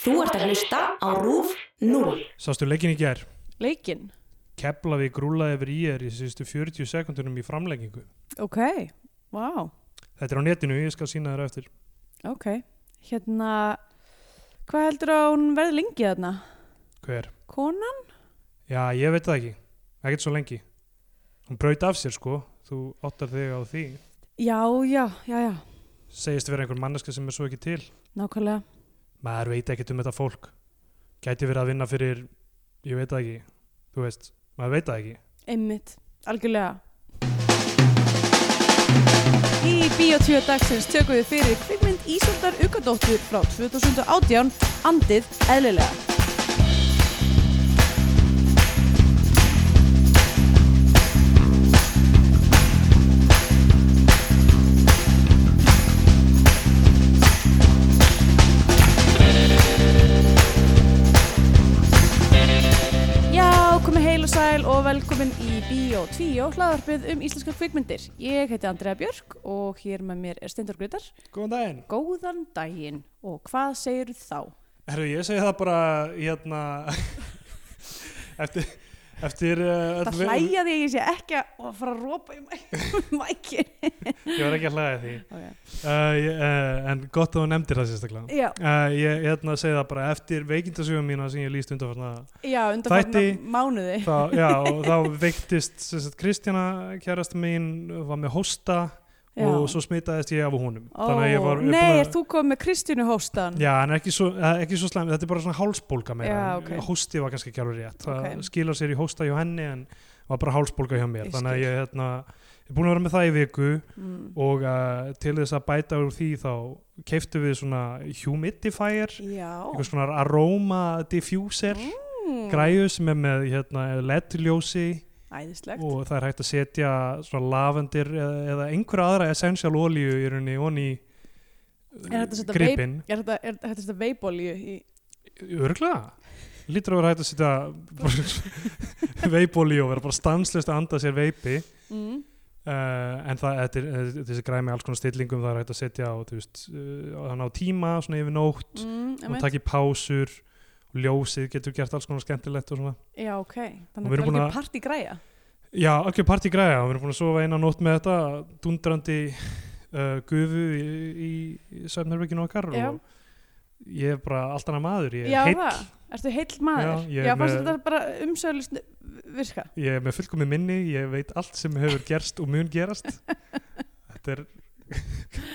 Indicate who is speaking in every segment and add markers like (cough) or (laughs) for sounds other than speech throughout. Speaker 1: Þú ert að hlusta á RÚF 0.
Speaker 2: Sástu leikin í gær,
Speaker 3: Leikinn?
Speaker 2: Keflavík rúlaði yfir IR í síðustu 40 sekundunum í framleggingu.
Speaker 3: Ok, vá,
Speaker 2: Þetta er á netinu, ég skal sína þér á eftir.
Speaker 3: ok. Hérna, hvað heldur að hún verði lengi þarna?
Speaker 2: Hver?
Speaker 3: Konan?
Speaker 2: Já, ég veit það ekki. Ekkert svo lengi. Hún braut af sér sko, þú áttar þig á því.
Speaker 3: Já, já, já, já,
Speaker 2: Segist vera einhver manneska sem er svo ekki til.
Speaker 3: nákvæmlega.
Speaker 2: Maður veit ekkert um þetta fólk. Gæti verið að vinna fyrir, ég veit það ekki. Þú veist, maður veit það ekki.
Speaker 3: Einmitt, algjörlega. Í Bíó 2 dagsins tökum við fyrir kvikmynd Ísaldar Ugadóttur frá 2018, Andið eðlilega. Já, komið heil og sæl og velkomin í Bíó 2 hlaðarpið um íslenska kvikmyndir. Ég heiti Andrea Björk og hér með mér er Steindor Grytar.
Speaker 2: Góðan daginn.
Speaker 3: Góðan daginn og hvað segir þá?
Speaker 2: Herru, ég segi það bara, hérna, (laughs) eftir, eftir uh, öll
Speaker 3: Það
Speaker 2: ve-
Speaker 3: hlæja því að ég sé ekki að fara að rópa í (laughs) mækin.
Speaker 2: Ég var ekki að hlæða því.
Speaker 3: okay.
Speaker 2: Uh, ég, uh, en gott að þú nefndir það sérstaklega
Speaker 3: Já,
Speaker 2: uh, ég ég ætla að segja það bara eftir veikindasugum mína sem ég líst undanfarna
Speaker 3: já undanfarna
Speaker 2: Þætti-
Speaker 3: mánuði.
Speaker 2: þá, já, og þá veiktist sem sagt, Kristjana kærast mín var með hósta
Speaker 3: Já.
Speaker 2: og svo smitaðist ég af honum
Speaker 3: Ó,
Speaker 2: að ég ég
Speaker 3: nei,
Speaker 2: búin
Speaker 3: er þú komið með Kristjánu hóstan?
Speaker 2: já, en ekki svo, eh, ekki svo slæm þetta er bara svona hálsbólga meira
Speaker 3: Já,
Speaker 2: en
Speaker 3: ok.
Speaker 2: hósti var kannski ekki alveg rétt það
Speaker 3: Ok.
Speaker 2: skilar sér í hósta hjá henni en var bara hálsbólga hjá mér
Speaker 3: Ég
Speaker 2: þannig að
Speaker 3: skil.
Speaker 2: ég hérna, er búin að vera með það í viku
Speaker 3: Mm.
Speaker 2: og uh, til þess að bæta úr því þá keiftu við svona humidifier
Speaker 3: Já.
Speaker 2: einhvers konar aroma diffuser
Speaker 3: Mm.
Speaker 2: græju sem er með hérna, LED-ljósi
Speaker 3: Æðislegt.
Speaker 2: og það er hægt að setja svona lavendir eða, eða einhverja aðra essential olíu í rauninni onni
Speaker 3: Er hægt að setja
Speaker 2: gripin
Speaker 3: Er þetta, er þetta þetta veibolju í...
Speaker 2: örglega lítur að vera hægt að (laughs) setja veipolíu og vera bara stanslust að anda sér veipi
Speaker 3: Mm.
Speaker 2: Uh, en það, þetta er, þetta er þessi græði með alls konar stillingum það er hægt að setja á, þú veist, uh, hann á tíma svona yfir nótt
Speaker 3: Mm,
Speaker 2: og
Speaker 3: einmitt.
Speaker 2: taki pásur og ljósið getur gert alls konar skemmtilegt og svona
Speaker 3: já, ok.
Speaker 2: Og
Speaker 3: Þannig
Speaker 2: við
Speaker 3: að
Speaker 2: erum
Speaker 3: það er
Speaker 2: búin að-
Speaker 3: ekki part í græja.
Speaker 2: já, algjör partí græða og við erum búin að sofa eina nótt með þetta dundrandi uh, gufu í, í, í svefnherbygginu okkar
Speaker 3: Já.
Speaker 2: og ég er bara allt annað maður ég
Speaker 3: já,
Speaker 2: er heill,
Speaker 3: það. Ertu heill maður?
Speaker 2: Já, ég er
Speaker 3: fannst
Speaker 2: með-
Speaker 3: þetta bara umsöðlust virka?
Speaker 2: ég er með fullkomi minni ég veit allt sem hefur gerst og mun
Speaker 3: (laughs)
Speaker 2: gerast þetta er (laughs)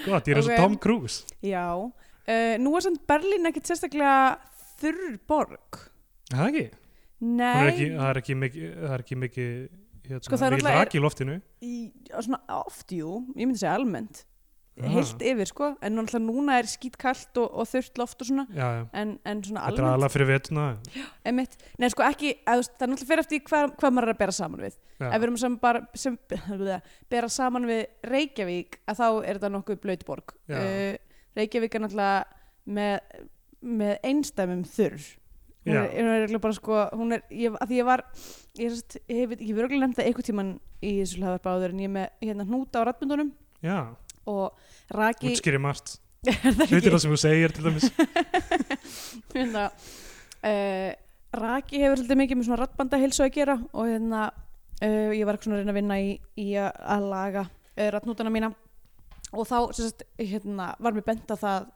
Speaker 2: gott, ég er eins og
Speaker 3: Ok.
Speaker 2: Tom Cruise
Speaker 3: Já. Uh, nú er samt Berlín ekkit sérstaklega þurr borg.
Speaker 2: Er það ekki? Hún
Speaker 3: Nei,
Speaker 2: Er ekki, það er ekki mikið það er ekki mikið hérna,
Speaker 3: Sko, það er
Speaker 2: mikið
Speaker 3: náttúrulega-
Speaker 2: rak í loftinu
Speaker 3: í, á svona oft, jú, ég myndi segja almennt
Speaker 2: Ah.
Speaker 3: heilt yfir, sko, en náttúrulega núna er skítkallt og, og þurrt loft og svona
Speaker 2: já, já.
Speaker 3: en, en svona
Speaker 2: þetta er
Speaker 3: almennt,
Speaker 2: alveg fyrir vetuna
Speaker 3: emitt nei, sko, ekki, að, þú veist, það er náttúrulega fyrir eftir því hvað, hvað maður er að bera saman við ef við erum sem bara, sem, (laughs) bera saman við Reykjavík, að þá er þetta nokkuð blöytborg
Speaker 2: Já.
Speaker 3: Reykjavík er náttúrulega með, með einstæmum þurr hún
Speaker 2: Já.
Speaker 3: er, hún er eiginlega bara sko hún er, ég, að því ég var ég, er satt, ég, hef, ég hef örgulega nefnt það einhvern tíman í þessu hlaðar báður en ég er með hérna hnúta á rattmyndunum
Speaker 2: já,
Speaker 3: og raki
Speaker 2: útskýri margt
Speaker 3: (laughs) er það
Speaker 2: hlutir
Speaker 3: ekki
Speaker 2: það sem þú segir til
Speaker 3: (laughs)
Speaker 2: dæmis
Speaker 3: hérna, uh, raki hefur svolítið mikið með svona rattbandahilsu að gera og hérna uh, ég var eitthvað svona að reyna að vinna í, í að, að laga uh, rattnútana mína og þá sem sagt, hérna, var mér benda það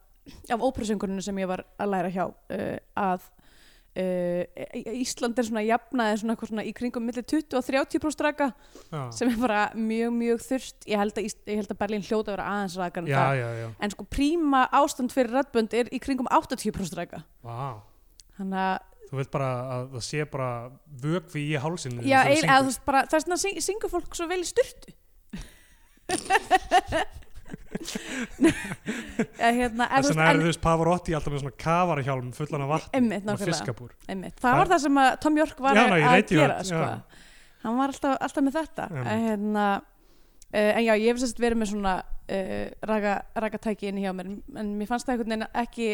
Speaker 3: af ópröðsöngurinu sem ég var að læra hjá uh, að Uh, Ísland er svona jafnaði svona, eitthvað svona í kringum milli 20 og 30 raka
Speaker 2: já,
Speaker 3: sem er bara mjög mjög þurft ég held að, Ís- ég held að Berlín hljóta að vera aðeins rakar en
Speaker 2: já,
Speaker 3: það
Speaker 2: já, já.
Speaker 3: en sko príma ástand fyrir rattbönd er í kringum 80% ræka
Speaker 2: Vá.
Speaker 3: þannig að,
Speaker 2: þú veit bara að það sé bara vögvi í hálsinu
Speaker 3: já,
Speaker 2: þegar þú
Speaker 3: ein,
Speaker 2: syngur.
Speaker 3: eða, þú veist, bara, það er svona syng, syngur fólk svo vel í
Speaker 2: (laughs)
Speaker 3: styrtu eða hérna eða,
Speaker 2: þess
Speaker 3: þú
Speaker 2: vegna
Speaker 3: veist,
Speaker 2: er þú veist Pavarotti alltaf með svona kafarahjálm fullan af vatn
Speaker 3: Einmitt, nákvæmlega.
Speaker 2: fiskabúr
Speaker 3: en, einmitt, það var það sem að Tom York var
Speaker 2: Já,
Speaker 3: að
Speaker 2: ná, ég
Speaker 3: að
Speaker 2: veit, ég
Speaker 3: gera
Speaker 2: veit,
Speaker 3: sko.
Speaker 2: já.
Speaker 3: hann var alltaf, alltaf með þetta
Speaker 2: Einmitt.
Speaker 3: en, hérna, uh, en já, ég hef sérst verið með svona uh, raka, raka tæki inn hjá mér en mér fannst það einhvern veginn ekki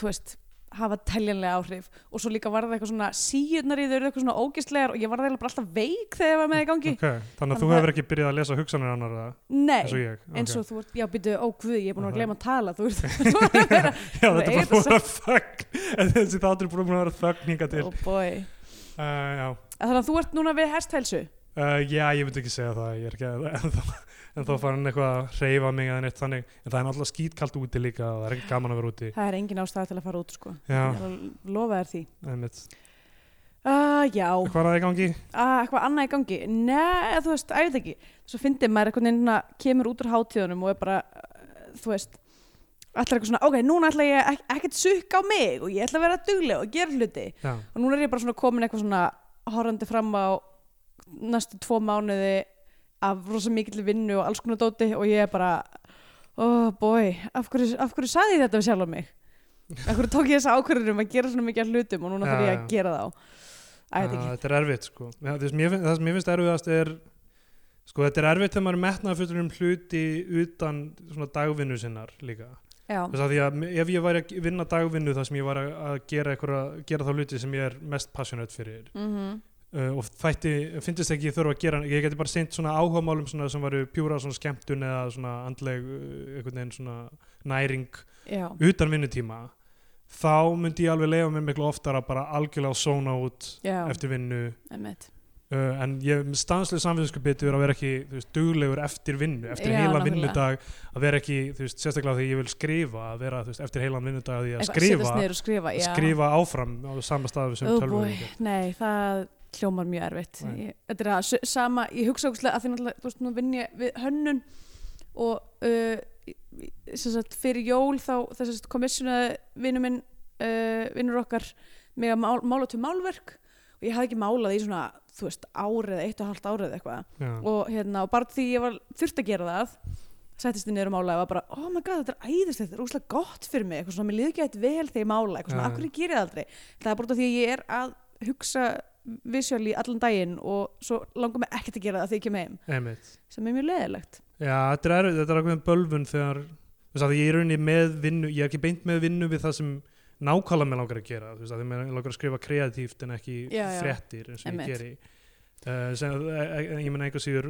Speaker 3: þú veist hafa teljanlega áhrif og svo líka var það eitthvað svona síurnar í þau eru eitthvað svona ógistlegar og ég var það bara alltaf veik þegar ég var með í gangi
Speaker 2: (laughs) ok, þannig að þú
Speaker 3: Þannig að-
Speaker 2: hefur ekki byrjað að lesa hugsanir annar eða-
Speaker 3: Nei,
Speaker 2: eins og ég ok.
Speaker 3: eins og þú ert, já býtu, ó guð, ég er búin að vera að gleyma að tala þú ert
Speaker 2: (laughs) já, þetta er bara
Speaker 3: Eiga
Speaker 2: búin að vera þögn (laughs) þessi þáttur er búin að vera þögn hingað til
Speaker 3: oh boy.
Speaker 2: uh, já
Speaker 3: Þannig að þú ert núna við hesthælsu
Speaker 2: Uh, já, ég myndi ekki segja það, ég er ekki að- (laughs) en þá, en
Speaker 3: Mm.
Speaker 2: þá farin eitthvað að hreyfa mig eða neitt þannig, en það er náttúrulega skítkalt úti líka og það er ekki gaman að vera úti
Speaker 3: Það er engin ástæða til að fara út sko
Speaker 2: Já,
Speaker 3: Ég lofa þér því
Speaker 2: einmitt.
Speaker 3: Uh, já, uh,
Speaker 2: Hvað er það í gangi?
Speaker 3: eitthvað annað í gangi Nei, þú veist, æfði ekki Svo fyndi maður einhvern veginn að kemur út úr hátíðunum og er bara, uh, þú veist Allar eitthvað svona, ok, núna ætla ég ek ekkert sukka á mig og ég ætla að vera dugleg og gera hluti
Speaker 2: Já,
Speaker 3: og núna er ég bara svona komin eitthvað svona horfandi fram á næstu tvo mánuði af rosa mikill vinnu og alls konar dóti og ég er bara oh boy, af hverju, af hverju saði ég þetta við sjálf á mig? Af hverju tók ég þessa ákvörðunum að gera svona mikið af hlutum og núna
Speaker 2: Já,
Speaker 3: þarf ég
Speaker 2: já.
Speaker 3: að gera þá Æ, þetta
Speaker 2: Uh,
Speaker 3: ekki
Speaker 2: þetta er erfitt sko. Já, það, sem ég, finn- það sem ég finnst erfiðast er sko, þetta er erfitt þegar maður er metnaðfullur um hluti utan svona dagvinnu sinnar líka
Speaker 3: Já,
Speaker 2: þess að því að ef ég væri að vinna dagvinnu þar sem ég var að, að gera, einhverja- gera þá hluti sem ég er mest passionate fyrir
Speaker 3: mm
Speaker 2: uh, og þætti, finnist ekki ég þurfa að gera ég geti bara seint svona áhugamálum svona, sem varu pjúra svona skemmtun eða svona andleg uh, einhvern veginn svona næring
Speaker 3: já,
Speaker 2: utan vinnutíma þá myndi ég alveg leiða mig miklu oftar að bara algjörlega sóna út
Speaker 3: já,
Speaker 2: eftir vinnu uh,
Speaker 3: emmitt
Speaker 2: en ég hef stanslega samfélskupið yfir að vera ekki þú veist, duglegur eftir vinnu eftir
Speaker 3: Já,
Speaker 2: heila
Speaker 3: nákvæmlega.
Speaker 2: vinnudag að vera ekki, þú veist, sérstaklega því ég vil skrifa að vera þú veist, eftir heilan vinnudag að því að
Speaker 3: Setast
Speaker 2: skrifa
Speaker 3: niður og skrifa, já
Speaker 2: skrifa áfram á sama stað sem
Speaker 3: oh boy,
Speaker 2: tölvum
Speaker 3: nei, það hljómar mjög erfitt
Speaker 2: Nei.
Speaker 3: ég, þetta er að s- sama, ég hugsa ógustlega að því náttúrulega, þú veist, nú vinn ég við hönnun og uh, í- í- sem sagt, fyrir jól þá þessast komissjónaði vinnu minn uh, vinnur okkar með að mál, mála til málverk og ég hafði ekki málað í svona, þú veist, árið eitt og hálft árið eitthvað og hérna, og bara því ég var þurft að gera það settist þið niður og málaði og var bara, oh my god, þetta er æðist þetta er úslega gott fyrir mig, eitthvað svona, mér liði ekki eitt vel þegar ég mála, eitthvað svona,
Speaker 2: Já.
Speaker 3: akkur ég geri það aldrei það er bara út af því að ég er að hugsa visjóli allan daginn og svo langar mig ekkert að gera það þegar ég kem heim
Speaker 2: Einmitt.
Speaker 3: sem er mjög leðilegt
Speaker 2: Já, þetta er, erfitt, þetta er ákveðin bölvun þegar, þú veist að ég er í rauninni með vinnu, ég er ekki beint með vinnu við það sem nákvæmlega mér langar að gera, þú veist að mér langar að skrifa kreatíft en ekki
Speaker 3: Já, já.
Speaker 2: fréttir eins og
Speaker 3: Einmitt.
Speaker 2: ég geri. Uh, sem, e, e, ég menna einhver síður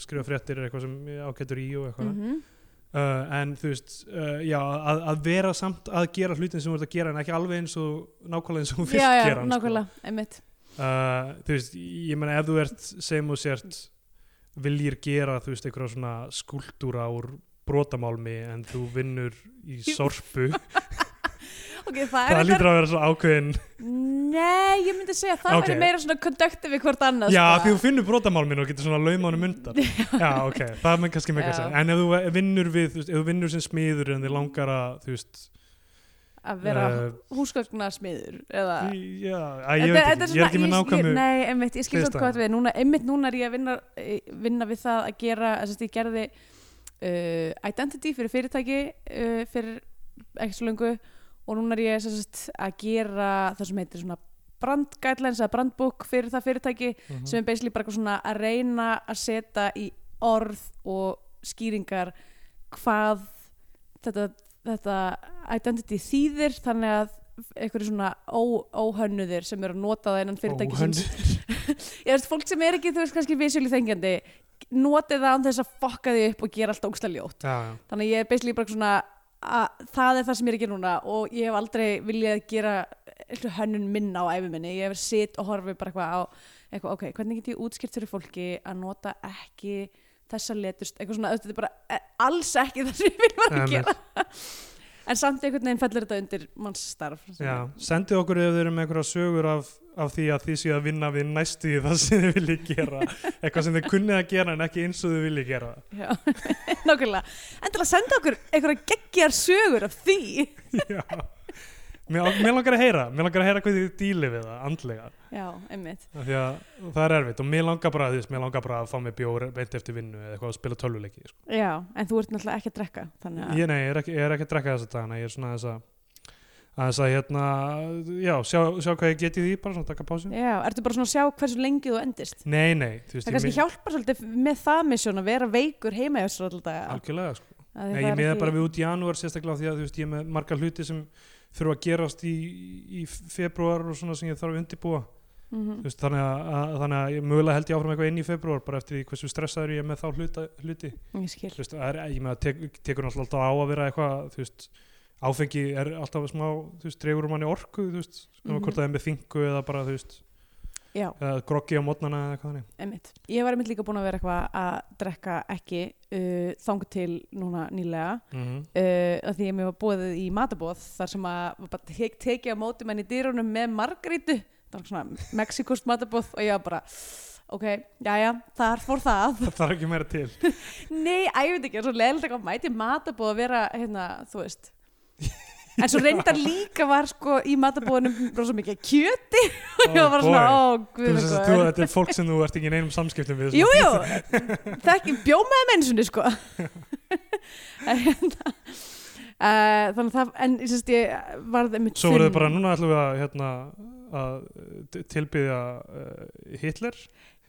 Speaker 2: skrifa fréttir er eitthvað sem ég ágætur í og eitthvað.
Speaker 3: mm -hmm.
Speaker 2: uh, en þú veist, uh, já, að, að vera samt að gera hlutin sem þú ert að gera en ekki alveg eins og nákvæmlega eins og þú
Speaker 3: já,
Speaker 2: fyrst
Speaker 3: já,
Speaker 2: gera. hann, sko
Speaker 3: nákvæmlega, einmitt
Speaker 2: uh, þú veist, ég meina ef þú ert sem þú sért viljir gera þú veist, einhverja svona skúltúra úr brotamálmi en þú vinnur í sorpu
Speaker 3: ok, það er
Speaker 2: það
Speaker 3: eitthvað,
Speaker 2: lítur að vera svo ákveðin
Speaker 3: nei, ég myndi segja að það
Speaker 2: Ok.
Speaker 3: væri meira svona conductive við hvort annað
Speaker 2: já,
Speaker 3: sko.
Speaker 2: því þú finnur brotamálminu og getur svona laumanum undan já, ok, það er kannski
Speaker 3: Já.
Speaker 2: meika sér en ef þú vinnur við, þú veist, ef þú vinnur sem smiður en þið langar að, þú veist
Speaker 3: að vera
Speaker 2: Eh,
Speaker 3: húsgögnasmiður eða
Speaker 2: já, að, ég veit
Speaker 3: Þetta- þetta
Speaker 2: ekki, ég er ekki með
Speaker 3: svona- ég-
Speaker 2: nákvæmu
Speaker 3: ég- Nei, einmitt, ég skil svo
Speaker 2: hliðstæðu.
Speaker 3: hvað við núna, einmitt núna er ég að vinna, eh, vinna við það að gera, þess að ég gerði uh, identity fyrir fyrirtæki uh, fyrir ekki svo lengu og núna er ég sem sagt, að gera það sem heitir svona brandguidelines eða brandbook fyrir það fyrirtæki
Speaker 2: Mhm.
Speaker 3: sem er basically bara eitthvað svona að reyna að setja í orð og skýringar hvað þetta, þetta identity þýðir þannig að einhverju svona ó, óhönnuðir sem eru að nota það innan fyrirtæki
Speaker 2: Óhönnuðir.
Speaker 3: ég veist, fólk sem er ekki, þú veist, kannski visjóli þengjandi noti það án þess að fokka því upp og gera allt ógsta ljótt
Speaker 2: já, já,
Speaker 3: þannig að ég er basically bara svona að það er það sem ég er að gera núna og ég hef aldrei viljað gera eitthvað hönnun minna á æfi minni, ég hef sitt og horfi bara eitthvað á, eitthvað, ok, hvernig get ég útskýrt fyrir fólki að nota ekki þessa letust, eitthvað svona, þetta er bara eh, alls ekki það sem ég vil vera að
Speaker 2: Einmitt.
Speaker 3: gera en samt einhvern veginn fellur þetta undir manns starf sem
Speaker 2: já. sendið okkur ef þið eru með einhverja sögur af, af því að þið séu að vinna við næstu það sem þið viljið
Speaker 3: (laughs)
Speaker 2: gera eitthvað sem þið kunnið að gera en ekki eins og þið viljið gera
Speaker 3: Já, (laughs) nákvæmlega. En til að senda okkur einhverja geggjar sögur af því.
Speaker 2: já Mér, mér langar að heyra, mér langar að heyra hvað þið dílið við það andlega,
Speaker 3: Já, einmitt.
Speaker 2: af því að það er erfitt og mér langar bara, þú veist, mér langar bara að fá mér bjór beint eftir vinnu eða eitthvað að spila tölvuleiki sko.
Speaker 3: Já, en þú ert náttúrulega ekki að drekka. Þannig að...
Speaker 2: ég, nei, ég er, ekki, ég er ekki að drekka þessa dagana ég er svona þess að þess að hérna, já, sjá, sjá hvað ég geti því bara svona taka pásin
Speaker 3: Já, ertu bara svona að sjá hversu lengi þú endist?
Speaker 2: Nei, nei, þú veist,
Speaker 3: Það kannski hjálpar svolítið með það misjón að vera veikur heima hjá sér alltaf.
Speaker 2: algjörlega sko Nei, ég miða bara við út í janúar sérstaklega af því að þú veist, ég er með marga hluti sem þurfa að gerast í, í februar og svona sem ég þarf að undirbúa Þú
Speaker 3: Mhm.
Speaker 2: veist, þannig, að, að, þannig að ég mögulega held ég áfram eitthvað inn í februar bara eftir því hversu stressaður ég er með þá hluta, hluti
Speaker 3: ég skil
Speaker 2: Þú veist, það er, ég með að tek, tekur náttúrulega alltaf á að vera eitthvað þú veist, áfengi er alltaf smá þú veist, dregur um manni orku þú veist, mm
Speaker 3: Mhm.
Speaker 2: hvort það er með fingu eða bara þú veist,
Speaker 3: já,
Speaker 2: eða groggi á mótnana eða eitthvað þannig
Speaker 3: einmitt. ég var einmitt líka búin að vera eitthvað að drekka ekki uh, þangu til núna nýlega
Speaker 2: mm
Speaker 3: uh, að því að mér var bóðið í matabóð þar sem að var bara tek, tekið á móti menn í dýrunum með margrítu það var svona mexikost matabóð og ég var bara ok, jæja, þar fór það
Speaker 2: það þarf ekki meira til
Speaker 3: nei, að ég veit ekki, það er svo leðilegt eitthvað mæti í matabóð að vera, hérna, þú veist en svo reyndar líka var sko í matabóðunum rosa mikið af kjöti og (laughs) ég var bara svona, ó,
Speaker 2: Oh, Þú
Speaker 3: guð
Speaker 2: veist
Speaker 3: minn
Speaker 2: að þú,
Speaker 3: góður."
Speaker 2: þetta er fólk sem þú ert ekki í neinum samskiptum við
Speaker 3: Jú, jú, þekki bjómaði
Speaker 2: (laughs)
Speaker 3: mennsunni sko En hérna, eh, Þannig að það, en ég sérst ég varði mitt
Speaker 2: Svo voruð þið bara, núna ætlum við að, hérna, að eh, t- tilbyðja uh, Hitler,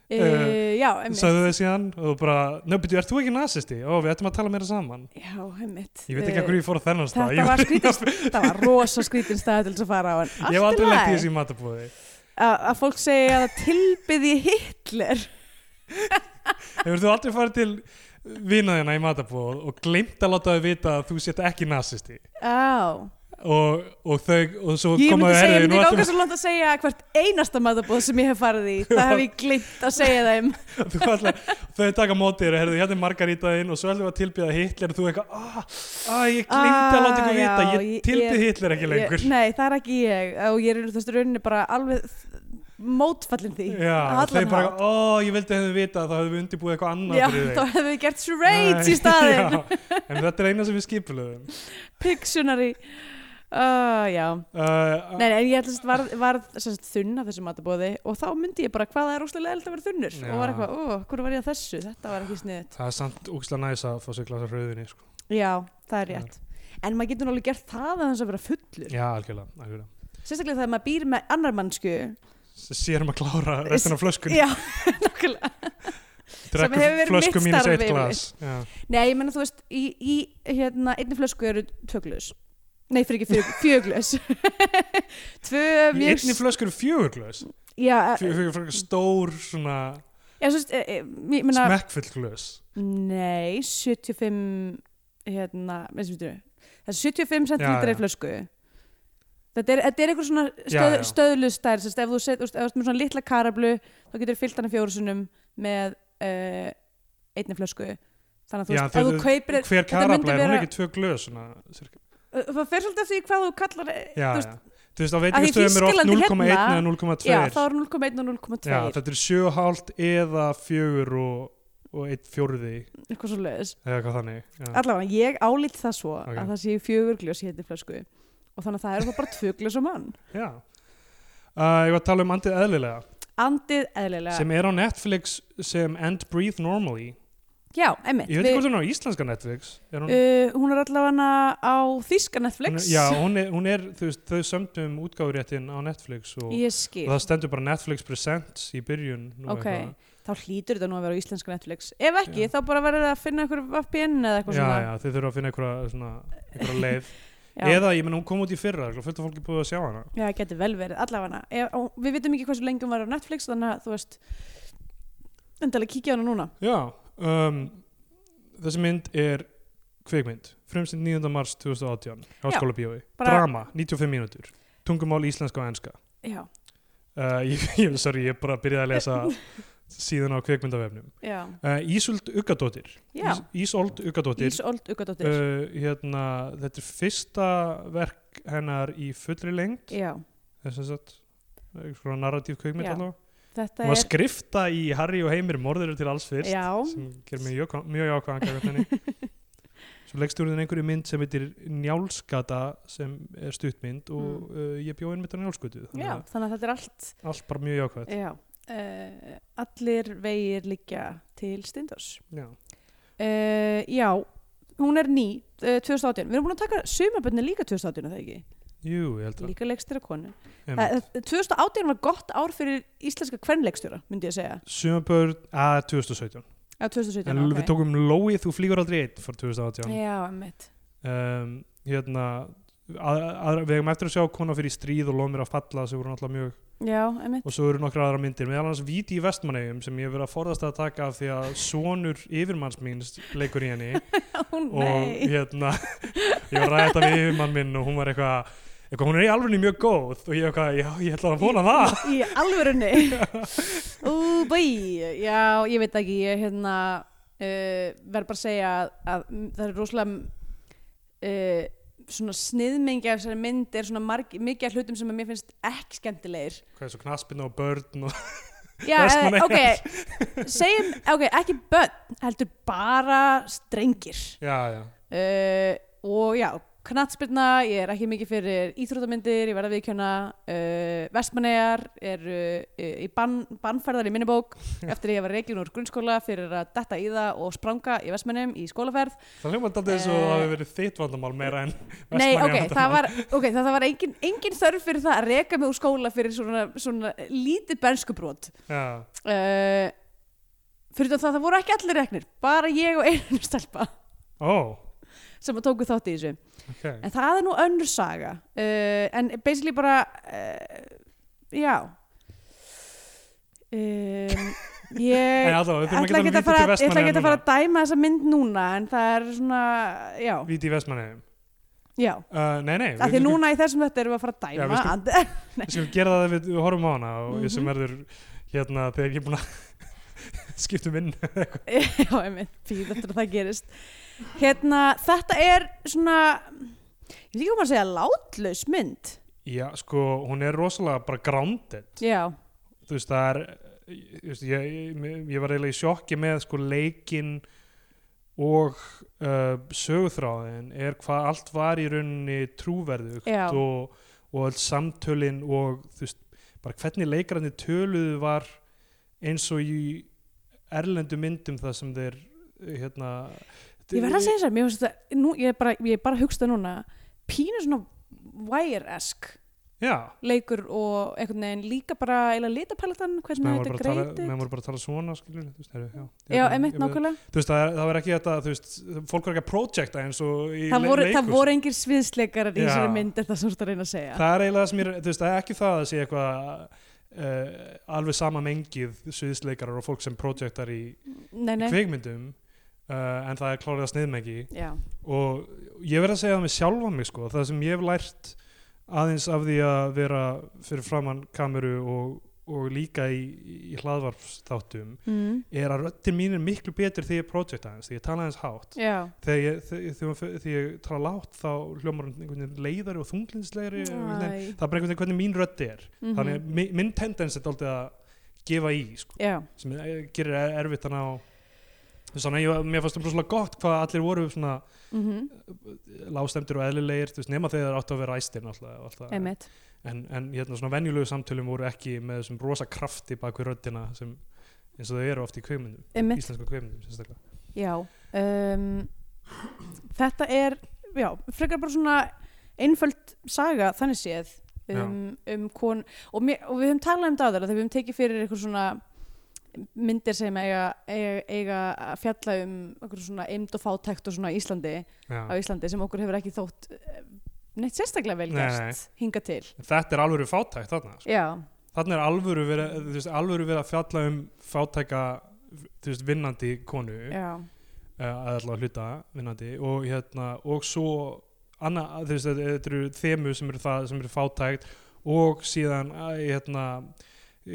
Speaker 3: e,
Speaker 2: eh,
Speaker 3: Já,
Speaker 2: sagðu
Speaker 3: emmitt
Speaker 2: þið síðan og þú bara, nefnir, ert þú ekki nazisti? Ó, við ættum að tala meira saman.
Speaker 3: Já, emmitt
Speaker 2: Ég veit ekki að hverju ég fór á þennan stað.
Speaker 3: Þetta
Speaker 2: Ég,
Speaker 3: var skrítin, þetta var rosa skrítin stað til þess að fara á en
Speaker 2: (laughs) ég hef
Speaker 3: allt í
Speaker 2: aldrei lett í
Speaker 3: lagi.
Speaker 2: þessi matabúði.
Speaker 3: Að að fólk segi að það tilbyði Hitler
Speaker 2: Hefur þú aldrei farið til vinaðina í matabúð og gleymt að láta þau vita að þú sétt ekki nazisti?
Speaker 3: Já
Speaker 2: Og, og þau, og svo
Speaker 3: Ég myndi
Speaker 2: komaðu
Speaker 3: segja, ég
Speaker 2: erðu,
Speaker 3: myndi
Speaker 2: nú
Speaker 3: ganga
Speaker 2: ætlum
Speaker 3: svo langt að segja að hvert einasta matabóð sem ég hef farið í það hef ég glimt að segja þeim
Speaker 2: þú ætlar, þau taka mótið þér, herðu, hérna er margarita þinn og svo ætlum við að tilbyða Hitler og þú eitthvað, ah, ah, ég glemdi að láta ykkur
Speaker 3: Ah,
Speaker 2: vita,
Speaker 3: já,
Speaker 2: ég
Speaker 3: ég-
Speaker 2: tilbyð
Speaker 3: ég-
Speaker 2: Hitler (laughs) ekki lengur.
Speaker 3: Ég, nei, það er ekki ég og ég er í þessu rauninni bara alveg þ- mótfallin því
Speaker 2: Já,
Speaker 3: Á
Speaker 2: og þeir
Speaker 3: allan
Speaker 2: bara,
Speaker 3: hátt.
Speaker 2: ó, ég vildi hefðu vita þá hefðu við undirbúið eitthvað annað
Speaker 3: Já,
Speaker 2: fyrir
Speaker 3: þá
Speaker 2: þig
Speaker 3: hefum við gert charades í
Speaker 2: Nei, (laughs)
Speaker 3: staðin
Speaker 2: já, En þetta er eina sem við skipulegum
Speaker 3: Pictionary uh, Já,
Speaker 2: uh,
Speaker 3: nei, nei, en ég ætla að var, var sérst, þunn af þessu matabóði og þá myndi ég bara hvað það er óslega leilt að vera þunnur
Speaker 2: Já.
Speaker 3: og var eitthvað, ó, hverju var ég að þessu? Þetta var ekki sniðið
Speaker 2: Það er samt úkslega næs að fá sig glasa rauðinni sko.
Speaker 3: Já, það er rétt En maður getur náttúrulega gert það að þess að vera fullur
Speaker 2: Já, algjörlega, algjörlega.
Speaker 3: Sérstaklega þegar maður býr með annar mannsku
Speaker 2: S- Sérum að klára restin af flöskunni
Speaker 3: Já, (laughs) nokkulega
Speaker 2: Drekkur
Speaker 3: hefur verið
Speaker 2: flösku
Speaker 3: mitt
Speaker 2: mínus
Speaker 3: starf
Speaker 2: eitt
Speaker 3: yfirleitt.
Speaker 2: glas Já,
Speaker 3: Nei, ég menna þú veist, í, í hérna, einni flösku eru tvö glös. Nei, fyrir ekki (laughs) fjö, fjö glös. (laughs) tvö
Speaker 2: Í
Speaker 3: mjög...
Speaker 2: einni flösku eru fjögur glas
Speaker 3: Já, eh,
Speaker 2: Fjögur fjögur fjögur stór svona
Speaker 3: ég svo veist, eh, eh, ég menna...
Speaker 2: smekkfull glas
Speaker 3: Nei, 75, hérna, veist við þú, það er
Speaker 2: Já,
Speaker 3: 75
Speaker 2: já.
Speaker 3: centilitra í flösku. Þetta er, þetta er eitthvað svona stöð,
Speaker 2: Já, já.
Speaker 3: stöðlustær, sérst, ef þú set, þú veist, ef þú ert með svona litla karablu, þá getur þú fyllt hana fjórusunum með uh, einni flösku. Þannig að þú
Speaker 2: Já,
Speaker 3: veist,
Speaker 2: þegar
Speaker 3: ef þú kaupir,
Speaker 2: Hver
Speaker 3: þetta myndi
Speaker 2: karabla er hún
Speaker 3: vera-
Speaker 2: ekki tvö glös svona, cirka?
Speaker 3: eh, það fer svolítið eftir því hvað þú kallar, eh,
Speaker 2: Já,
Speaker 3: þú veist,
Speaker 2: já Þú veist, á
Speaker 3: því
Speaker 2: veitingastöðum er oft
Speaker 3: Þýskalandi
Speaker 2: 0,1
Speaker 3: hérna-
Speaker 2: eða 0,2
Speaker 3: Já, þá er 0,1 og 0,2
Speaker 2: Já, þetta er 7,5 eða 4 og, og 1 fjórði
Speaker 3: eitthvað svo leiðis.
Speaker 2: eða hvað þannig já.
Speaker 3: Allavega, ég álít það svo
Speaker 2: Ok.
Speaker 3: að það séu fjögur gljós í þetta flösku og þannig að það eru þá bara tvö gljós á mann.
Speaker 2: já. Uh, ég var að tala um andið eðlilega
Speaker 3: Andið eðlilega.
Speaker 2: sem er á Netflix sem And Breathe Normally
Speaker 3: Já, einmitt.
Speaker 2: ég veit ekki
Speaker 3: Við-
Speaker 2: hvort hún er á íslenska Netflix er hún,
Speaker 3: Uh, hún er allavega á þýska
Speaker 2: hún,
Speaker 3: Netflix.
Speaker 2: já, hún er, hún er þú veist, þau sömdu um útgáfuréttin á Netflix og,
Speaker 3: Ég
Speaker 2: og
Speaker 3: skil.
Speaker 2: það stendur bara Netflix Presents í byrjun nú
Speaker 3: Ok,
Speaker 2: eitthvað.
Speaker 3: þá hlýtur þetta nú að vera á íslenska Netflix. Ef ekki,
Speaker 2: Já.
Speaker 3: þá bara verður það að finna einhver VPN eða eitthvað
Speaker 2: já,
Speaker 3: svona.
Speaker 2: já, þau þurfa að finna einhverja, svona, einhverja leið
Speaker 3: (laughs) Já.
Speaker 2: eða, ég menn, hún kom út í fyrra örugglega fullt af fólki búið að sjá hana
Speaker 3: Já, það getur vel verið, allavega Ef, og Við vitum ekki hversu lengi hún var á Netflix, þannig að þú veist, endalega kíkja á hana núna.
Speaker 2: Já, um, þessi mynd er kveikmynd, frumstinn 9. mars 2018, háskóla bíói,
Speaker 3: bara-
Speaker 2: drama, 95 mínútur, tungumál íslenska og enska.
Speaker 3: Já,
Speaker 2: Uh, (laughs) ég, ég, sorry, ég bara byrjaði að
Speaker 3: (laughs)
Speaker 2: lesa síðan á kveikmyndavefnum.
Speaker 3: já,
Speaker 2: Uh, Ísöld Uggadóttir,
Speaker 3: já.
Speaker 2: Ís, Ísold Uggadóttir,
Speaker 3: Ísold Uggadóttir.
Speaker 2: uh, hérna, þetta er fyrsta verk hennar í fullri lengd,
Speaker 3: já,
Speaker 2: þess að satt, svona narratív kveikmynd
Speaker 3: Já.
Speaker 2: allavega.
Speaker 3: þetta
Speaker 2: Hún var
Speaker 3: er...
Speaker 2: skrifta í Harry og Heimir morður til alls fyrst
Speaker 3: Já,
Speaker 2: sem ger mig mjög, mjög ákvæðan gæmur
Speaker 3: (laughs)
Speaker 2: henni svo leggstjórnin einhverju mynd sem heitir Njálsgata sem er stuttmynd og
Speaker 3: Mm.
Speaker 2: uh, ég bjó einmitt á Njálsgötu þannig
Speaker 3: já, Eh. þannig að þetta er allt...
Speaker 2: að allt bara mjög ákvæðan
Speaker 3: Já, uh, allir vegir liggja til Stindós.
Speaker 2: já.
Speaker 3: Uh, já, hún er ný, uh, 2018. Við erum búin að taka sumabönni líka 2018, er það ekki?
Speaker 2: jú, ég held að
Speaker 3: Líka leikstir að konu. Eh,
Speaker 2: einmitt.
Speaker 3: Það- 2018 var gott ár fyrir íslenska kvennleikstjóra, myndi ég að segja.
Speaker 2: sumabörn að 2017
Speaker 3: Eða 2017,
Speaker 2: en við tókum Lói þú flýgur aldrei einn frá 2018
Speaker 3: Já, mitt.
Speaker 2: um, hérna að, að, við hefum eftir að sjá kona fyrir í stríð og lómir að falla sem voru náttúrulega mjög
Speaker 3: já, emitt
Speaker 2: og svo eru nokkra aðra myndir meðal hans Víti í Vestmannegjum sem ég hef verið að forðast að taka af því að sonur yfirmanns míns leikur í
Speaker 3: (laughs)
Speaker 2: henni
Speaker 3: Ó
Speaker 2: og
Speaker 3: nei,
Speaker 2: hérna ég var ræða þetta við yfirmann minn og hún var eitthvað eitthvað hún er í alveg mjög góð og ég eitthvað já ég ætla að vona það
Speaker 3: (laughs) í alvörunni
Speaker 2: (laughs)
Speaker 3: Ú, bæ, já, ég veit ekki ég hérna uh, verð bara að segja að, að það er rosalega uh, svona sniðmengi af þessari mynd er svona marg, mikið af hlutum sem að mér finnst ekki skemmtilegir
Speaker 2: hvað er svo knaspinu og börn og
Speaker 3: Já, eh,
Speaker 2: Vestmannaeyjar.
Speaker 3: ok, segjum, ok, ekki börn, heldur bara strengir
Speaker 2: já já
Speaker 3: uh, og já, knattspilna, ég er ekki mikið fyrir íþróttamyndir, ég verða viðkjöna uh, vestmannegar, er uh, í bann, bannferðar í minnibók eftir að ég var reikin úr grunnskóla fyrir að detta í það og spranga í vestmannum í skólaferð
Speaker 2: það hljóma alltaf eins og
Speaker 3: Eh.
Speaker 2: það hefur verið þitt vandamál meira en
Speaker 3: Nei, ok,
Speaker 2: Vestmannaeyja
Speaker 3: það
Speaker 2: vandamál.
Speaker 3: var, okay, það, það var engin, engin þörf fyrir það að reka mig úr skóla fyrir svona, svona lítið bernskubrót
Speaker 2: já
Speaker 3: uh, fyrir utan það, það voru ekki allir reknir bara ég og einu stelpa
Speaker 2: ó
Speaker 3: sem að tóku þátt í þessu
Speaker 2: ok
Speaker 3: en það er nú önnur saga uh, en basically bara uh, já um,
Speaker 2: (laughs)
Speaker 3: ég
Speaker 2: en alltaf við þurfum að
Speaker 3: ætla ekki
Speaker 2: geta
Speaker 3: að fara,
Speaker 2: Víti
Speaker 3: ég
Speaker 2: til
Speaker 3: ætla ekki að
Speaker 2: Vestmannegjum
Speaker 3: fara að dæma þessa mynd núna en það er svona, já,
Speaker 2: Víti í Vestmannegjum
Speaker 3: já
Speaker 2: Uh, nei, nei,
Speaker 3: af
Speaker 2: við
Speaker 3: því
Speaker 2: skulum-
Speaker 3: núna í þessum þetta erum við að fara að
Speaker 2: Já,
Speaker 3: dæma
Speaker 2: við skulum-
Speaker 3: and-
Speaker 2: Við skulum gera það við, við horfum á hana og
Speaker 3: Mhm.
Speaker 2: sem verður hérna þegar ég er búin að (laughs) skipta um inn
Speaker 3: (laughs) Já, einmitt, býð eftir að það gerist Hérna, þetta er svona ég veit ekki hvað maður að segja látlaus mynd
Speaker 2: Já, sko, hún er rosalega bara grounded
Speaker 3: Já,
Speaker 2: þú veist, það er þú veist, ég, ég, ég var eiginlega í sjokki með sko leikinn og uh, sögutráðin er hvað allt var í rauninni trúverðugt
Speaker 3: Já.
Speaker 2: og, og öll samtölin og þú veist, bara hvernig leikarandi töluðu var eins og í erlendu myndum það sem þeir hérna
Speaker 3: ég verð að segja þess að mér finnst þetta, nú, ég er bara, ég er bara að hugsa það núna pínu svona wire-esk
Speaker 2: Já,
Speaker 3: leikur og einhvern veginn líka bara eila litapaletan,
Speaker 2: menn
Speaker 3: hvernig
Speaker 2: voru,
Speaker 3: þetta
Speaker 2: bara að
Speaker 3: er
Speaker 2: tala, menn
Speaker 3: greitit
Speaker 2: voru bara að tala svona skilur, þú veist, heru, já, Ég
Speaker 3: Já,
Speaker 2: bara-
Speaker 3: einmitt
Speaker 2: ég bara-
Speaker 3: nákvæmlega
Speaker 2: Þú veist, það, er- það var ekki þetta, þú veist, fólk var ekki að projekta eins og í
Speaker 3: Það
Speaker 2: le-
Speaker 3: voru, það
Speaker 2: leikhúsi.
Speaker 3: voru engir sviðsleikarar í
Speaker 2: Já.
Speaker 3: þessari mynd er það svo að reyna að segja
Speaker 2: Það er eiginlega sem ég, er- þú veist, það er ekki það að sé eitthvað uh, alveg sama mengið suðisleikarar og fólk sem projektar í,
Speaker 3: Nei,
Speaker 2: í
Speaker 3: nei,
Speaker 2: kveikmyndum uh, en það er klárið að sniðmengi
Speaker 3: já,
Speaker 2: og ég verð að segja það með sjálfa mig sko, það sem ég hef lært aðeins af því að vera fyrir framann kameru og, og líka í, í hlaðvarpsþáttum
Speaker 3: mm.
Speaker 2: er að röttin mín er miklu betur þegar ég projekta aðeins, þegar ég tala aðeins hátt
Speaker 3: já.
Speaker 2: þegar ég, þegar, þegar, þegar ég tala látt þá hljómar hún einhvern veginn leiðari og þunglinslegri og einhvern veginn-
Speaker 3: Æ.
Speaker 2: það er bara einhvern veginn hvernig mín rödd er
Speaker 3: Mhm.
Speaker 2: þannig að mi- minn tendens er dálítið að gefa í sko,
Speaker 3: Já,
Speaker 2: sem er- gerir er- erfitt þannig á Þannig að ég, mér fannst það brúslega gott hvað allir voru svona
Speaker 3: mhm,
Speaker 2: lástemdir og eðlilegir, þú veist, nema þegar þeir áttu að vera æstir náttúrulega og allt það.
Speaker 3: einmitt
Speaker 2: En, en hérna svona venjulegu samtölum voru ekki með þessum rosa krafti bak við röddina sem eins og þau eru oft í kveimundum,
Speaker 3: Einmitt
Speaker 2: íslensku kveimundum sérstaklega.
Speaker 3: Já, um, þetta er, já, frekar bara svona einföld saga þannig séð um, um kon og, mér, og við höfum talað um það áður að þegar við höfum tekið fyrir eitthvað svona myndir sem eiga, eiga, eiga að fjalla um eitthvað svona eimd og fátækt og svona á Íslandi, á
Speaker 2: Já.
Speaker 3: Íslandi sem okkur hefur ekki þótt eh, neitt sérstaklega vel
Speaker 2: Nei, nei.
Speaker 3: gert hingað til.
Speaker 2: En Þetta er alvöru fátækt þarna. Sko.
Speaker 3: Já,
Speaker 2: Þarna er alvöru verið, eh, þú veist, alvöru verið að fjalla um fátæka, þú veist, vinnandi konu.
Speaker 3: já,
Speaker 2: eh, að allavega hluta vinnandi og hérna og svo annað, þú veist, þetta þetta eru þemu sem eru það sem eru fátækt og síðan eh, hérna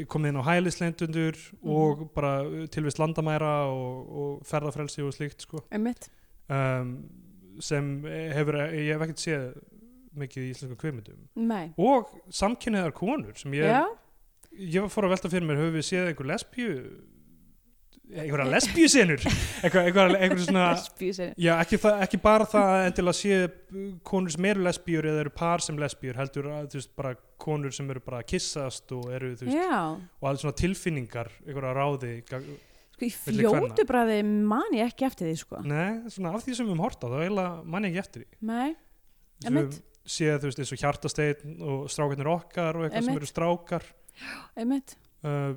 Speaker 2: komið inn á hælislendundur og bara tilvist landamæra og, og ferðafrelsi og slíkt sko.
Speaker 3: einmitt.
Speaker 2: um, sem hefur, ég hef ekkert séð mikið í íslenskum kveimundum
Speaker 3: Nei.
Speaker 2: og samkynniðar konur sem ég,
Speaker 3: Já,
Speaker 2: ég fór að velta fyrir mér höfum við séð einhver lesbíu einhverja lesbíu senur einhver, einhver, einhver
Speaker 3: (laughs)
Speaker 2: svona
Speaker 3: lesbíu
Speaker 2: Já, ekki, það, ekki bara það að endilega sé uh, konur sem eru lesbíur eða eru par sem lesbíur heldur að, þú veist, bara konur sem eru bara að kyssast og eru, þú veist,
Speaker 3: Já,
Speaker 2: og alls svona tilfinningar, einhverja ráði, gag-
Speaker 3: sko í
Speaker 2: Milli kvenna. Mm.
Speaker 3: fljótu bræði man ég ekki eftir því sko.
Speaker 2: nei, svona af því sem við höfum hort á, þá eiginlega mann ég ekki eftir því.
Speaker 3: Nei.
Speaker 2: Sem við
Speaker 3: Einmitt.
Speaker 2: höfum séð, þú veist, eins og hjartasteinn og strákarnir okkar og eitthvað sem
Speaker 3: Einmitt.
Speaker 2: eru strákar.
Speaker 3: Einmitt.
Speaker 2: Uh,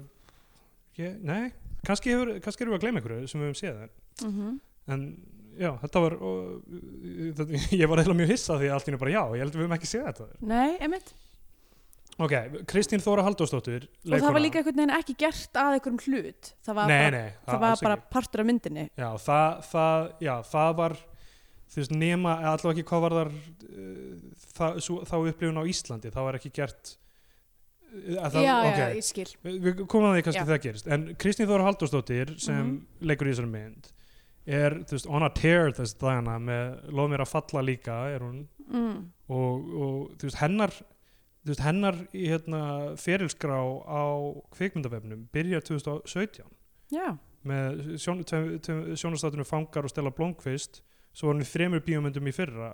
Speaker 2: ég, nei, kannski, hefur, kannski erum við að gleyma einhverju sem við höfum séð, en,
Speaker 3: Mm
Speaker 2: en já, þetta var og, þetta, (laughs) ég var eða mjög hissa því að allt í einu bara já, ég held að við höfum ekki séð þetta
Speaker 3: Nei, einmitt.
Speaker 2: ok, Kristín Þóra Halldórsdóttir
Speaker 3: Og það var líka einhvern veginn ekki gert að einhverjum hlut. Það var
Speaker 2: nei,
Speaker 3: bara,
Speaker 2: nei,
Speaker 3: það var
Speaker 2: alls
Speaker 3: bara
Speaker 2: ekki.
Speaker 3: partur af myndinni.
Speaker 2: já, það, það, já, það var þú veist, nema, allavega ekki hvað var þar eh, það, svo, þá upplifun á Íslandi, það var ekki gert eh, að það,
Speaker 3: já,
Speaker 2: ok,
Speaker 3: já, ég skil.
Speaker 2: Við- Við komum að því kannski
Speaker 3: Já.
Speaker 2: þegar
Speaker 3: Mhm.
Speaker 2: það gerist En Kristín Þóra Halldórsdóttir sem leikur í þessari mynd er, þú veist, on a tear þessi dagana með lof mér að falla líka er hún
Speaker 3: Mm.
Speaker 2: og, og þú veist, hennar þú veist, hennar í hérna ferilskrá á kvikmyndavefnum byrjar 2017
Speaker 3: Já,
Speaker 2: með sjón, sjónastátunum Fangar og Stella Blomqvist svo var hún í þremur bíómyndum í fyrra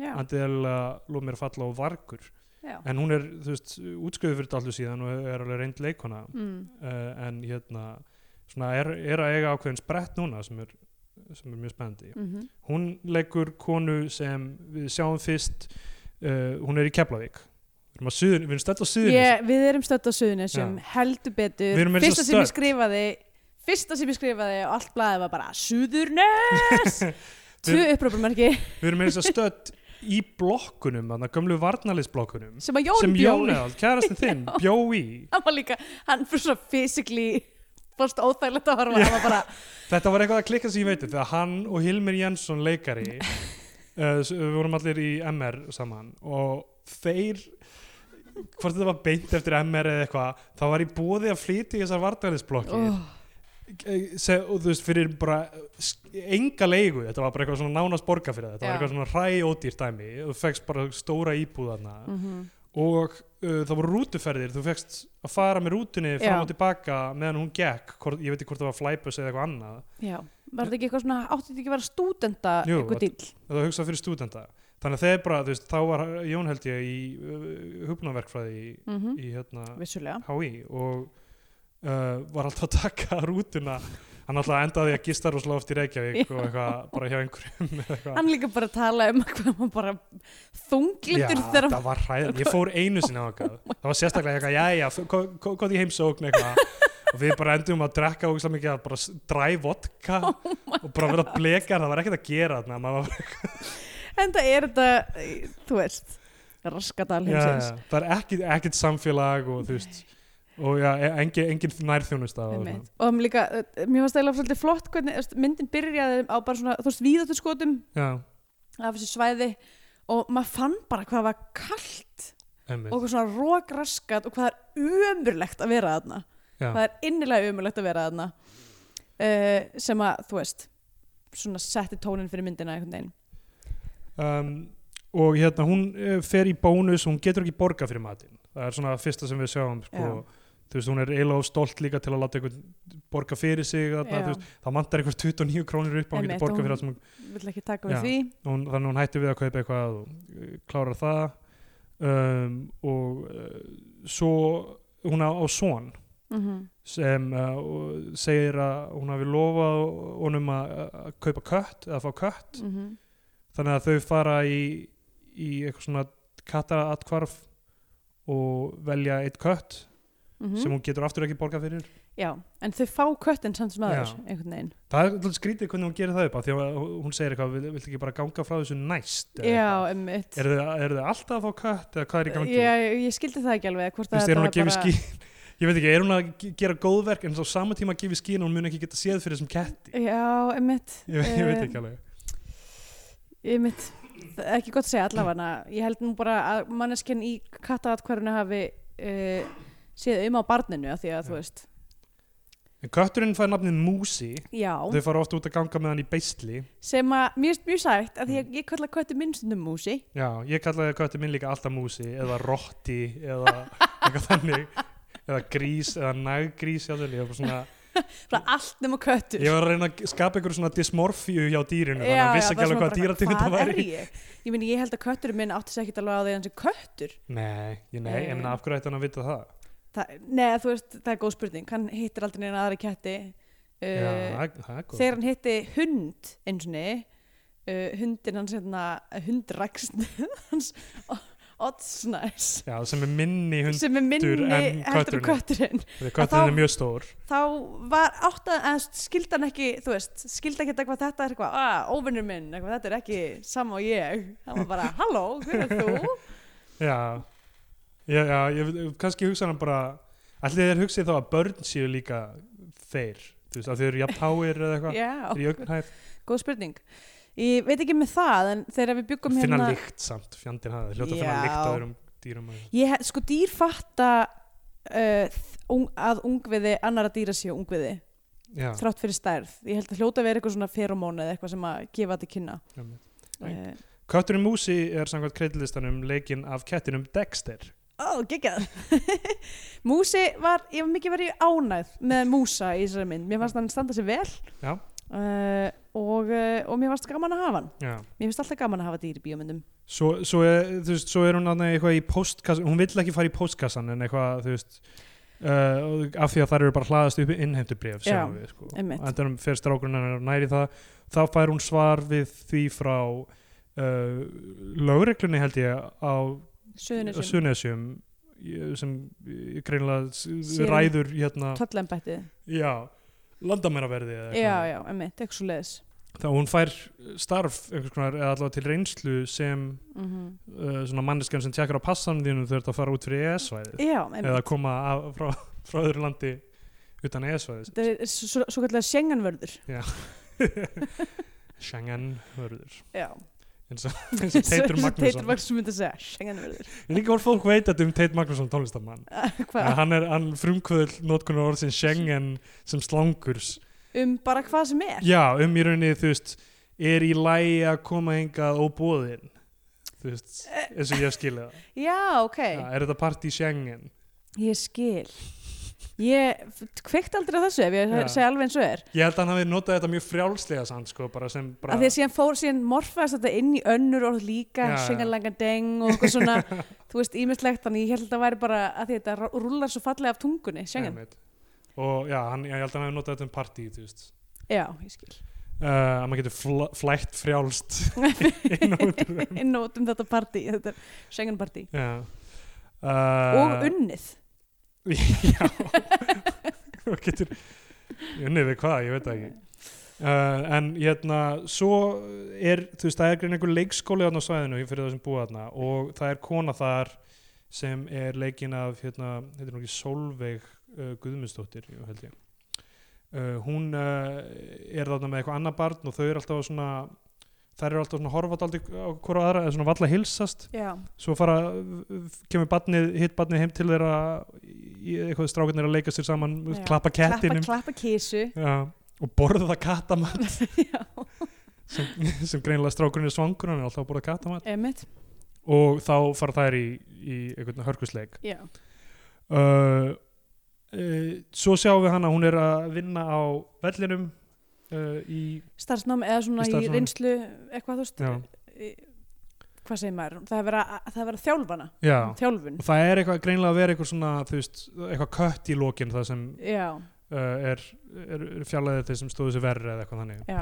Speaker 3: já,
Speaker 2: andil að lof mér að falla og vargur
Speaker 3: já.
Speaker 2: en hún er, þú veist, útskjöðu fyrir dallu síðan og er alveg reynd leikona
Speaker 3: Mm.
Speaker 2: uh, en hérna svona er, er að eiga ákveðin sprett núna sem er, sem er mjög spennandi
Speaker 3: Mm
Speaker 2: hún leikur konu sem við sjáum fyrst uh, hún er í Keflavík við erum, að suðun, við erum stætt á suðunni
Speaker 3: Ég, við erum stödd á suðunni sem heldur betur
Speaker 2: Við erum meira svo
Speaker 3: fyrsta sem ég
Speaker 2: stödd.
Speaker 3: skrifaði fyrsta sem ég skrifaði og allt blaðið var bara Suðurnes
Speaker 2: (laughs)
Speaker 3: tvö uppröpumarki
Speaker 2: við erum eins að stödd í blokkunum þannig gömlu varnalisblokkunum
Speaker 3: sem að Jón
Speaker 2: sem
Speaker 3: bjó (laughs) í.
Speaker 2: Jónald, kærastin þinn, bjó í
Speaker 3: hann var líka, hann fyrir svo physically fórst óþægilegt að horfa hann var bara,
Speaker 2: þetta var eitthvað að klikka sem ég veitir þegar hann og Hilmir Jensson leikari
Speaker 3: (laughs)
Speaker 2: uh, s- við vorum allir í MR saman og þeir hvort þetta var beint eftir MR eða eitthvað þá var ég bóði að flytja í þessar vartælisblokki
Speaker 3: oh,
Speaker 2: oh. og þú veist fyrir bara sk- enga leigu, þetta var bara eitthvað svona nánast borga fyrir þetta, þetta var
Speaker 3: Já.
Speaker 2: eitthvað svona hræ ódýrt dæmi og þú fegst bara stóra íbúðarna
Speaker 3: mm
Speaker 2: og uh, það voru rútuferðir þú fegst að fara með rútunni fram
Speaker 3: Já.
Speaker 2: og tilbaka meðan hún gekk hvort, ég veit ekki hvort það var flæpus eða eitthvað annað
Speaker 3: já var þetta ekki eitthvað svona, átti þetta ekki að vera stúdenda
Speaker 2: Jú,
Speaker 3: eitthvað
Speaker 2: þetta-
Speaker 3: dýl
Speaker 2: þetta var hugsað fyrir stúdenta þannig að þeir bara, þú veist, þá var Jón held ég í hugnaverkfræði í,
Speaker 3: mm
Speaker 2: í hérna
Speaker 3: vissulega
Speaker 2: HÍ og uh, var alltaf að taka rútuna hann alltaf endaði að gista rosalega oft í Reykjavík og eitthvað bara hjá einhverjum eða eitthvað.
Speaker 3: hann líka bara að tala um hvað hann bara þunglindur
Speaker 2: Já,
Speaker 3: þegar
Speaker 2: það var hræðan, ég fór einu sinni á eitthvað það var sérstaklega eitthvað, jæja, hvað í heimsókn eitthvað og við bara endum að drekka ógislega mikið að bara s- dræ vodka
Speaker 3: Oh
Speaker 2: og bara vera blekar, það var ekkert að gera þarna, maður var
Speaker 3: en það er þetta, þú veist raskadal
Speaker 2: já,
Speaker 3: heimsins
Speaker 2: já. það er ekkit, ekkit samfélag og þú veist og já, e- engin, engin nærþjónust á
Speaker 3: Einmitt. og um líka, eh, mér varst eða svolítið flott hvernig þú veist, myndin byrjaði á bara svona þú veist, víðáttu skotum
Speaker 2: já,
Speaker 3: af þessu svæði og maður fann bara hvað var kallt og
Speaker 2: einmitt
Speaker 3: hvað svona rókraskat og hvað er ömurlegt að vera þarna
Speaker 2: já,
Speaker 3: hvað er innilega ömurlegt að vera þarna uh, sem að, þú veist svona setti tónin fyrir myndina einhvern veginn
Speaker 2: um, og hérna hún eh, fer í bónus, hún getur ekki borga fyrir matinn, það er svona það fyrsta sem við sjáum sko,
Speaker 3: Já.
Speaker 2: þú veist, hún er eiginlega of stolt líka til að láta einhvern borga fyrir sig þarna,
Speaker 3: Já.
Speaker 2: þú veist, það vantar einhver 29 krónir upp og hún
Speaker 3: Einmitt,
Speaker 2: getur borga
Speaker 3: og
Speaker 2: fyrir
Speaker 3: hún-
Speaker 2: það sem hún
Speaker 3: vill ekki taka við
Speaker 2: Já.
Speaker 3: því
Speaker 2: hún, þannig að hún hætti við að kaupa eitthvað og uh, klárar það um, og uh, svo hún á, á son
Speaker 3: mm
Speaker 2: sem uh, og segir að hún hafi lofað honum að, að kaupa kött eða fá kött
Speaker 3: Mm. Mhm,
Speaker 2: þannig að þau fara í, í eitthvað svona kattaratkvarf og velja eitt kött
Speaker 3: Mhm.
Speaker 2: sem hún getur aftur ekki borgað fyrir
Speaker 3: já, en þau fá köttin samt sem aður
Speaker 2: Já.
Speaker 3: einhvern veginn
Speaker 2: það er alltaf skrítið hvernig hún gerir það upp af því að hún segir eitthvað, vil, viltu ekki bara ganga frá þessu næst eða eitthvað?
Speaker 3: já, emmitt
Speaker 2: eru þau, er þau alltaf að fá kött eða hvað er í gangi
Speaker 3: ég, ég skildi það ekki alveg hvort
Speaker 2: Þú veist, er hún að
Speaker 3: þetta
Speaker 2: gefa
Speaker 3: var
Speaker 2: skýr (laughs) ég veit ekki, er hún að ge- gera góðverk en svo á sama tíma að gefa skýr hún mun ekki geta séð fyrir þessum ketti
Speaker 3: Eh, já, Eh, emmitt
Speaker 2: (laughs) ég, ég veit ekki alveg
Speaker 3: Ég mitt, það er ekki gott að segja allavega ég held nú bara að manneskinn í kattaatkvarfinu hafi uh, séð um á barninu af því að þú
Speaker 2: Já.
Speaker 3: veist
Speaker 2: En kötturinn fær nafnið Músi
Speaker 3: já,
Speaker 2: Þau fara ofta út að ganga með hann í beisli
Speaker 3: sem að mér er mjög sætt að því að ég kalla kötti minnstundum músi
Speaker 2: Já, ég kallaði köttur minn líka alltaf Músi eða Rotti eða eitthvað þannig eða grís eða naggrís hjá þeim ég var, bara
Speaker 3: (laughs)
Speaker 2: svona,
Speaker 3: frá allt nema köttur
Speaker 2: ég var að reyna að skapa einhver svona dysmorfíu hjá dýrinu þannig
Speaker 3: Já,
Speaker 2: að
Speaker 3: já,
Speaker 2: vissi ekki
Speaker 3: það
Speaker 2: alveg
Speaker 3: var
Speaker 2: hvað
Speaker 3: svona bara,
Speaker 2: dýrategund það
Speaker 3: hvað
Speaker 2: væri
Speaker 3: er ég? ég meni, ég held að kötturinn minn átti sér ekkit alveg á því að hans er köttur
Speaker 2: Nei, ég, nei, ég meina af hverju ætti hann að vita það
Speaker 3: það, neða, þú veist, það er góð spurning hann hittir aldrei neina aðra ketti
Speaker 2: Já,
Speaker 3: uh,
Speaker 2: það- það er góð
Speaker 3: þegar hann hitti hund eins og niður uh, hundin (laughs) hans hérna hundræksn hans oddsnæs
Speaker 2: já, sem er minni hund
Speaker 3: sem er minni
Speaker 2: en
Speaker 3: heldur en kötturinn
Speaker 2: kötturinn er mjög stór
Speaker 3: þá var átt að skildan ekki þú veist, skildan ekki eitthvað þetta er eitthvað, að óvinnur minn, eitthvað, þetta er ekki sama og ég, það var bara, halló hver er þú?
Speaker 2: já, já, já ég, ég- kannski hugsa hann bara allir þeir hugsið þá að börn séu líka þeir, þú veist, að þeir eru jafn háir eða eitthvað,
Speaker 3: Já,
Speaker 2: þeir eru í augnhæð
Speaker 3: góð spurning ég veit ekki með það, en þegar við byggum
Speaker 2: finna
Speaker 3: hérna
Speaker 2: lykt samt, fjandinn hafði hljóta að finna
Speaker 3: Já.
Speaker 2: lykt á þeirrum dýrum og-
Speaker 3: ég, he- sko dýr fatta uh, þ- ung, að ungviði annara dýra séu ungviði,
Speaker 2: já,
Speaker 3: þrátt fyrir stærð ég held að hljóta að vera eitthvað svona feromónu eða eitthvað sem að gefa þetta kynna
Speaker 2: einmitt.
Speaker 3: uh,
Speaker 2: Kötturinn Músi er samkvæmt kreitlistanum leikinn af kettinum Dexter
Speaker 3: Ó, geggjað (laughs) Músi var, ég var mikið verið ánægð með Músa í þessari mynd Mér fannst hann standa sér vel
Speaker 2: Já.
Speaker 3: uh, og, uh, og mér fannst gaman að hafa hann
Speaker 2: Já.
Speaker 3: Mér finnst alltaf gaman að hafa dýr í bíómyndum
Speaker 2: Svo, svo, er, þú veist, svo er hún þarna eitthvað í postkassan, hún vill ekki fara í postkassan en eitthvað, þú veist uh, af því að þar eru bara hlaðast upp innheimtubref
Speaker 3: Já,
Speaker 2: sem við, sko
Speaker 3: einmitt.
Speaker 2: Endanum fer strákurinn hennar næri það þá fær hún svar við því frá uh, lögreglunni held ég á
Speaker 3: Suðunisum, Suðunisum.
Speaker 2: Sunesjum sem eh, greinilega s-
Speaker 3: Sér-
Speaker 2: ræður hérna,
Speaker 3: töllembættið
Speaker 2: já landamæraverði eða
Speaker 3: Já, já, emmi, tek svo leiðis
Speaker 2: þá hún fær starf einhvers konar, eða allavega til reynslu sem uh, svona manneskjan sem tjekkar á passanum þínum þú ert að fara út fyrir ES-svæðið
Speaker 3: Já, emmi
Speaker 2: eða koma af, frá, frá öðru landi utan E ES-svæðis
Speaker 3: Þetta er svo, svo kallega sjenganvörður
Speaker 2: Schengen hörður
Speaker 3: Já,
Speaker 2: eins og Teitur
Speaker 3: Teitur
Speaker 2: Magnússon
Speaker 3: Magnússon myndi að segja sjenganvörður
Speaker 2: (laughs) líka voru fólk veit þetta um Teitur Magnússon tónlistamann
Speaker 3: Hvað?
Speaker 2: að hann er hann frumkvöðl notkunar orðsin Schengen sem slangurs
Speaker 3: Um bara hvað sem er
Speaker 2: já um í rauninni þú veist er í lægi að koma hingað óbóðin þú veist eins og ég skilja það
Speaker 3: Já, ok
Speaker 2: Já, er þetta part í Schengen
Speaker 3: Ég skil Ég kveikt aldrei á þessu ef ég
Speaker 2: Já.
Speaker 3: segi alveg eins og er
Speaker 2: Ég held að hann hafi notað þetta mjög frjálslega samt sko, bara sem bara
Speaker 3: að því að síðan fór síðan morfaðist þetta inn í önnur orð líka,
Speaker 2: Já, já.
Speaker 3: sjengalangan deng og eitthvað
Speaker 2: (laughs)
Speaker 3: svona, þú veist, ímislegt þannig ég held að þetta væri bara að því þetta rúlar svo fallega af tungunni, sjengan
Speaker 2: Einmitt. Og já, hann, ég held að hann hafi notað þetta um partí, þú veist
Speaker 3: Já, ég
Speaker 2: (laughs)
Speaker 3: skil,
Speaker 2: uh, að maður getur fl flætt frjálst (laughs) inn á
Speaker 3: (laughs)
Speaker 2: út úr þeim.
Speaker 3: inn og út um þetta partí þetta er sjenganpartí
Speaker 2: Já uh,
Speaker 3: og unnið,
Speaker 2: Já og getur unnið við hvað, ég veit það ekki uh, en hérna, svo er þú veist, það er grein einhver leikskóli þarna á svæðinu fyrir það sem búa þarna og það er kona þar sem er leikin af hérna, heitir hún ekki Solveig uh, Guðmundsdóttir, jú, held ég uh, hún uh, er þarna með eitthvað annað barn og þau eru alltaf svona þær eru alltaf svona horfat aldrei á hverju aðra eða svona valla hilsast
Speaker 3: já,
Speaker 2: svo fara, kemur batnið, hitt batnið heim til þeirra í eitthvað strákarnir að leika sér saman,
Speaker 3: Já.
Speaker 2: klappa kettinum
Speaker 3: klappa, klappa kísu
Speaker 2: Já, og borða kattamann
Speaker 3: (laughs) já,
Speaker 2: sem, sem greinilega strákurinn er svangur hann er alltaf að borða kattamann
Speaker 3: emmitt,
Speaker 2: og þá fara þær í, í einhvern hörkusleik
Speaker 3: já
Speaker 2: uh, uh, svo sjáum við hana, hún er að vinna á vellinum uh, í,
Speaker 3: starfsnám eða
Speaker 2: Í
Speaker 3: svona í,
Speaker 2: starfsnámi.
Speaker 3: reynslu eitthvað, þú veist
Speaker 2: Já.
Speaker 3: í- hvað segir maður, það er verið að- það er verið að þjálfana,
Speaker 2: já
Speaker 3: þjálfun
Speaker 2: og það er eitthvað greinilega að vera eitthvað svona þú veist, eitthvað kött í lokin það sem
Speaker 3: já,
Speaker 2: uh, er, er, er fjallaðið þeir sem stóðu sér verri eða eitthvað þannig
Speaker 3: já,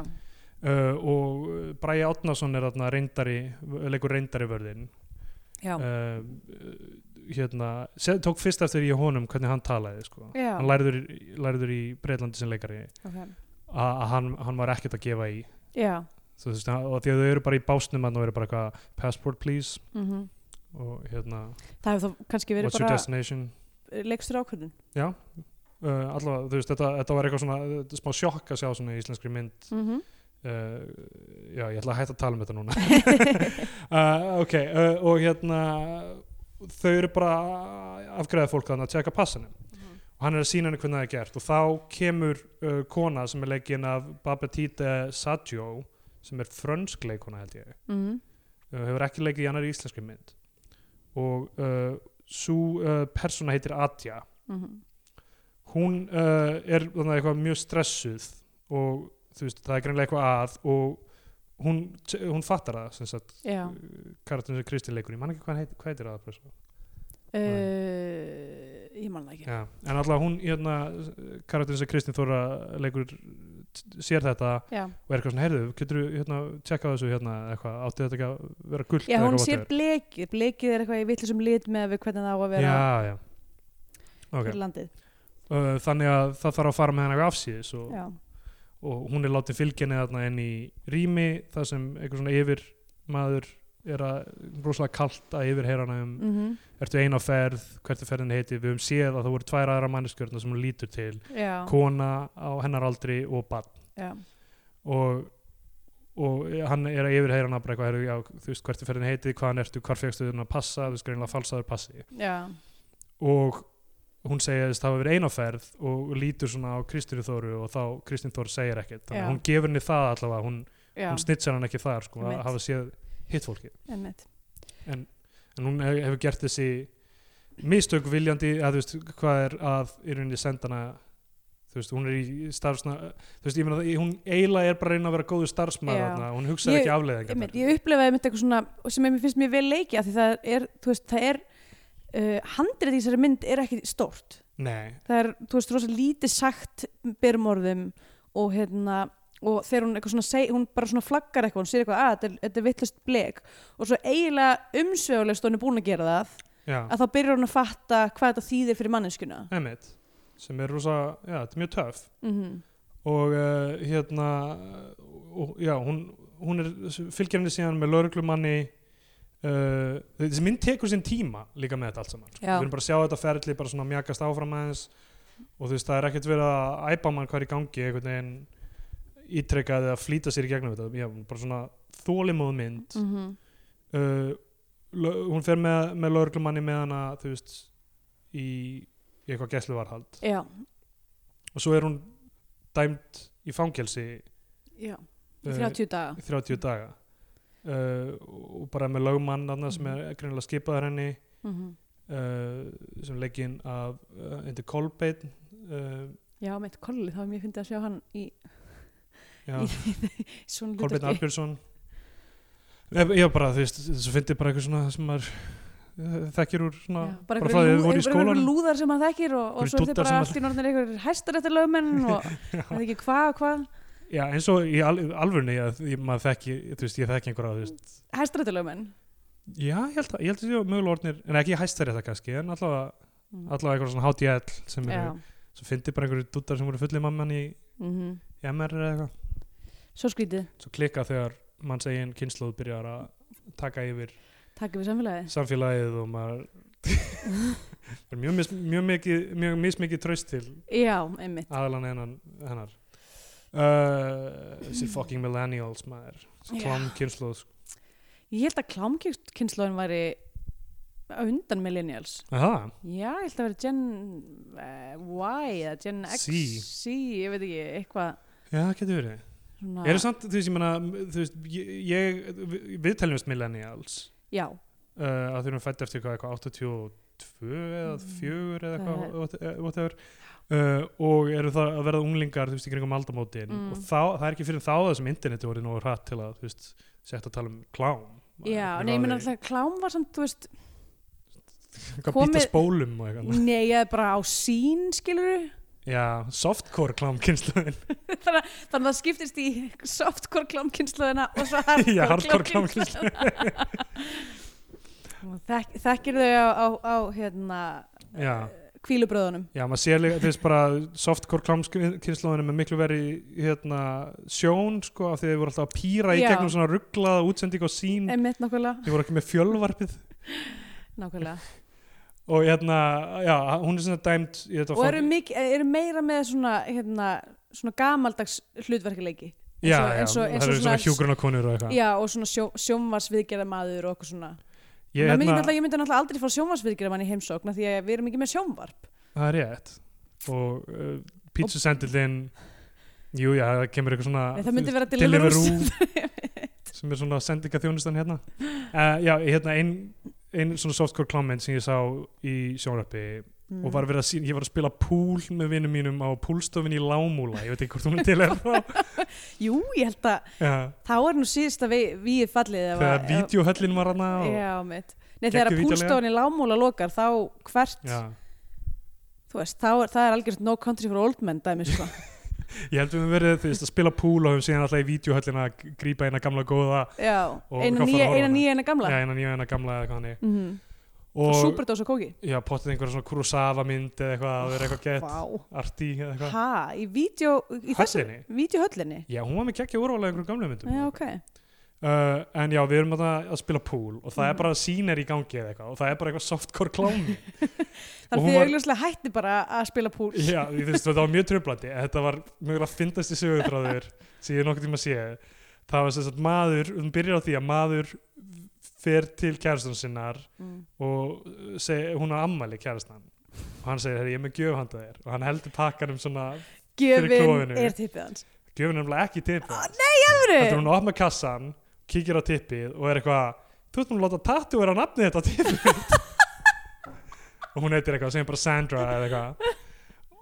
Speaker 2: uh, og uh, Bragi Átnason er þarna reyndari, leikur reyndari vörðin
Speaker 3: já
Speaker 2: uh, hérna, se- tók fyrst eftir í honum hvernig hann talaði sko.
Speaker 3: Já.
Speaker 2: hann læriður, læriður í Breitlandi sem leikari
Speaker 3: ok.
Speaker 2: a- að hann, hann var ekkert að gefa í
Speaker 3: Já,
Speaker 2: þú veist, hann- og því að þau eru bara í básnum þarna og eru bara eitthvað passport please
Speaker 3: mhm.
Speaker 2: og hérna,
Speaker 3: það hefur þá kannski verið
Speaker 2: what's your
Speaker 3: bara
Speaker 2: destination
Speaker 3: leikstur ákvörðun
Speaker 2: já Uh, allavega, þú veist, þetta, þetta var eitthvað svona þetta er smá sjokk að sjá svona í íslenskri mynd
Speaker 3: mm -hmm.
Speaker 2: uh, já, ég ætla að hætta að tala um þetta núna (laughs) uh, ok, uh, og hérna þau eru bara að afgræða fólk þannig að tjekka passanum og hann er að sína henni hvernig það er gert og þá kemur uh, kona sem er leikin af Babetite Sadio sem er frönsk leikona held ég uh, hefur ekki leikið í annar íslenskri mynd og uh, svo uh, persóna heitir Adja hún uh, er þannig eitthvað mjög stressuð og þú veist, það er greinlega eitthvað að og hún, hún fattar það sem sagt,
Speaker 3: Já
Speaker 2: karatinn sem Kristi leikur ég man ekki hvað, hann heit, hvað heitir það persóna.
Speaker 3: uh, Ég man það ekki
Speaker 2: Já, en allavega hún, hérna, karatinn sem Kristin Þóra leikur sér þetta
Speaker 3: já.
Speaker 2: og er eitthvað svona, heyrðu, getur þú hérna, tjekka á þessu hérna eitthvað, átti þetta ekki að vera gult
Speaker 3: já, hún sér blekið blekið er eitthvað í vitlisum lit með við hvernig það á að vera
Speaker 2: já, já. Okay.
Speaker 3: fyrir landið
Speaker 2: Uh, þannig að það þarf að fara með hana afsíðis og,
Speaker 3: já,
Speaker 2: og hún er látið fylginni þarna inn í rými þar sem einhver svona yfir maður er að rosalega kalt að yfir hana um
Speaker 3: mm
Speaker 2: ertu eina á ferð, hvert er ferðin heiti við höfum séð að það voru tvær aðra manneskjörna sem hún lítur til,
Speaker 3: já,
Speaker 2: kona á hennar aldri og barn
Speaker 3: já,
Speaker 2: og, og hann er að yfir hana bara eitthvað, heyrðu, já, þú veist hvert er ferðin heiti, hvaðan ertu, hvar fegstu þarna að passa þú veist greinlega falsaður passi
Speaker 3: já,
Speaker 2: og hún segist hafa verið einaferð og lítur svona á Kristínu Þóru og þá Kristín Þóru segir ekkert þannig
Speaker 3: Já.
Speaker 2: að hún gefur henni það allavega, hún,
Speaker 3: já,
Speaker 2: hún snitsar hann ekki þar sko, að
Speaker 3: Einmitt.
Speaker 2: hafa séð hitt fólki
Speaker 3: einmitt
Speaker 2: en hún hef- hefur gert þessi mistök viljandi að þú veist hvað er að í rauninni senda hana þú veist, hún er í starfsna þú veist, ég meina, hún eiginlega er bara að reyna að vera góðu starfsmaður
Speaker 3: Já.
Speaker 2: þarna, hún hugsaði
Speaker 3: Ég-
Speaker 2: ekki afleiðingar
Speaker 3: Einmitt, ég upplefaði einmitt eitthvað svona og sem mér finnst mér vel leiki af því það er, þú veist, það er uh, handrið í þessari mynd er ekki stórt
Speaker 2: nei,
Speaker 3: það er, þú veist, rosa lítið sagt berum orðum og hérna og þegar hún eitthvað svona seg, hún bara svona flaggar eitthvað, hún sér eitthvað að þetta er, þetta er vittlust blek og svo eiginlega umsvegulegst hún er búin að gera það
Speaker 2: já,
Speaker 3: að þá byrjar hún að fatta hvað þetta þýðir fyrir manneskuna
Speaker 2: emitt sem er rosa, já, þetta er mjög töff
Speaker 3: mm
Speaker 2: Mhm. og uh, hérna og, já, hún, hún er fylgir henni síðan með lauruglumanni uh, þessi mynd tekur sinn tíma líka með þetta allt saman sko.
Speaker 3: Já.
Speaker 2: við erum bara að sjá þetta ferli bara svona mjakast áfram aðeins og þú veist það er ekkert verið að æpa mann hvað er í gangi einhvern veginn ítrekkað eða flýta sér í gegnum þetta já, bara svona þólimóð mynd
Speaker 3: Mm -hmm.
Speaker 2: uh, lau- hún fer með, með lauruglumanni með hana þú veist í, í eitthvað gesluvarhald
Speaker 3: já,
Speaker 2: og svo er hún dæmd í fangelsi
Speaker 3: já,
Speaker 2: Eh,
Speaker 3: 30 daga
Speaker 2: 30 daga uh, og bara með lögmann annað, sem er greinilega skipaður henni
Speaker 3: mm
Speaker 2: uh, sem legginn af uh, Indi Kolbeinn uh,
Speaker 3: já, meitt kolli, það var mjög fyndið að sjá hann í
Speaker 2: já,
Speaker 3: (laughs) svona
Speaker 2: Kolbeinn
Speaker 3: hlutverki.
Speaker 2: Arbjörnsson Eh, já bara þú veist þessu fyndi bara eitthvað svona sem maður eh, þekkir úr svona
Speaker 3: Já, bara
Speaker 2: frá því að þið voru í
Speaker 3: einhverjum
Speaker 2: skólanum.
Speaker 3: lúðar sem hann þekkir og, og
Speaker 2: Einhverjir
Speaker 3: svo er þið
Speaker 2: dúddar
Speaker 3: bara
Speaker 2: sem
Speaker 3: allt í norðin einhverjir hæstar eftir lögmenn
Speaker 2: (laughs)
Speaker 3: og það er ekki hvað, hvað
Speaker 2: já eins og í al, alvörni að ég, maður þekki, þú veist ég þekki einhverja þú veist
Speaker 3: hæstar eftir lögmenn
Speaker 2: Já, ég held að, ég held að það séu mögulega orðnir, en ekki hæstari þetta kannski, en allavega,
Speaker 3: Mm.
Speaker 2: allavega eitthvað svona HDL sem
Speaker 3: Já.
Speaker 2: eru, sem fyndi bara einhverju dúttar sem voru fullið mamman í
Speaker 3: Mhm.
Speaker 2: MR eða eitthvað,
Speaker 3: svo skrítið,
Speaker 2: svo klikka þegar manns eigin kynnslóð byrjar að taka yfir
Speaker 3: takk við samfélagið
Speaker 2: samfélagið og maður er mjög, mis, mjög mikið, mjög mismikið traust til
Speaker 3: já, einmitt
Speaker 2: aðalan hennan, hennar. Uh, þessi fucking millennials maður, þessi
Speaker 3: Já.
Speaker 2: klám kynnslóð, sko.
Speaker 3: ég held að klámkynnslóðin væri á undan millennials
Speaker 2: Aha,
Speaker 3: já, ég held að vera Gen uh, Y eða Gen X
Speaker 2: Sí.
Speaker 3: ég veit ekki, eitthvað
Speaker 2: já, það getur verið.
Speaker 3: svona,
Speaker 2: Eru samt, þú veist, ég meina, þú veist, ég, ég við- við teljumst millennials
Speaker 3: já,
Speaker 2: uh, að þau erum fætt eftir eitthvað, eitthvað 82 eða
Speaker 3: Mm,
Speaker 2: 4 eða
Speaker 3: Það er-
Speaker 2: eitthvað, what- eh, whatever uh, og eru það að verða unglingar, þú veist, í kringum aldamótin
Speaker 3: Mm.
Speaker 2: og þá, það er ekki fyrir þá það sem interneti voru nógu hratt til að, þú veist, sett að tala um klám.
Speaker 3: já, nei, ég meina alltaf klám var samt, þú veist
Speaker 2: Hvað býta
Speaker 3: komið-
Speaker 2: spólum og eitthvað. (laughs)
Speaker 3: Nei, ég er bara á sín, skilur
Speaker 2: Já, softcore klám kynsluðin.
Speaker 3: þannig, að- þannig að það skiptist í softcore klámkynnslóðina og
Speaker 2: (laughs)
Speaker 3: svo
Speaker 2: Já,
Speaker 3: (laughs)
Speaker 2: hardcore
Speaker 3: hardcore klámkynnslóðina Þek, Þekkir þau á, á, á hérna,
Speaker 2: Já,
Speaker 3: kvílubröðunum
Speaker 2: já, maður sér líka, þú veist, bara softcore klám kynsluðin er með miklu verið, hérna, sjón, sko, af því þau voru alltaf að pýra í
Speaker 3: Já.
Speaker 2: gegnum svona rugglaða útsending og sín.
Speaker 3: Einmitt nákvæmlega,
Speaker 2: Þau voru ekki með fjölvarpið.
Speaker 3: nákvæmlega.
Speaker 2: og hérna, já, hún er svona dæmt í þetta
Speaker 3: og eru,
Speaker 2: fang-
Speaker 3: mik, eru meira með svona, hérna, svona gamaldags hlutverkileiki
Speaker 2: já,
Speaker 3: eins og-
Speaker 2: já,
Speaker 3: eins og- eins
Speaker 2: það
Speaker 3: og
Speaker 2: eru
Speaker 3: svona-
Speaker 2: svona hjúgrunarkonur og eitthvað
Speaker 3: Já, og svona sjó, sjónvarsviðgerðamaður og okkur svona
Speaker 2: ég,
Speaker 3: hérna,
Speaker 2: hérna,
Speaker 3: myndi, ég myndi náttúrulega aldrei fá sjónvarsviðgerðamann í heimsókn af því að við erum ekki með sjónvarp
Speaker 2: það er rétt og uh, pítsusendilinn jú, já, það kemur eitthvað svona
Speaker 3: Nei, það myndi vera
Speaker 2: Deliveroo.
Speaker 3: (laughs) Deliveroo.
Speaker 2: sem er svona sendinga þjónustan hérna uh, já, hérna, ein, ein svona softcore klámynd sem ég sá í sjónrappi
Speaker 3: (laughs)
Speaker 2: og
Speaker 3: Mm.
Speaker 2: var verið að sína, ég var að spila pool með vinnum mínum á poolstofin í Lámúla ég veit ekki hvort hún er til er
Speaker 3: (laughs)
Speaker 2: þá
Speaker 3: Mm. Jú, ég held að
Speaker 2: já,
Speaker 3: Þá er nú síðasta við, við fallið ef
Speaker 2: þegar
Speaker 3: að- ef-
Speaker 2: vídeohöllin var hana og,
Speaker 3: Já, mitt Nei, þegar að
Speaker 2: Geggjuð ítarlega.
Speaker 3: púlstofan í lámúla lokar þá hvert,
Speaker 2: já, (laughs)
Speaker 3: þú veist, þá, er- það er algjörst no country for old men dæmi, sko
Speaker 2: ég held við höfum verið þú veist að spila pool og höfum síðan alltaf í vídeohöllina að grípa eina gamla góða
Speaker 3: já,
Speaker 2: Og
Speaker 3: eina
Speaker 2: hvað fara að
Speaker 3: nýja,
Speaker 2: horfa
Speaker 3: eina
Speaker 2: á
Speaker 3: nýja, eina gamla
Speaker 2: eina nýja, eina gamla eða hvað hannig
Speaker 3: mm og
Speaker 2: og
Speaker 3: superdós og kóki
Speaker 2: já, pottið einhverja svona Kurosawa mynd eða eitthvað að vera eitthvað gett
Speaker 3: Vá,
Speaker 2: arti eða eitthvað
Speaker 3: Ah, ha, í vídeo í þessum,
Speaker 2: Höllinni?
Speaker 3: vídeohöllinni
Speaker 2: Já, hún var með geggja úrvalega einhverjum gamla myndum
Speaker 3: já, ok,
Speaker 2: uh, en já, við erum að, að spila pool og það
Speaker 3: Mhm.
Speaker 2: er bara sýner í gangi eða eitthvað og það er bara eitthvað softcore klámi
Speaker 3: þannig
Speaker 2: hún
Speaker 3: þið
Speaker 2: var-
Speaker 3: augljóslega hætti bara að spila púl
Speaker 2: já, ég finnst þetta var mjög tröflandi þetta var mjög að fyndast í sögutráður sem ég nokkuð tíma sé það var sem sagt maður, hún byrjar á því að maður fer til kærastun sinnar
Speaker 3: mm.
Speaker 2: og uh, seg, hún á ammali kærastan og hann segir, "Heyrðu, ég er með gjöf handa þér og hann heldur pakkanum svona
Speaker 3: gefin
Speaker 2: klofinu.
Speaker 3: er tippið hans Ah,
Speaker 2: gjöfin er nefnilega ekki tippið
Speaker 3: Alvöru?
Speaker 2: heldur hún að opna kassan, kíkir á tippið og er eitthvað, þú ert nú að láta tattu vera nafnið þetta á tippið (laughs) þitt." og hún heitir eitthvað, segjum bara Sandra eða eitthvað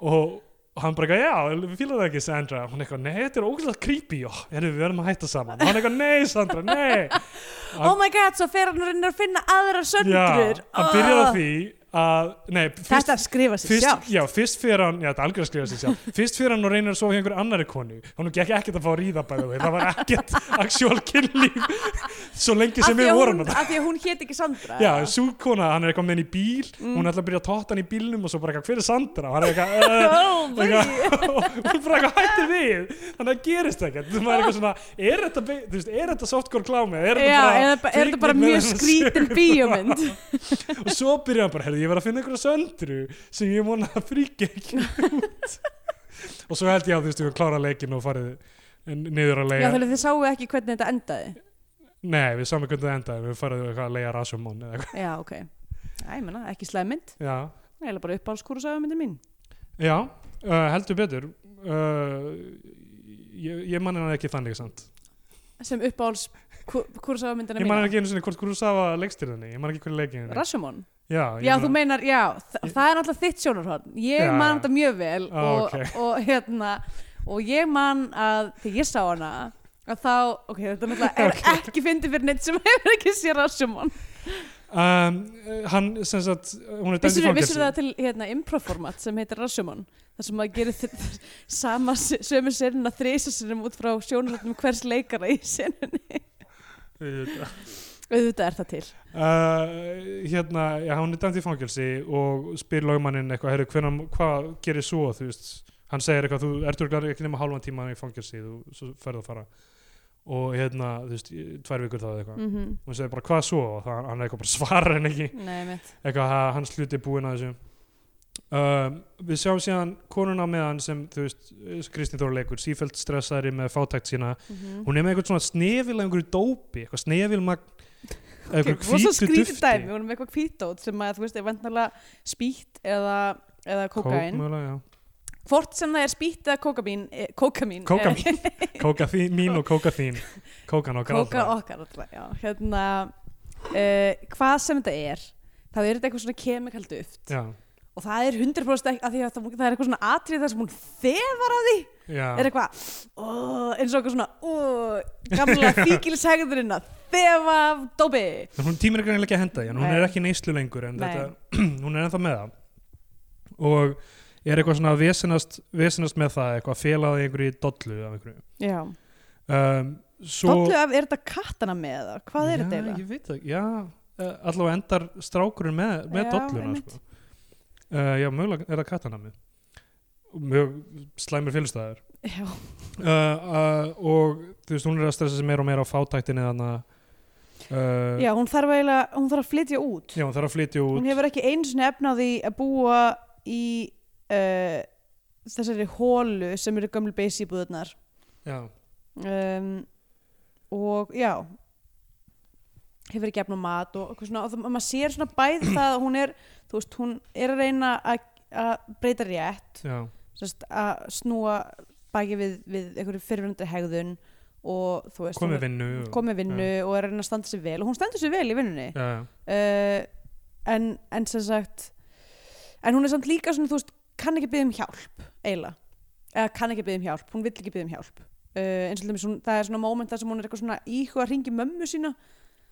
Speaker 2: og hann bara eitthvað, já, fílar það ekki Sandra hún eitthvað, nei, þetta er ógæslega creepy og við verðum að hætta saman, og hann eitthvað, nei Sandra, nei
Speaker 3: oh my god, svo fer hann og reynir að finna aðra söndur
Speaker 2: já, hann byrjar á því að, nei, fyrst,
Speaker 3: Ah. þetta skrifa sér
Speaker 2: fyrst,
Speaker 3: sjálf
Speaker 2: já, fyrst fyrir hann já, þetta er algjör að skrifa sér sjálf
Speaker 3: (laughs)
Speaker 2: fyrst fyrir hann og reynir að sofa hjá einhver annari konu hann gekk ekkert að fá að ríða bæði við það var ekkert actual kynlíf (laughs) svo lengi
Speaker 3: af
Speaker 2: sem
Speaker 3: því
Speaker 2: við
Speaker 3: að
Speaker 2: vorum
Speaker 3: hún,
Speaker 2: að
Speaker 3: af því að hún hét ekki Sandra
Speaker 2: Já,
Speaker 3: eða?
Speaker 2: sú kona, hann er eitthvað með henni í bíl
Speaker 3: Mm.
Speaker 2: hún ætla að byrja að totta hann í bílnum og svo bara eitthvað, hver er Sandra? og hann er
Speaker 3: (laughs)
Speaker 2: eitthvað, "Eh,
Speaker 3: oh,
Speaker 2: Og
Speaker 3: boy.
Speaker 2: eitthvað- (laughs) og hún bara eitthvað hætti við þannig að það gerist ekkert þú maður er eitthvað svona, er þetta, be- þú veist, er þetta softcore klámi er
Speaker 3: Já, eða bara-
Speaker 2: kvikmynd
Speaker 3: er þetta bara
Speaker 2: með
Speaker 3: mjög
Speaker 2: svona
Speaker 3: skrítin
Speaker 2: sögu?
Speaker 3: bíómynd
Speaker 2: og svo byrja hann bara, herri, ég verð að finna einhverja söndru sem ég vona að fríki ekki út og svo held ég að þú veist, við klára leikin og farið n- niður að
Speaker 3: Já,
Speaker 2: leiða
Speaker 3: þannig að þið sáu ekki hvernig þetta endaði
Speaker 2: nei, við saman hvernig það endaði, við farið eitthvað að leiða rasumón eða eitthvað
Speaker 3: Já, ok Æ, ég menna, ekki slæm mynd
Speaker 2: já,
Speaker 3: Það er bara uppáhalskúrusaga myndin mín
Speaker 2: já uh, heldur betur uh, ég, ég manna hann ekki þannig samt
Speaker 3: Sem uppáhalskúrusaga myndina
Speaker 2: ég
Speaker 3: mín
Speaker 2: manna ekki einu sinni hvort Kurosawa leikstir henni ég manna ekki hvernig leikin henni
Speaker 3: Rashomon
Speaker 2: já, ég
Speaker 3: Já,
Speaker 2: man-
Speaker 3: þú meinar, já, þa það er náttúrulega þitt sjónarhorn Ég
Speaker 2: Já,
Speaker 3: man
Speaker 2: já.
Speaker 3: þetta mjög vel
Speaker 2: Á,
Speaker 3: og,
Speaker 2: ókei.
Speaker 3: og hérna og ég man að þegar ég sá hana að þá, ok, þetta
Speaker 2: (laughs)
Speaker 3: náttúrulega er ekki fyndið fyrir neitt sem (laughs) hefur ekki sér Rashomon
Speaker 2: um, hann, sem sagt, uh, hún er dæmt í
Speaker 3: Vissir
Speaker 2: fangelsi
Speaker 3: það til hérna, improformat sem heitir Rashomon þar sem maður gerir þ- (laughs) þ- sama s- sömu senuna þrýsa sinum út frá sjónarhornum hvers leikara í senunni
Speaker 2: Auðvitað.
Speaker 3: auðvitað er það til
Speaker 2: Uh, hérna, já, hún er dæmt í fangelsi og spyr lögmanninn eitthvað, heyrðu, hvenær, hvað gerir svo, þú veist, hann segir eitthvað, þú ertur ekki nema hálfan tíma í fangelsi, þú svo ferð að fara og hérna, þú veist, í- tvær vikur þá eða eitthvað,
Speaker 3: mm
Speaker 2: og hún segir bara, hvað svo og það, hann er eitthvað bara (laughs) svarar en ekki
Speaker 3: Nei, mitt
Speaker 2: eitthvað, ha, hann sluti búin að þessu um, við sjáum síðan konuna með hann sem, þú veist, eh, Kristín Þóra leikur, sífælt stressaðri með fátækt sína
Speaker 3: Mhm.
Speaker 2: hún er með eitthvað svona snefil einhverju dópi, eitthvað snefilmagn
Speaker 3: Ok,
Speaker 2: eitthvað
Speaker 3: rosa
Speaker 2: hvítu
Speaker 3: skrítið
Speaker 2: dufti.
Speaker 3: dæmi, við erum með eitthvað kvítdót sem að, þú veist, er vantanlega spýtt eða, eða
Speaker 2: kókain
Speaker 3: kókain. Mm. Hvort sem það er spýtt eða kókamín, e, kókamín,
Speaker 2: Kókamín.
Speaker 3: (laughs)
Speaker 2: kókafín og kókafín kókan
Speaker 3: e,
Speaker 2: okkar
Speaker 3: kóka
Speaker 2: allra
Speaker 3: okkar alltaf, já, hérna, e, hvað sem þetta er, þá er þetta eitthvað svona kemikal duft
Speaker 2: já,
Speaker 3: og það er 100% ekki, að því að það, það er eitthvað svona atrið þar sem hún þefar að því,
Speaker 2: já,
Speaker 3: er eitthvað, ó, eins og eitthvað svona, ó,
Speaker 2: (laughs)
Speaker 3: gamla fíkilshegðurinn að þefa af dópi.
Speaker 2: En hún tímir ekki að henda því en hún
Speaker 3: Nei.
Speaker 2: er ekki í neyslu lengur en
Speaker 3: Nei.
Speaker 2: þetta, (clears throat) hún er ennþá með það og er eitthvað svona að vesinast, vesinast með það eitthvað felaði einhverju dollu af einhverju
Speaker 3: Já,
Speaker 2: um, svo,
Speaker 3: dollu af, er þetta kattana með það, hvað er
Speaker 2: já,
Speaker 3: þetta eiginlega?
Speaker 2: ég veit það, ekki, já, uh, allavega endar strákurinn með, með
Speaker 3: Já,
Speaker 2: dolluna
Speaker 3: einmitt.
Speaker 2: sko. uh, já, mögulega er það kattanami mjög slæmur fylgstæður
Speaker 3: Já,
Speaker 2: uh, uh, og þú veist, hún er að stressa sig meira og meira á fátæktinni þannig uh,
Speaker 3: Já, hún þarf, eiginlega, hún þarf að flytja út.
Speaker 2: já, hún þarf að flytja út
Speaker 3: Hún hefur ekki einu sinni efnaði að búa í uh, þessari hólu sem eru gömlu beisíbúðunar.
Speaker 2: já,
Speaker 3: Um, og já, hefur ekki efnað mat og, og, svona, og það, maður sér svona bæð það að hún er, þú veist, hún er að reyna að, að breyta rétt,
Speaker 2: já,
Speaker 3: sérst, að snúa baki við, við einhverju fyrirvöndri hegðun og þú veist,
Speaker 2: komið vinnu og-
Speaker 3: komið vinnu og er að reyna að standa sér vel og hún stendur sér vel í vinnunni
Speaker 2: já, já,
Speaker 3: uh, en, en sem sagt en hún er samt líka svona, þú veist, kann ekki byggja um hjálp eiginlega, eða kann ekki byggja um hjálp hún vill ekki byggja um hjálp uh, eins og dæmis, hún, það er svona moment þar sem hún er eitthvað svona íhuga að ringi mömmu sína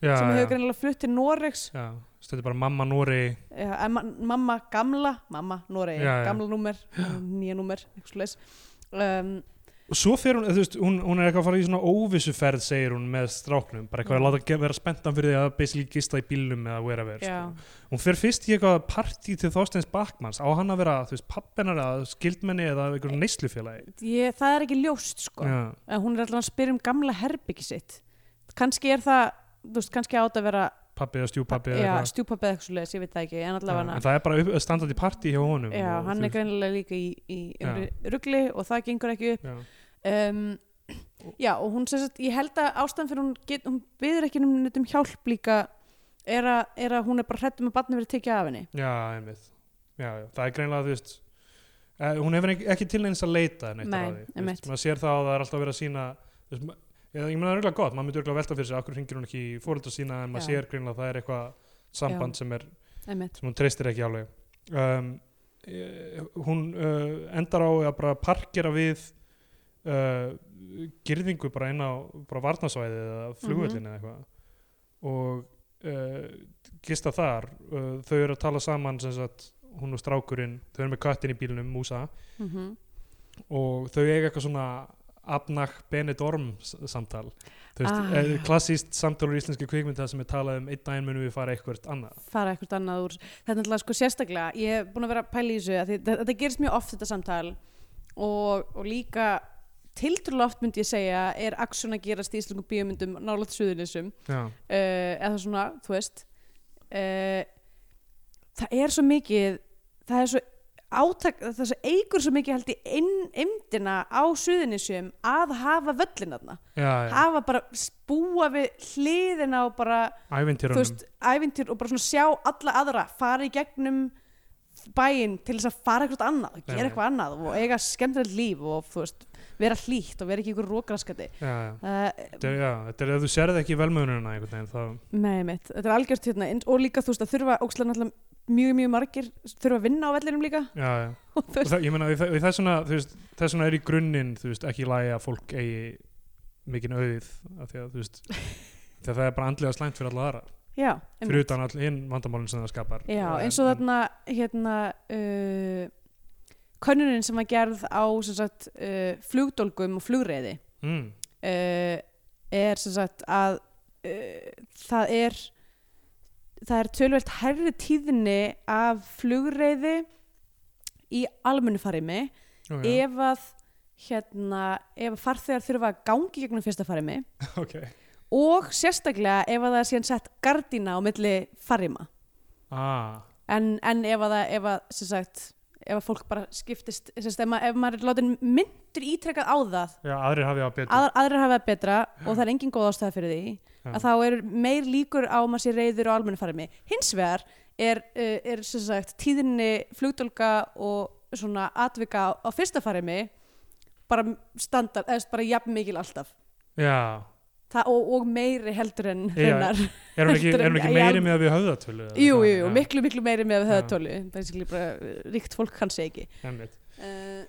Speaker 2: já,
Speaker 3: sem hefur
Speaker 2: já,
Speaker 3: greinilega flutt til Noregs
Speaker 2: já. stöndi bara mamma Nóri
Speaker 3: uh, en ma mamma gamla, mamma Noregi
Speaker 2: Já, já.
Speaker 3: gamla númer, nýja númer eitthvað svoleiðis. um,
Speaker 2: og svo fer hún, þú veist, hún, hún er eitthvað að fara í svona óvissuferð segir hún með stráknum bara eitthvað að
Speaker 3: Mm.
Speaker 2: láta ge- vera spenntan fyrir því að basically gista í bílnum eða wherever
Speaker 3: já,
Speaker 2: sko. hún fer fyrst í eitthvað partí til Þorsteins Bakmans á hann að vera, þú veist, pappenar eða skildmenni eða einhverjum neyslufélagi
Speaker 3: ég, það er ekki ljóst sko
Speaker 2: já,
Speaker 3: en hún er alltaf að spyrja um gamla herbyggi sitt kannski er það, þú veist, kannski átt að vera
Speaker 2: pappi eða stjúpappi eða
Speaker 3: já,
Speaker 2: eitthvað.
Speaker 3: stjúpabbi eða eitthvað svoleiðis, ég veit það ekki en
Speaker 2: Já,
Speaker 3: allavega
Speaker 2: en það er bara upp, eh, standandi partí hjá honum
Speaker 3: já,
Speaker 2: og,
Speaker 3: hann
Speaker 2: þú
Speaker 3: er greinilega líka í, í
Speaker 2: Já.
Speaker 3: ruggli og það gengur ekki upp
Speaker 2: veist, já.
Speaker 3: um, já og hún sem sagt ég held að ástæðan fyrir hún, get, hún byður ekki um neitt um hjálp líka er að, er að hún er bara hrættum að barni verið tekið af henni
Speaker 2: Já, einmitt já, já, það er greinlega, þú veist eh, hún hefur ekki, ekki til neins að leita neitt
Speaker 3: Nei,
Speaker 2: að því, þú
Speaker 3: einmitt.
Speaker 2: veist, maður sér það að það er alltaf verið að sína veist, ma- eða, ég meina það er örgulega gott, maður myndi örgulega velta fyrir sig okkur hringir hún ekki í fóreldra sína en maður
Speaker 3: Já.
Speaker 2: sér greinlega að það er eitthvað samband sem, er,
Speaker 3: einmitt
Speaker 2: sem hún treystir ekki alveg um, eh, hún uh, endar á að bara parkera við uh, girðingu bara inn á bara varnasvæði eða
Speaker 3: Mhm.
Speaker 2: flugvöllin eða eitthvað og uh, gista þar uh, þau eru að tala saman sem sagt hún og strákurinn, þau eru með köttin í bílnum Músa
Speaker 3: mm -hmm.
Speaker 2: og þau eiga eitthvað svona Abnach Benedorm s- samtal þú veist,
Speaker 3: Ah.
Speaker 2: ah. klassíst samtalur íslenski kvikmynda sem er talað um einn daginn munum við fara eitthvað annað
Speaker 3: fara eitthvað annað úr þetta er náttúrulega sko sérstaklega ég hef búin að vera að pæla í þessu að því, þetta, þetta gerist mjög oft þetta samtal og, og líka tiltrúlega oft myndi ég segja er aksjón að gerast í íslengum bíómyndum nálaðt suðunisum
Speaker 2: já,
Speaker 3: uh, eða svona, þú veist uh, það er svo mikið það er svo átak, það er svo eigur svo mikið held í eimdina á suðunisjum að hafa völlinarna
Speaker 2: já, já.
Speaker 3: hafa bara spúa við hliðina og bara, þú
Speaker 2: ævintýrunum
Speaker 3: veist, ævintýr og bara svona sjá alla aðra, fara í gegnum bæinn til þess að fara eitthvað annað, gera
Speaker 2: Nei.
Speaker 3: eitthvað annað og eiga skemmtilegt líf og þú veist vera hlýtt og vera ekki ykkur rókraskati
Speaker 2: já, já.
Speaker 3: uh,
Speaker 2: Þetta er, já, þetta er ef þú sérð ekki velmöðununa einhvern veginn þá
Speaker 3: Nei, mitt, þetta er algjört hérna en- og líka þú veist að þurfa ókslega náttúrulega mjög mjög margir þurfa að vinna á vellinum líka (laughs)
Speaker 2: já, já.
Speaker 3: og þú
Speaker 2: Og
Speaker 3: veist,
Speaker 2: það, ég meina í þe- í þess vegna, þú veist, þess vegna er í grunninn þú veist, ekki lægi að fólk eigi mikinn auð af því að þú
Speaker 3: (laughs)
Speaker 2: veist þegar það er bara andlega slæmt fyrir alla aðra
Speaker 3: já, einmitt.
Speaker 2: fyrir utan all inn vandamálinn sem það skapar
Speaker 3: já,
Speaker 2: En-
Speaker 3: eins og
Speaker 2: en-
Speaker 3: þarna hérna uh, könnunin sem var gerð á sem sagt, uh, flugdólgum og flugreiði
Speaker 2: mm,
Speaker 3: uh, er sem sagt að uh, það er það er tölvöld herri tíðni af flugreiði í almennufariðmi
Speaker 2: ó, já,
Speaker 3: ef að hérna, ef að farþegar þurfa að gangi gegnum fyrsta farimi
Speaker 2: ok
Speaker 3: og sérstaklega ef að það er síðan sett gardína á milli farima
Speaker 2: ah,
Speaker 3: en, en ef að það, ef að, sem sagt ef að fólk bara skiptist sem sagt, ef, ma ef maður er látin myndur ítrekkað á það
Speaker 2: já, aðrir hafi á betur
Speaker 3: að, aðrir hafa það betra og það er engin góð ástæða fyrir því
Speaker 2: Já.
Speaker 3: að þá er meir líkur á að maður sé reyður á almennu farimi hins vegar er, uh, er sem sagt tíðinni flugdólka og svona atvika á, á fyrsta farimi bara standard, eða bara jafn mikil alltaf
Speaker 2: já,
Speaker 3: Það, og, og meiri heldur en
Speaker 2: Já, já.
Speaker 3: hennar
Speaker 2: er hún ekki,
Speaker 3: Heldur
Speaker 2: er hún
Speaker 3: en-
Speaker 2: ekki
Speaker 3: í
Speaker 2: meiri
Speaker 3: alv-
Speaker 2: með að við höfðatölu eða
Speaker 3: Jú,
Speaker 2: eitthvað?
Speaker 3: jú, jú,
Speaker 2: Já,
Speaker 3: miklu, miklu meiri með
Speaker 2: Já.
Speaker 3: höfðatölu basically bara uh, ríkt fólk kannski ekki
Speaker 2: einmitt.
Speaker 3: uh,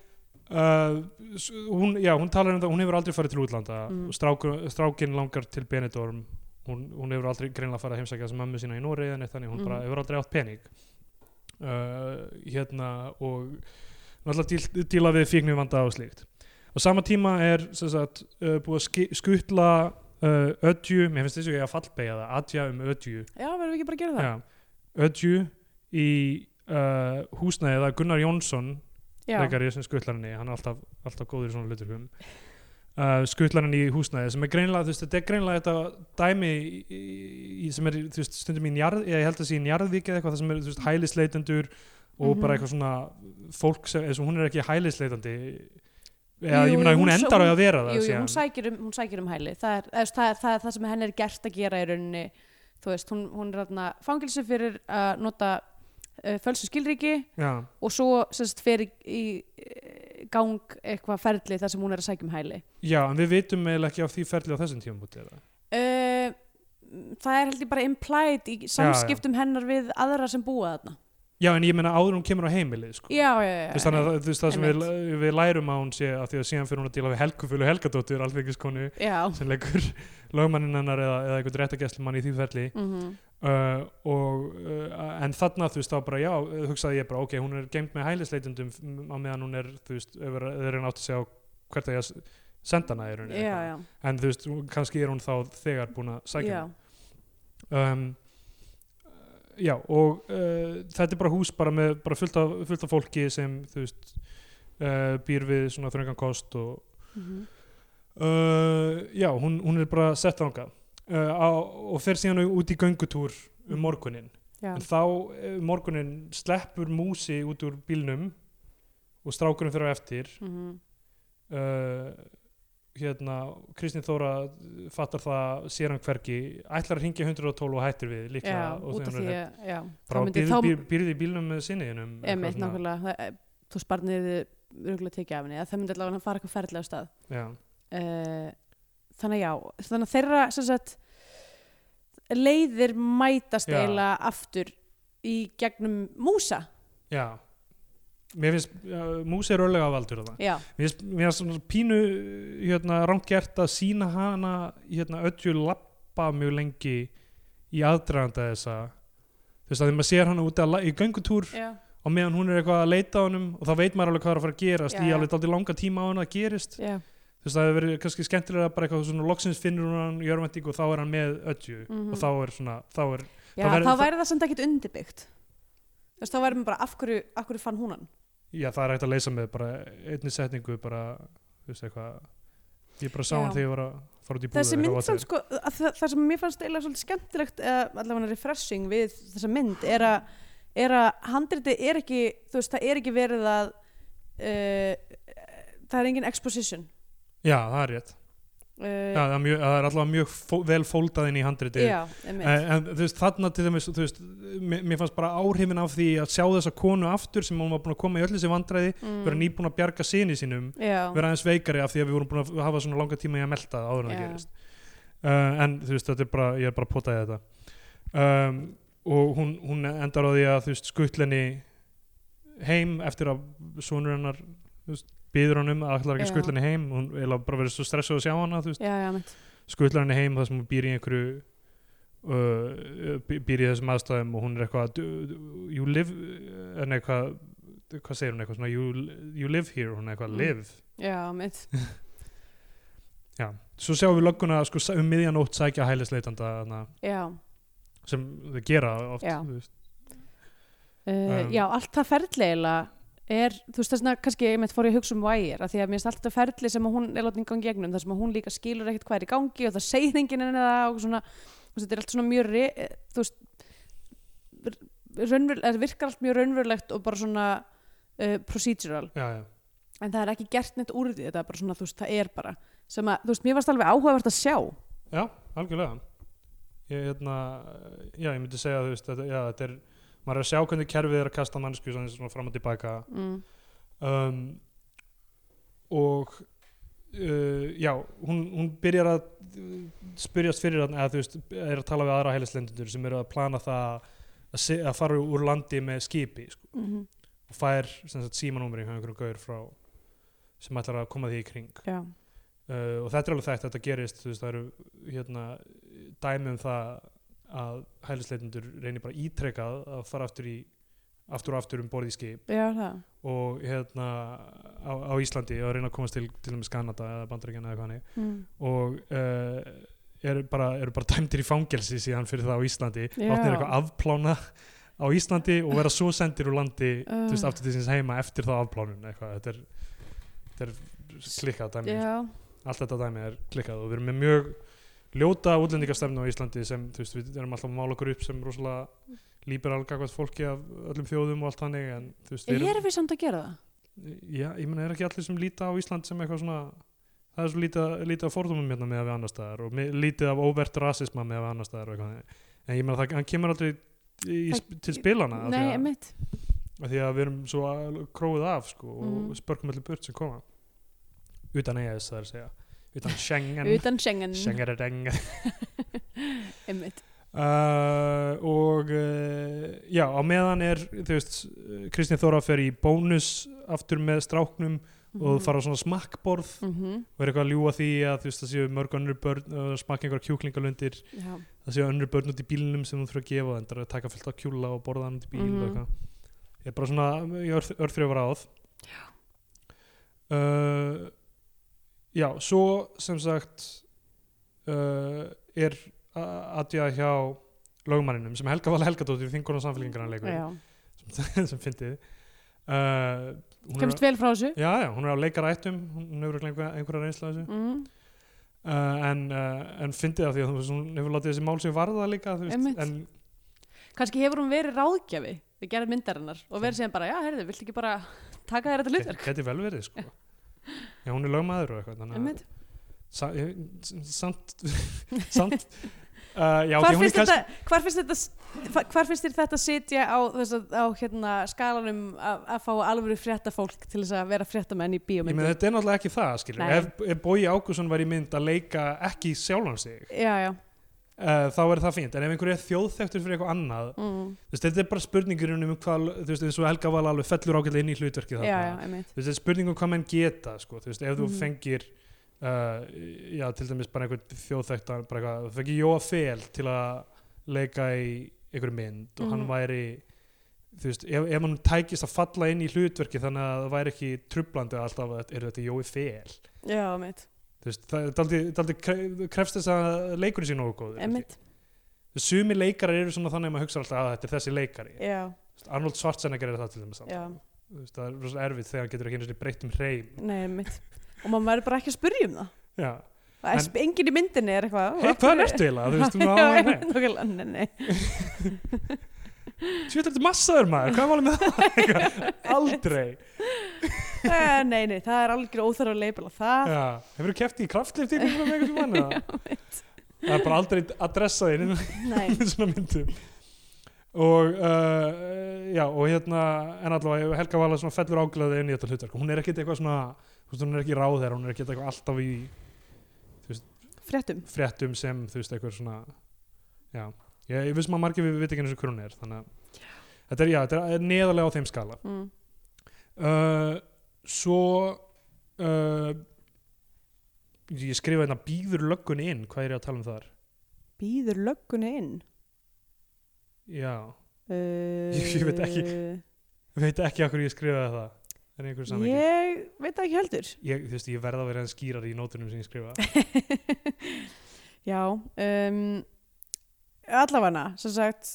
Speaker 2: Uh, s- hún, já, hún talar um það, hún hefur aldrei farið til útlanda
Speaker 3: Mm.
Speaker 2: mm. strákur, strákin langar til Benidorm hún, hún hefur aldrei greinlega farið að heimsækja sem mömmu sína í Nóri eða neitt þannig, hún bara
Speaker 3: Mhm.
Speaker 2: hefur aldrei átt pening uh, hérna og náttúrulega díl, díla við fíknivanda og slíkt á sama tíma er sem sagt, uh, búið að ski- skutla uh, ödju, mér finnst þess að ég að fallbega það adja um ödju
Speaker 3: Já, verðum við ekki bara að gera það?
Speaker 2: Já, ödju í uh, húsnæði eða Gunnar Jónsson
Speaker 3: Já,
Speaker 2: leikari sem skutlar henni, hann er alltaf, alltaf góður í svona hluturkum uh, skutlar henni í húsnæði sem er greinlega, þú veist, þetta er greinlega þetta dæmi í, í, sem er, þú veist, stundum í njarð, ég held að sé í njarðvík eða eitthvað, það sem er, þú veist, hælisleitendur og
Speaker 3: Mhm.
Speaker 2: bara eitthvað svona fólk sem, eins og hún er ekki hælisleitandi eða,
Speaker 3: Jú,
Speaker 2: ég meina,
Speaker 3: jú,
Speaker 2: hún
Speaker 3: hún-
Speaker 2: endar á
Speaker 3: hún-
Speaker 2: að vera það
Speaker 3: jú, jú,
Speaker 2: síðan.
Speaker 3: hún sækir um, hún sækir um hæli það er, eða, það, er, það er það sem henn er gert að gera í rauninni þú veist, hún, hún er þarna fangilsi fyrir að nota uh, fölsu skilríki
Speaker 2: já,
Speaker 3: og svo sérst fer í, í eh, gang eitthvað ferli þar sem hún er að sækja um hæli
Speaker 2: já, en við vitum eiginlega ekki af því ferli á þessum tíum búti eða
Speaker 3: uh, það er heldur bara implied í samskiptum hennar við aðra sem búa þarna
Speaker 2: já, en ég meina áður en hún kemur á heimilið sko.
Speaker 3: já, já, já,
Speaker 2: Þú veist, þannig að þú veist, það sem við, við lærum að hún sé að því að síðan fyrir hún að díla við Helgufölu Helgadóttur, alþingiskonu
Speaker 3: já.
Speaker 2: (laughs) sem leikur lögmanninn hennar eða, eða einhvern réttagæslumann í því ferli
Speaker 3: Mm -hmm.
Speaker 2: Uh, og, uh, en þarna þú veist þá bara já, uh, hugsaði ég bara ok, hún er geimt með hælisleitundum m- á meðan hún er þú veist, ef er- þau reyna átt að sjá hvert að ég að s- senda hana í rauninni
Speaker 3: já,
Speaker 2: eitthvað.
Speaker 3: já,
Speaker 2: en þú veist, hún- kannski er hún þá þegar búin að sækja
Speaker 3: já,
Speaker 2: hana. um, uh, já, og uh, þetta er bara hús bara með bara fullt, af, fullt af fólki sem þú veist, uh, býr við svona þröngan kost og,
Speaker 3: mhm,
Speaker 2: Uh, já, hún, hún er bara sett þangað uh, á, og fer síðan út í göngutúr um morgunin
Speaker 3: já,
Speaker 2: en þá uh, morgunin sleppur músi út úr bílnum og strákurinn fyrir á eftir
Speaker 3: mhm,
Speaker 2: uh, hérna Kristín Þóra fattar það sér hann hvergi, ætlar að ringja 112 og hættir við líklega
Speaker 3: já,
Speaker 2: og
Speaker 3: út af því,
Speaker 2: hún er
Speaker 3: að- já, þá
Speaker 2: bara
Speaker 3: myndi
Speaker 2: býrði
Speaker 3: þá,
Speaker 2: býr, býr, í bílnum með sinniðinum
Speaker 3: emitt, nákvæmlega, það- eh, þú sparnir röglega tekið af henni, eða það myndi allavega að fara eitthvað ferðlega á stað.
Speaker 2: já,
Speaker 3: Eh, þannig að já, þannig að þeirra sem sagt leiðir mætast
Speaker 2: Já.
Speaker 3: eiginlega aftur í gegnum músa.
Speaker 2: já mér finnst, uh, músi er örlega valdur það
Speaker 3: Já,
Speaker 2: Mér finnst- mér finnst svona pínu hérna, rámgert að sína hana hérna, öllu lappa mjög lengi í aðdraganda þessa þú veist að því maður sér hana úti að la- í göngutúr
Speaker 3: já,
Speaker 2: og meðan hún er eitthvað að leita á honum og þá veit maður alveg hvað er að fara að gerast
Speaker 3: Já,
Speaker 2: í
Speaker 3: já.
Speaker 2: alveg dálítið langa tíma á hana að gerist
Speaker 3: já,
Speaker 2: þú veist að það hefur verið kannski skemmtilega bara eitthvað svona loksins finnur hún hann í örmæntingu og þá er hann með öllu
Speaker 3: Mhm.
Speaker 2: og þá er svona, þá er
Speaker 3: já
Speaker 2: Þá verður-
Speaker 3: þá væri það samt ekkit undirbyggt. Þú veist, þá væri mér bara af hverju, af hverju fann hún hann.
Speaker 2: já það er hægt að leysa með bara einni setningu bara, þú veist eitthvað ég bara sá
Speaker 3: Já.
Speaker 2: hann þegar ég var að fara út í búð
Speaker 3: Þessi
Speaker 2: eða
Speaker 3: mynd
Speaker 2: whatever.
Speaker 3: samt sko, að það, það sem mér fannst eiginlega svolítið skemmtilegt, eða allavega refreshing við þessa mynd, er að, er að handritið er ekki, þú veist, það er ekki verið að, uh, það er engin exposition.
Speaker 2: já það er rétt
Speaker 3: Uh,
Speaker 2: Já, það er, mjög, það er allavega mjög fó, vel fóldað inn í handriti
Speaker 3: já, einmitt.
Speaker 2: en, en þú veist, þarna til dæmis þú veist, mér, mér fannst bara áhrifin af því að sjá þessa konu aftur sem hún var búin að koma í öll þessi vandræði vera nýbúin að bjarga sinni sínum
Speaker 3: Mm. Já,
Speaker 2: vera aðeins veikari af því að við vorum búin að hafa svona langa tíma í að melta það áður en það
Speaker 3: Já.
Speaker 2: gerist uh, en þú veist, þetta er bara, ég er bara að potaði þetta um, og hún, hún endar á því að þú veist, skuttlenni heim eftir að sonur hennar þú veist, býður hann um að ætlar ekki
Speaker 3: Já.
Speaker 2: skuttlenni heim hún er bara verið svo stressuð að sjá hana þú veist
Speaker 3: já, já, mitt.
Speaker 2: skutlar henni heim þar sem hún býr í einhverju uh, bý- býr í þessum aðstæðum og hún er eitthvað "Do- do- you live en eitthvað hvað segir hún eitthvað svona you, you live here, hún er eitthvað
Speaker 3: Mm.
Speaker 2: live
Speaker 3: Já, mitt.
Speaker 2: já, svo sjáum við lögguna sko sa- um miðjanótt sækja hælisleitanda þarna,
Speaker 3: Já,
Speaker 2: sem þau gera oft
Speaker 3: Já.
Speaker 2: þú veist.
Speaker 3: uh,
Speaker 2: Um.
Speaker 3: já, allt það ferðleila er, þú veist þessna, kannski ég mitt fór ég að hugsa um vægir, af því að mér finnst alltaf ferðli sem að hún er látið í gangi gegnum, þar sem að hún líka skilur ekkert hvað er í gangi og það segir enginn en það og svona, þú veist, þetta er allt svona mjög, re- eh, þú veist, raunver, er, virkar allt mjög raunverulegt og bara svona uh, procedural.
Speaker 2: já, já,
Speaker 3: En það er ekki gert neitt úr því, þetta er bara svona, þú veist, það er bara, sem að, þú veist, mér varst alveg áhugavert að sjá.
Speaker 2: já, algjörlega ég, hérna, já, ég myndi segja þú veist, þetta, já, þetta er maður er að sjá hvernig kerfið er að kasta mannsku svona fram og tilbaka
Speaker 3: Mm.
Speaker 2: um, og uh, já, hún, hún byrjar að uh, spyrjast fyrir hann eða þú veist, er að tala við aðra hælislendundur sem eru að plana það að, se- að fara úr landi með skipi sko,
Speaker 3: Mm
Speaker 2: og fær sem sagt símanúmeri hjá einhverjum gaur frá sem ætlar að koma því í kring
Speaker 3: Já,
Speaker 2: uh, og þetta er alveg þekkt að þetta gerist þú veist, það eru hérna, dæmi um það að hælisleitundur reynir bara ítrekað að fara aftur í aftur og aftur um borð í skip
Speaker 3: já, það.
Speaker 2: og hérna á, á Íslandi og reyna að komast til til dæmis Kanada eða Bandaríkjana eða hvaðni
Speaker 3: Mm.
Speaker 2: og uh, eru bara, er bara dæmdir í fangelsi síðan fyrir það á Íslandi
Speaker 3: Já.
Speaker 2: átnir eitthvað afplána á Íslandi og vera svo sendir úr landi
Speaker 3: Ah.
Speaker 2: þú veist, aftur til síns heima eftir það afplánun eitthvað, þetta er, þetta er klikkað dæmi,
Speaker 3: Já,
Speaker 2: allt þetta dæmi er klikkað og við erum með mjög ljóta útlendingastefnu á Íslandi sem þú veist, við erum alltaf að mála okkur upp sem rosalega liberal gagvart fólki af öllum þjóðum og allt þannig en þú veist, við erum-
Speaker 3: erum við samt að gera það?
Speaker 2: Já, ég meina, er ekki allir sem líta á Ísland sem eitthvað svona það er svo lítið, lítið af fordómum hérna með að við annar staðar og mi- lítið af óvert rasisma með að við annar staðar og eitthvað þannig. en ég meina, það hann kemur aldrei í,
Speaker 3: Það-
Speaker 2: til spilana af
Speaker 3: Nei,
Speaker 2: því,
Speaker 3: emitt
Speaker 2: að, af því að við erum svo al- króið af sko, og
Speaker 3: Mhm.
Speaker 2: spörkum allir burt sem koma utan EIS, það er að segja
Speaker 3: (laughs)
Speaker 2: utan Schengen
Speaker 3: Utan Schengen,
Speaker 2: Schengen er enga
Speaker 3: emitt
Speaker 2: Uh, og uh, já, á meðan er þú veist, Kristín Þóra fer í bónus aftur með stráknum
Speaker 3: Mm.
Speaker 2: og þú fara á svona smakkborð
Speaker 3: Mhm.
Speaker 2: og er eitthvað að ljúa því að þú veist það séu mörg önnur börn uh, smakka einhver kjúklingalundir
Speaker 3: Já.
Speaker 2: það séu önnur börn út í bílnum sem þú þurfa að gefa þeim það er að taka fullt af kjúla og borða hann út í bíl
Speaker 3: Mhm.
Speaker 2: og eitthvað ég er bara svona í örf, örfrifar áð já uh, já, svo sem sagt uh, er aðja hjá lögmanninum sem Helga Vala Helgadóttir þingur og samfélkingarna leikur
Speaker 3: Já.
Speaker 2: (laughs) sem, sem fyndið uh, hún er-
Speaker 3: kemst vel frá þessu
Speaker 2: Já, já, hún er á leikarættum, hún hefur örugglega einhver, einhverja reynsla af þessu
Speaker 3: mm.
Speaker 2: uh, en, uh, en fyndið af því að þú veist, hún hefur látið þessi mál sem varða líka þú
Speaker 3: Einmitt.
Speaker 2: veist, en
Speaker 3: kannski hefur hún verið ráðgjafi við gerðum myndarinnar og verið síðan bara já, herðu, viltu ekki bara taka þér þetta hlutverk
Speaker 2: geti vel verið sko. Já, hún er lögmaður og eitthvað þannig,
Speaker 3: Einmitt.
Speaker 2: að- sa, ég- s- samt (laughs) samt uh, já,
Speaker 3: hvar
Speaker 2: ok, hún
Speaker 3: finnst
Speaker 2: er kannski
Speaker 3: þetta hvar finnst þetta s- hvar finnst þér þetta sitja á, þess að, á hérna, skalanum að, að fá alvöru frétta fólk til þess að vera fréttamenn í
Speaker 2: Ég meina,
Speaker 3: bíómyndum
Speaker 2: þetta er náttúrulega ekki það, skilur
Speaker 3: Nei.
Speaker 2: ef, ef Bói Ágússon var í mynd að leika ekki sjálfan sig,
Speaker 3: já, já
Speaker 2: uh, þá er það fínt en ef einhver er þjóðþektur fyrir eitthvað annað
Speaker 3: mm.
Speaker 2: þú veist, þetta er bara spurningur um hvað, þú veist, eins og Helga Val alveg fellur ágætlega inn í hlutverkið
Speaker 3: já, já, einmitt
Speaker 2: þú veist, þetta er spurning um hvað menn geta sko, þú veist, ef þú
Speaker 3: Mhm.
Speaker 2: fengir uh, já, til dæmis bara einhvern þjóðþektan, bara eitthvað, þú fengir Jóa Fel til að leika í einhverju mynd og hann
Speaker 3: Mhm.
Speaker 2: væri þú veist, ef, ef hann tækist að falla inn í hlutverki þannig að það væri ekki trublandi alltaf að er þetta Jói Fel
Speaker 3: já, einmitt,
Speaker 2: þú veist, það er daldið, daldið kre- krefst þess að leikurinn sé nógu góður
Speaker 3: einmitt.
Speaker 2: sumi leikarar eru svona þannig að maður hugsa alltaf að þetta er þessi leikari
Speaker 3: Já,
Speaker 2: Þú veist, Arnold Schwarzenegger er það til dæmis
Speaker 3: já,
Speaker 2: alltaf. Þú veist, það er rosa erfitt þegar hann getur ekki einu sinni breytt um hreim
Speaker 3: nei, einmitt og maður verður bara ekki að spurja um það,
Speaker 2: já
Speaker 3: það en, engin í myndinni er eitthvað
Speaker 2: Hei, hvað er þetta eiginlega? Þú
Speaker 3: (laughs)
Speaker 2: veist, hún
Speaker 3: Já,
Speaker 2: var alveg
Speaker 3: einmitt, nákvæmlega, nei, nei.
Speaker 2: Tjóðlega þetta er massaður maður, hvað var alveg með það? (laughs) Eitthvað, Aldrei
Speaker 3: Eh, nei, nei, það er algjör óþarf að leipula það
Speaker 2: Já, hefur þú keft í kraftlift ykkur með einhvern mann? eða? Það er bara aldrei adressað inn í
Speaker 3: Nei,
Speaker 2: (laughs) svona myndum Og, uh, já, og hérna, en allavega Helga Vala svona fellur áglæði inn í þetta hlutverk Hún er ekkit eitthvað svona, þú veist, hún er ekki ráðherra Hún er ekkit eitthvað alltaf í
Speaker 3: fréttum
Speaker 2: fréttum sem, þú veist, eitthvað svona Já, ég, ég vissum að margir við veit ekki eins og hún er Þannig að, þetta er, já, þetta er neðarlega á þeim skala
Speaker 3: mm.
Speaker 2: Uh, svo uh, ég skrifa hérna býður löggun inn, hvað er ég að tala um þar?
Speaker 3: Býður lögguna inn
Speaker 2: Já, (laughs)
Speaker 3: uh,
Speaker 2: Ég- ég veit ekki. veit ekki af hverju ég skrifaði það en einhverjum samhengi ég...
Speaker 3: Ég veit það ekki heldur
Speaker 2: Ég, þú veist, ég verða að vera enn skýrar í nótunum sem ég skrifa
Speaker 3: Já um, Allavana, sem sagt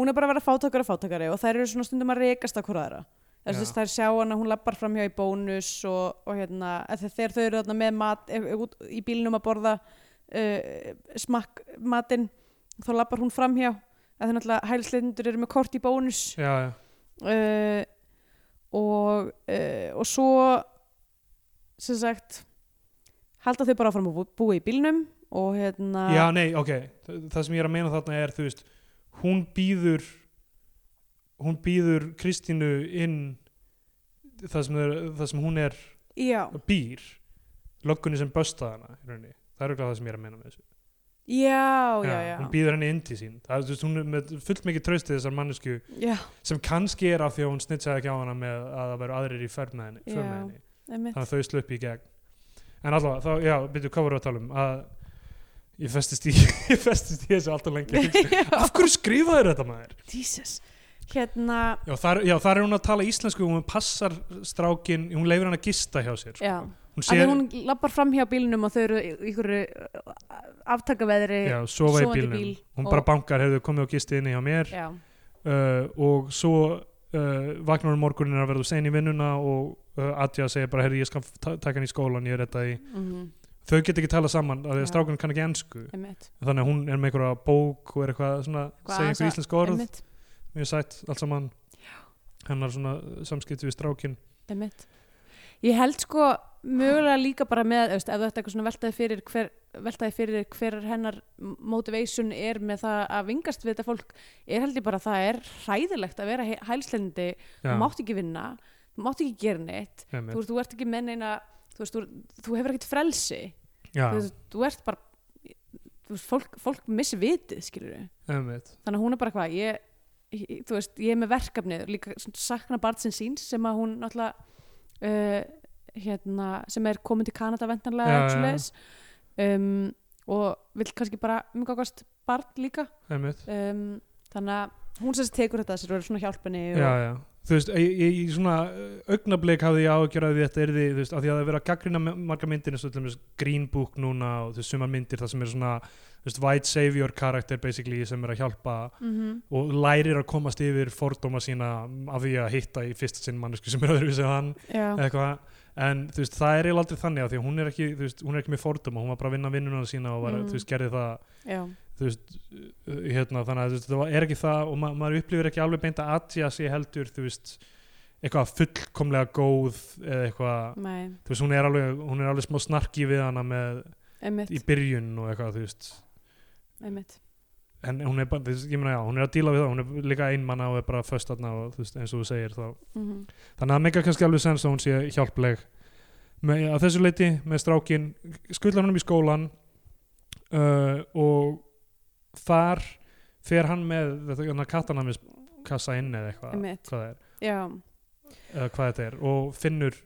Speaker 3: Hún er bara að vera fátakari og fátakari og þær eru svona stundum að rekast að hvora þeirra Þess,
Speaker 2: Já.
Speaker 3: þess, þær sjá hana, hún lappar fram hjá í bónus og, og hérna, eða þegar þau eru þarna með mat e, e, út í bílnum að borða uh, smakk matinn þá lappar hún fram hjá að það náttúrulega hælisleitindur eru með kort í bónus
Speaker 2: Já, (laughs) já,
Speaker 3: uh, og, uh, og svo sem sagt halda þau bara áfram að bú- búa í bílnum og hérna
Speaker 2: já, nei, ok Þa, það sem ég er að meina þarna er, þú veist hún býður hún býður Kristínu inn það sem, er, það sem hún er
Speaker 3: já,
Speaker 2: býr löggunni sem böstaði hana í rauninni. það er auðvitað það sem ég er að meina með þessu
Speaker 3: já, já, já.
Speaker 2: hún býður henni inn til sín það, er, þú veist, hún er með fullt mikið traustið þessar mannesku
Speaker 3: já
Speaker 2: sem kannski er af því að hún snitsaði ekki á hana með að það væru aðrir í ferð með henni, för með
Speaker 3: Já.
Speaker 2: henni.
Speaker 3: einmitt.
Speaker 2: þannig að þau sluppi í gegn en allavega, þá, já, byrju, hvað voru að tala um að ég festist í (laughs) ég festist í þessu alltaf
Speaker 3: (laughs)
Speaker 2: lengi
Speaker 3: já,
Speaker 2: af hverju skrifaður þetta maður?
Speaker 3: Jesus hérna,
Speaker 2: Já þar, já, þar er hún að tala íslensku og hún passar strákin, hún leifir hann að gista hjá sér sko.
Speaker 3: já
Speaker 2: hún
Speaker 3: að
Speaker 2: sér,
Speaker 3: hún lappar fram hjá bílnum og þau eru í- í ykkur aftakaveðri
Speaker 2: já, sofa í
Speaker 3: sofandi
Speaker 2: bílnum
Speaker 3: bíl
Speaker 2: hún
Speaker 3: og-
Speaker 2: bara bankar, hefur komið og gistið inni hjá mér
Speaker 3: já,
Speaker 2: uh, og svo uh, vagnar hún morgunin að verða sein í vinnuna og uh, Adja segir bara herri ég skal ta taka hann í skólan, ég er þetta í
Speaker 3: mm
Speaker 2: þau get ekki tala saman, af því að
Speaker 3: Já.
Speaker 2: strákunum kann ekki ensku
Speaker 3: einmitt,
Speaker 2: þannig að hún er með einhverja bók og er eitthvað svona,
Speaker 3: Eitthvað
Speaker 2: segja einhver
Speaker 3: aðeins að-
Speaker 2: íslensk orð
Speaker 3: einmitt,
Speaker 2: mjög sætt allt saman hennar svona uh, samskipti við strákin
Speaker 3: einmitt ég held sko mögulega líka bara með þú veist, ef þú ætti eitthvað svona veltaði fyrir hver veltaði fyrir hver hennar motivation er með það að vingast við þetta fólk er held ég bara að það er hræðilegt að vera hælslendi, þú mátt ekki vinna þú mátt ekki gera neitt þú,
Speaker 2: einmitt.
Speaker 3: veist, þú ert ekki menn eina þú, veist, þú, þú hefur ekkert frelsi
Speaker 2: já,
Speaker 3: þú, veist, þú ert bara þú veist, fólk, fólk missi vitið skilur við
Speaker 2: einmitt
Speaker 3: þannig að hún er bara hvað ég, ég, þú veist, ég er með verkefnið líka svona sakna barn sem síns sem að hún náttúrulega uh, hérna, sem er komin til Kanada
Speaker 2: Já,
Speaker 3: ventanlega
Speaker 2: já, já.
Speaker 3: ja, um, og vill kannski bara umgangast barn líka
Speaker 2: einmitt
Speaker 3: um, þannig að hún sem sagt tekur þetta að sér og er svona hjálpinni
Speaker 2: já,
Speaker 3: og,
Speaker 2: já. þú veist, ég, ég, í svona uh, augnablik hafði ég ágjör að þetta er því þú veist, af því að það er verið að gaggrina marga myndir eins og til dæmis Green Book núna og þú veist, sumar myndir það sem er svona þú veist, white savior karakter basically sem er að hjálpa
Speaker 3: mm
Speaker 2: og lærir að komast yfir fordóma sína af því að hitta í fyrsta sinn mannesku sem er öðruvísi að hann
Speaker 3: já.
Speaker 2: eða eitthvað en þú veist, það er eiginlega aldrei þannig að því að hún er ekki, þú veist, hún er ekki með fordóma, hún var bara að vinna vinnuna sína og var,
Speaker 3: Mm.
Speaker 2: þú veist, gerði það
Speaker 3: já.
Speaker 2: þú veist, uh, hérna, þannig að þú veist, það er ekki það og ma maður upplifir ekki alveg beint að atja sig heldur, þú veist eitthvað fullkomlega góð eða eitthvað,
Speaker 3: Nei,
Speaker 2: þú veist, hún er alveg hún er alveg smá snarki við hana með í
Speaker 3: einmitt,
Speaker 2: byrjun og eitthvað, þú veist
Speaker 3: einmitt
Speaker 2: en hún er bara, þú veist, ég meina já, hún er að díla við það hún er líka einmanna og er bara föst þarna og þú veist, eins og þú segir þá
Speaker 3: mm
Speaker 2: þannig að það meika kannski alveg sens að hún sé hjálpleg með, að þessu leiti með strákin skullar hann um í skólan uh, og þar fer hann með þetta hann kattanæmis kassa inn eða eitthvað
Speaker 3: Einmitt.
Speaker 2: hvað, það er,
Speaker 3: Já,
Speaker 2: eða hvað þetta er og finnur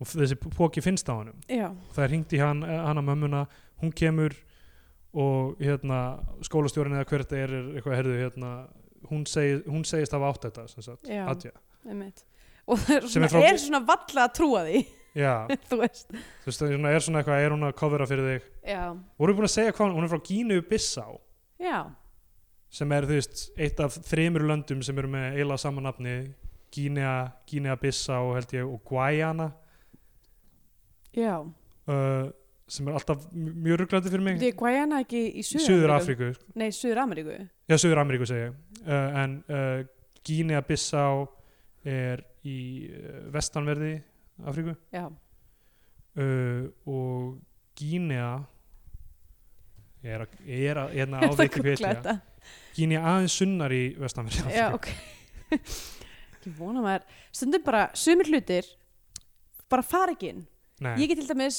Speaker 2: og þessi póki finnst á honum
Speaker 3: já,
Speaker 2: það er hringt í hann, eh, hana mömmuna hún kemur og hérna, skólastjórin eða hver þetta er, er eitthvað, herðu, hérna, hún, seg, hún segist hafa átt þetta sem, sagt,
Speaker 3: Já.
Speaker 2: Adja.
Speaker 3: einmitt Og það er
Speaker 2: Sem
Speaker 3: svona,
Speaker 2: er frá-
Speaker 3: er svona valla að trúa því (laughs)
Speaker 2: Já,
Speaker 3: Þú veist
Speaker 2: þú veist, það er svona- er svona eitthvað er hún að covera fyrir þig
Speaker 3: Já,
Speaker 2: voru búin að segja hvað hún, hún er frá Gínu Bissá
Speaker 3: já,
Speaker 2: sem er þú veist, eitt af þremur löndum sem eru með eila samanafni Gínea, Gínea Bissá held ég og Guayana
Speaker 3: já
Speaker 2: uh, sem er alltaf m- mjög rugglæti fyrir mig
Speaker 3: Þetta er Guayana ekki í Suður,
Speaker 2: Suður Afríku,
Speaker 3: Nei, Suður Ameríku
Speaker 2: Já, Suður Ameríku segi ég. uh, en uh, Gínea Bissá er í uh, vestanverði Afríku
Speaker 3: Já,
Speaker 2: uh, og Gínea ég er að, ég er
Speaker 3: (laughs)
Speaker 2: að, hérna á
Speaker 3: það googla
Speaker 2: Wikipedia
Speaker 3: þetta
Speaker 2: Gínea aðeins sunnar í vestanverði Afríku
Speaker 3: Já, ok (laughs) Ég vona maður Stundum bara, sumir hlutir Bara fara ekki inn
Speaker 2: Nei,
Speaker 3: Ég get til dæmis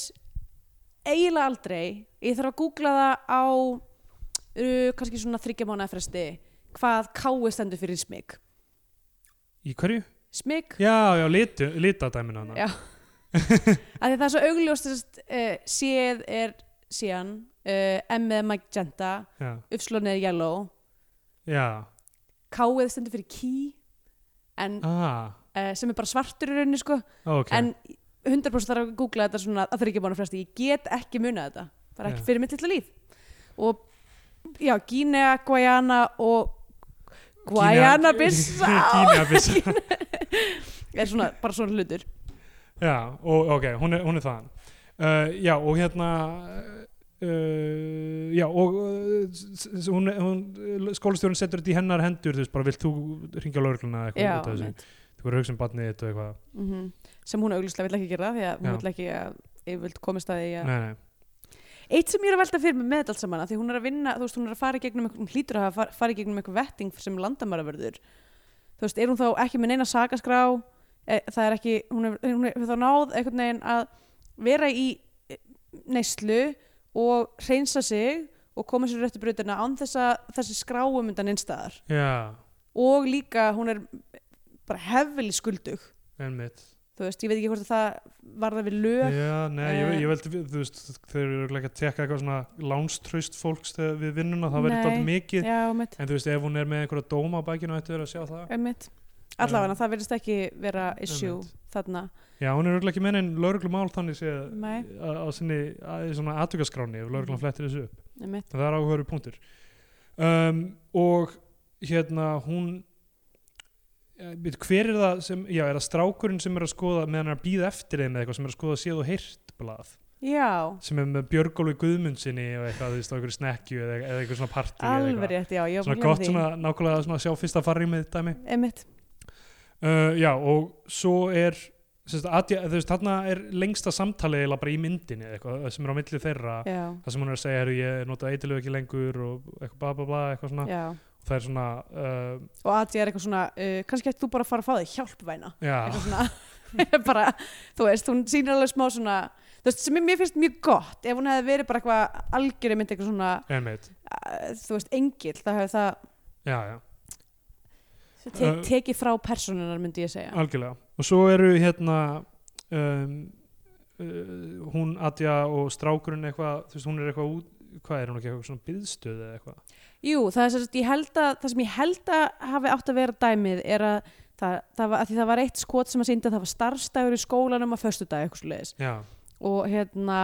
Speaker 3: eiginlega aldrei Ég þarf að googla það á uh, kannski svona þryggja mánuða fresti hvað káu stendur fyrir smik
Speaker 2: í hverju?
Speaker 3: smik,
Speaker 2: Já, já, litu, litadæmina hana
Speaker 3: Já. að því það er svo augljóst uh, séð er síðan uh, M eða magenta
Speaker 2: Já,
Speaker 3: uppslón er yellow
Speaker 2: já.
Speaker 3: K-ið stendur fyrir key en,
Speaker 2: Ah,
Speaker 3: uh, sem er bara svartur í rauninni sko
Speaker 2: ok
Speaker 3: en 100% þarf að googla þetta svona að það er ekki bánu fresti, ég get ekki munað þetta bara ekki
Speaker 2: Já.
Speaker 3: fyrir mitt lilla líf og já, Gínea, Guayana og Guayana
Speaker 2: (laughs)
Speaker 3: Bissá
Speaker 2: Gínea Bissá
Speaker 3: er svona, bara svona hlutur
Speaker 2: Já, og, ok, hún er, hún er þaðan uh, Já, og hérna uh, Já, og uh, s- s- hún, hún, skólastjórun setur þetta í hennar hendur þú veist, bara vilt þú ringja lögregluna eða
Speaker 3: já,
Speaker 2: eitthvað út af þessu?
Speaker 3: einmitt.
Speaker 2: Þú verður að hugsa um barnið þitt og eitthvað
Speaker 3: Mhm. sem hún auglustlega vill ekki gera því að hún
Speaker 2: Já.
Speaker 3: vill ekki að yfirvöld komist að því að
Speaker 2: Nei, nei,
Speaker 3: eitt sem ég er að velta fyrir mig með þetta allt saman að því hún er að vinna, þú veist, hún er að fara í gegnum einhver- hún hlýtur að hafa far- fara í gegnum einhver vetting sem landamæravörður þú veist, er hún þá ekki með neina sakaskrá e, það er ekki, hún er, hún er þá náð einhvern veginn að vera í eh, neyslu og reynsa sig og koma sér réttu brautina án þess að þessi skráum undan einstæðar
Speaker 2: já,
Speaker 3: og líka hún er bara hefvili skuldug
Speaker 2: einmitt
Speaker 3: þú veist, ég veit ekki hvort að það var það við lög
Speaker 2: Já, nei, ég,
Speaker 3: eh,
Speaker 2: ég veldi við, þú veist þeir eru ekki að tekka eitthvað svona lánstraust fólks þegar við vinnuna, það verður
Speaker 3: Nei.
Speaker 2: þetta mikið
Speaker 3: já, mitt,
Speaker 2: En þú veist, ef hún er með einhverja dóma á bækinu ættu verið að sjá það
Speaker 3: mitt allavega, það verðist ekki vera issue
Speaker 2: Einmitt.
Speaker 3: þarna
Speaker 2: Já, hún er örugglega ekki með einn lauruglumál þannig sé
Speaker 3: Nei.
Speaker 2: á sinni að, í svona atvikaskráni ef lauruglum
Speaker 3: Mhm.
Speaker 2: flettir þessu upp.
Speaker 3: einmitt,
Speaker 2: En Það er áhugaður punktur. Um, og hérna hún eh, bíddu, hver er það sem, já, er það strákurinn sem er að skoða meðan hann er að býða eftir þeim eða eitthvað sem er að skoða séð og heyrt blað
Speaker 3: já
Speaker 2: sem er með Björgólu Guðmundsinni og eitthvað, þú veist, á einhverju snekkju eða, eða eitthvað svona partí eða
Speaker 3: alveg
Speaker 2: eitthvað.
Speaker 3: rétt, já, ég var
Speaker 2: Svona
Speaker 3: búin að gleyma
Speaker 2: gott svona nákvæmlega svona að sjá fyrsta farri með dæmi.
Speaker 3: einmitt,
Speaker 2: Uh, já, og svo er sérst, adja, þú veist, þarna er lengsta samtalið eiginlega bara í myndinni eða eitthvað sem er á milli þeirra,
Speaker 3: já,
Speaker 2: það sem hún er að segja "Heyrðu, ég nota eitilegu ekki lengur og eitthvað bla bla bla eitthvað svona,
Speaker 3: já
Speaker 2: og það er svona uh,
Speaker 3: og að ég er eitthvað svona, uh, kannski ætti þú bara að fara að fá þig hjálpvæna,
Speaker 2: já,
Speaker 3: eitthvað svona (laughs) bara, þú veist, hún sýnir alveg smá svona þú veist, sem mér finnst mjög gott ef hún hefði verið bara eitthvað algjörði mynd eitthvað svona,
Speaker 2: einmitt
Speaker 3: uh, þú veist, engill það hefði það
Speaker 2: já, já,
Speaker 3: te
Speaker 2: Uh,
Speaker 3: tekið frá persónunar myndi ég segja
Speaker 2: algjörlega og svo eru hérna um, uh, hún Adja og strákurinn eitthvað, þú veist, hún er eitthvað út hvað er hún ekki, eitthvað svona byðstöð eða eitthvað
Speaker 3: Jú, það, er sem sagt, ég held að, það sem ég held að hafi átt að vera dæmið er að það, það, var, að því það var eitt skot sem að sýndi að það var starfstæður í skólanum að föstudag eitthvað svoleiðis
Speaker 2: já,
Speaker 3: og hérna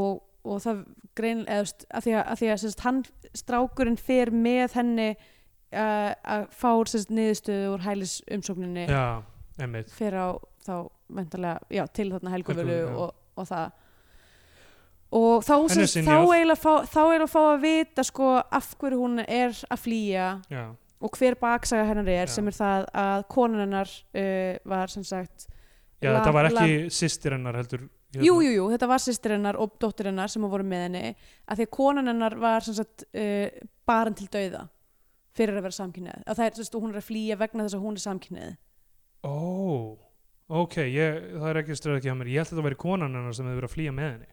Speaker 3: og, og það grein eða, þú veist, að því að, að, því að sem sagt, hann strákurinn fer með henni uh, að fá sem sagt, niðurstöðu úr hælis umsókninni
Speaker 2: já, emmitt
Speaker 3: fyrir á þá vendarlega, já, til þarna helguvölu
Speaker 2: Helguvölu, já.
Speaker 3: og, og það og þá,
Speaker 2: Henni er
Speaker 3: sem, þá
Speaker 2: synjað.
Speaker 3: eiginlega fá, þá eiginlega fá að vita sko af hverju hún er að flýja
Speaker 2: já,
Speaker 3: og hver baksaga hennar er
Speaker 2: Já.
Speaker 3: sem er það að konan hennar uh, var sem sagt
Speaker 2: já
Speaker 3: La-
Speaker 2: þetta var ekki hérna. systir hennar heldur hérna.
Speaker 3: Jú, jú, jú, þetta var sýstir hennar og dóttir hennar sem voru með henni að því að konan hennar var sem sagt uh, barn til dauða fyrir að vera samkynneið að það er, sem sagt, hún er að flýja vegna þess að hún er samkynneið
Speaker 2: ó, ok, ég, það er ekki stræð ekki að mér ég held að þetta væri konan hennar sem hefur verið að flýja með henni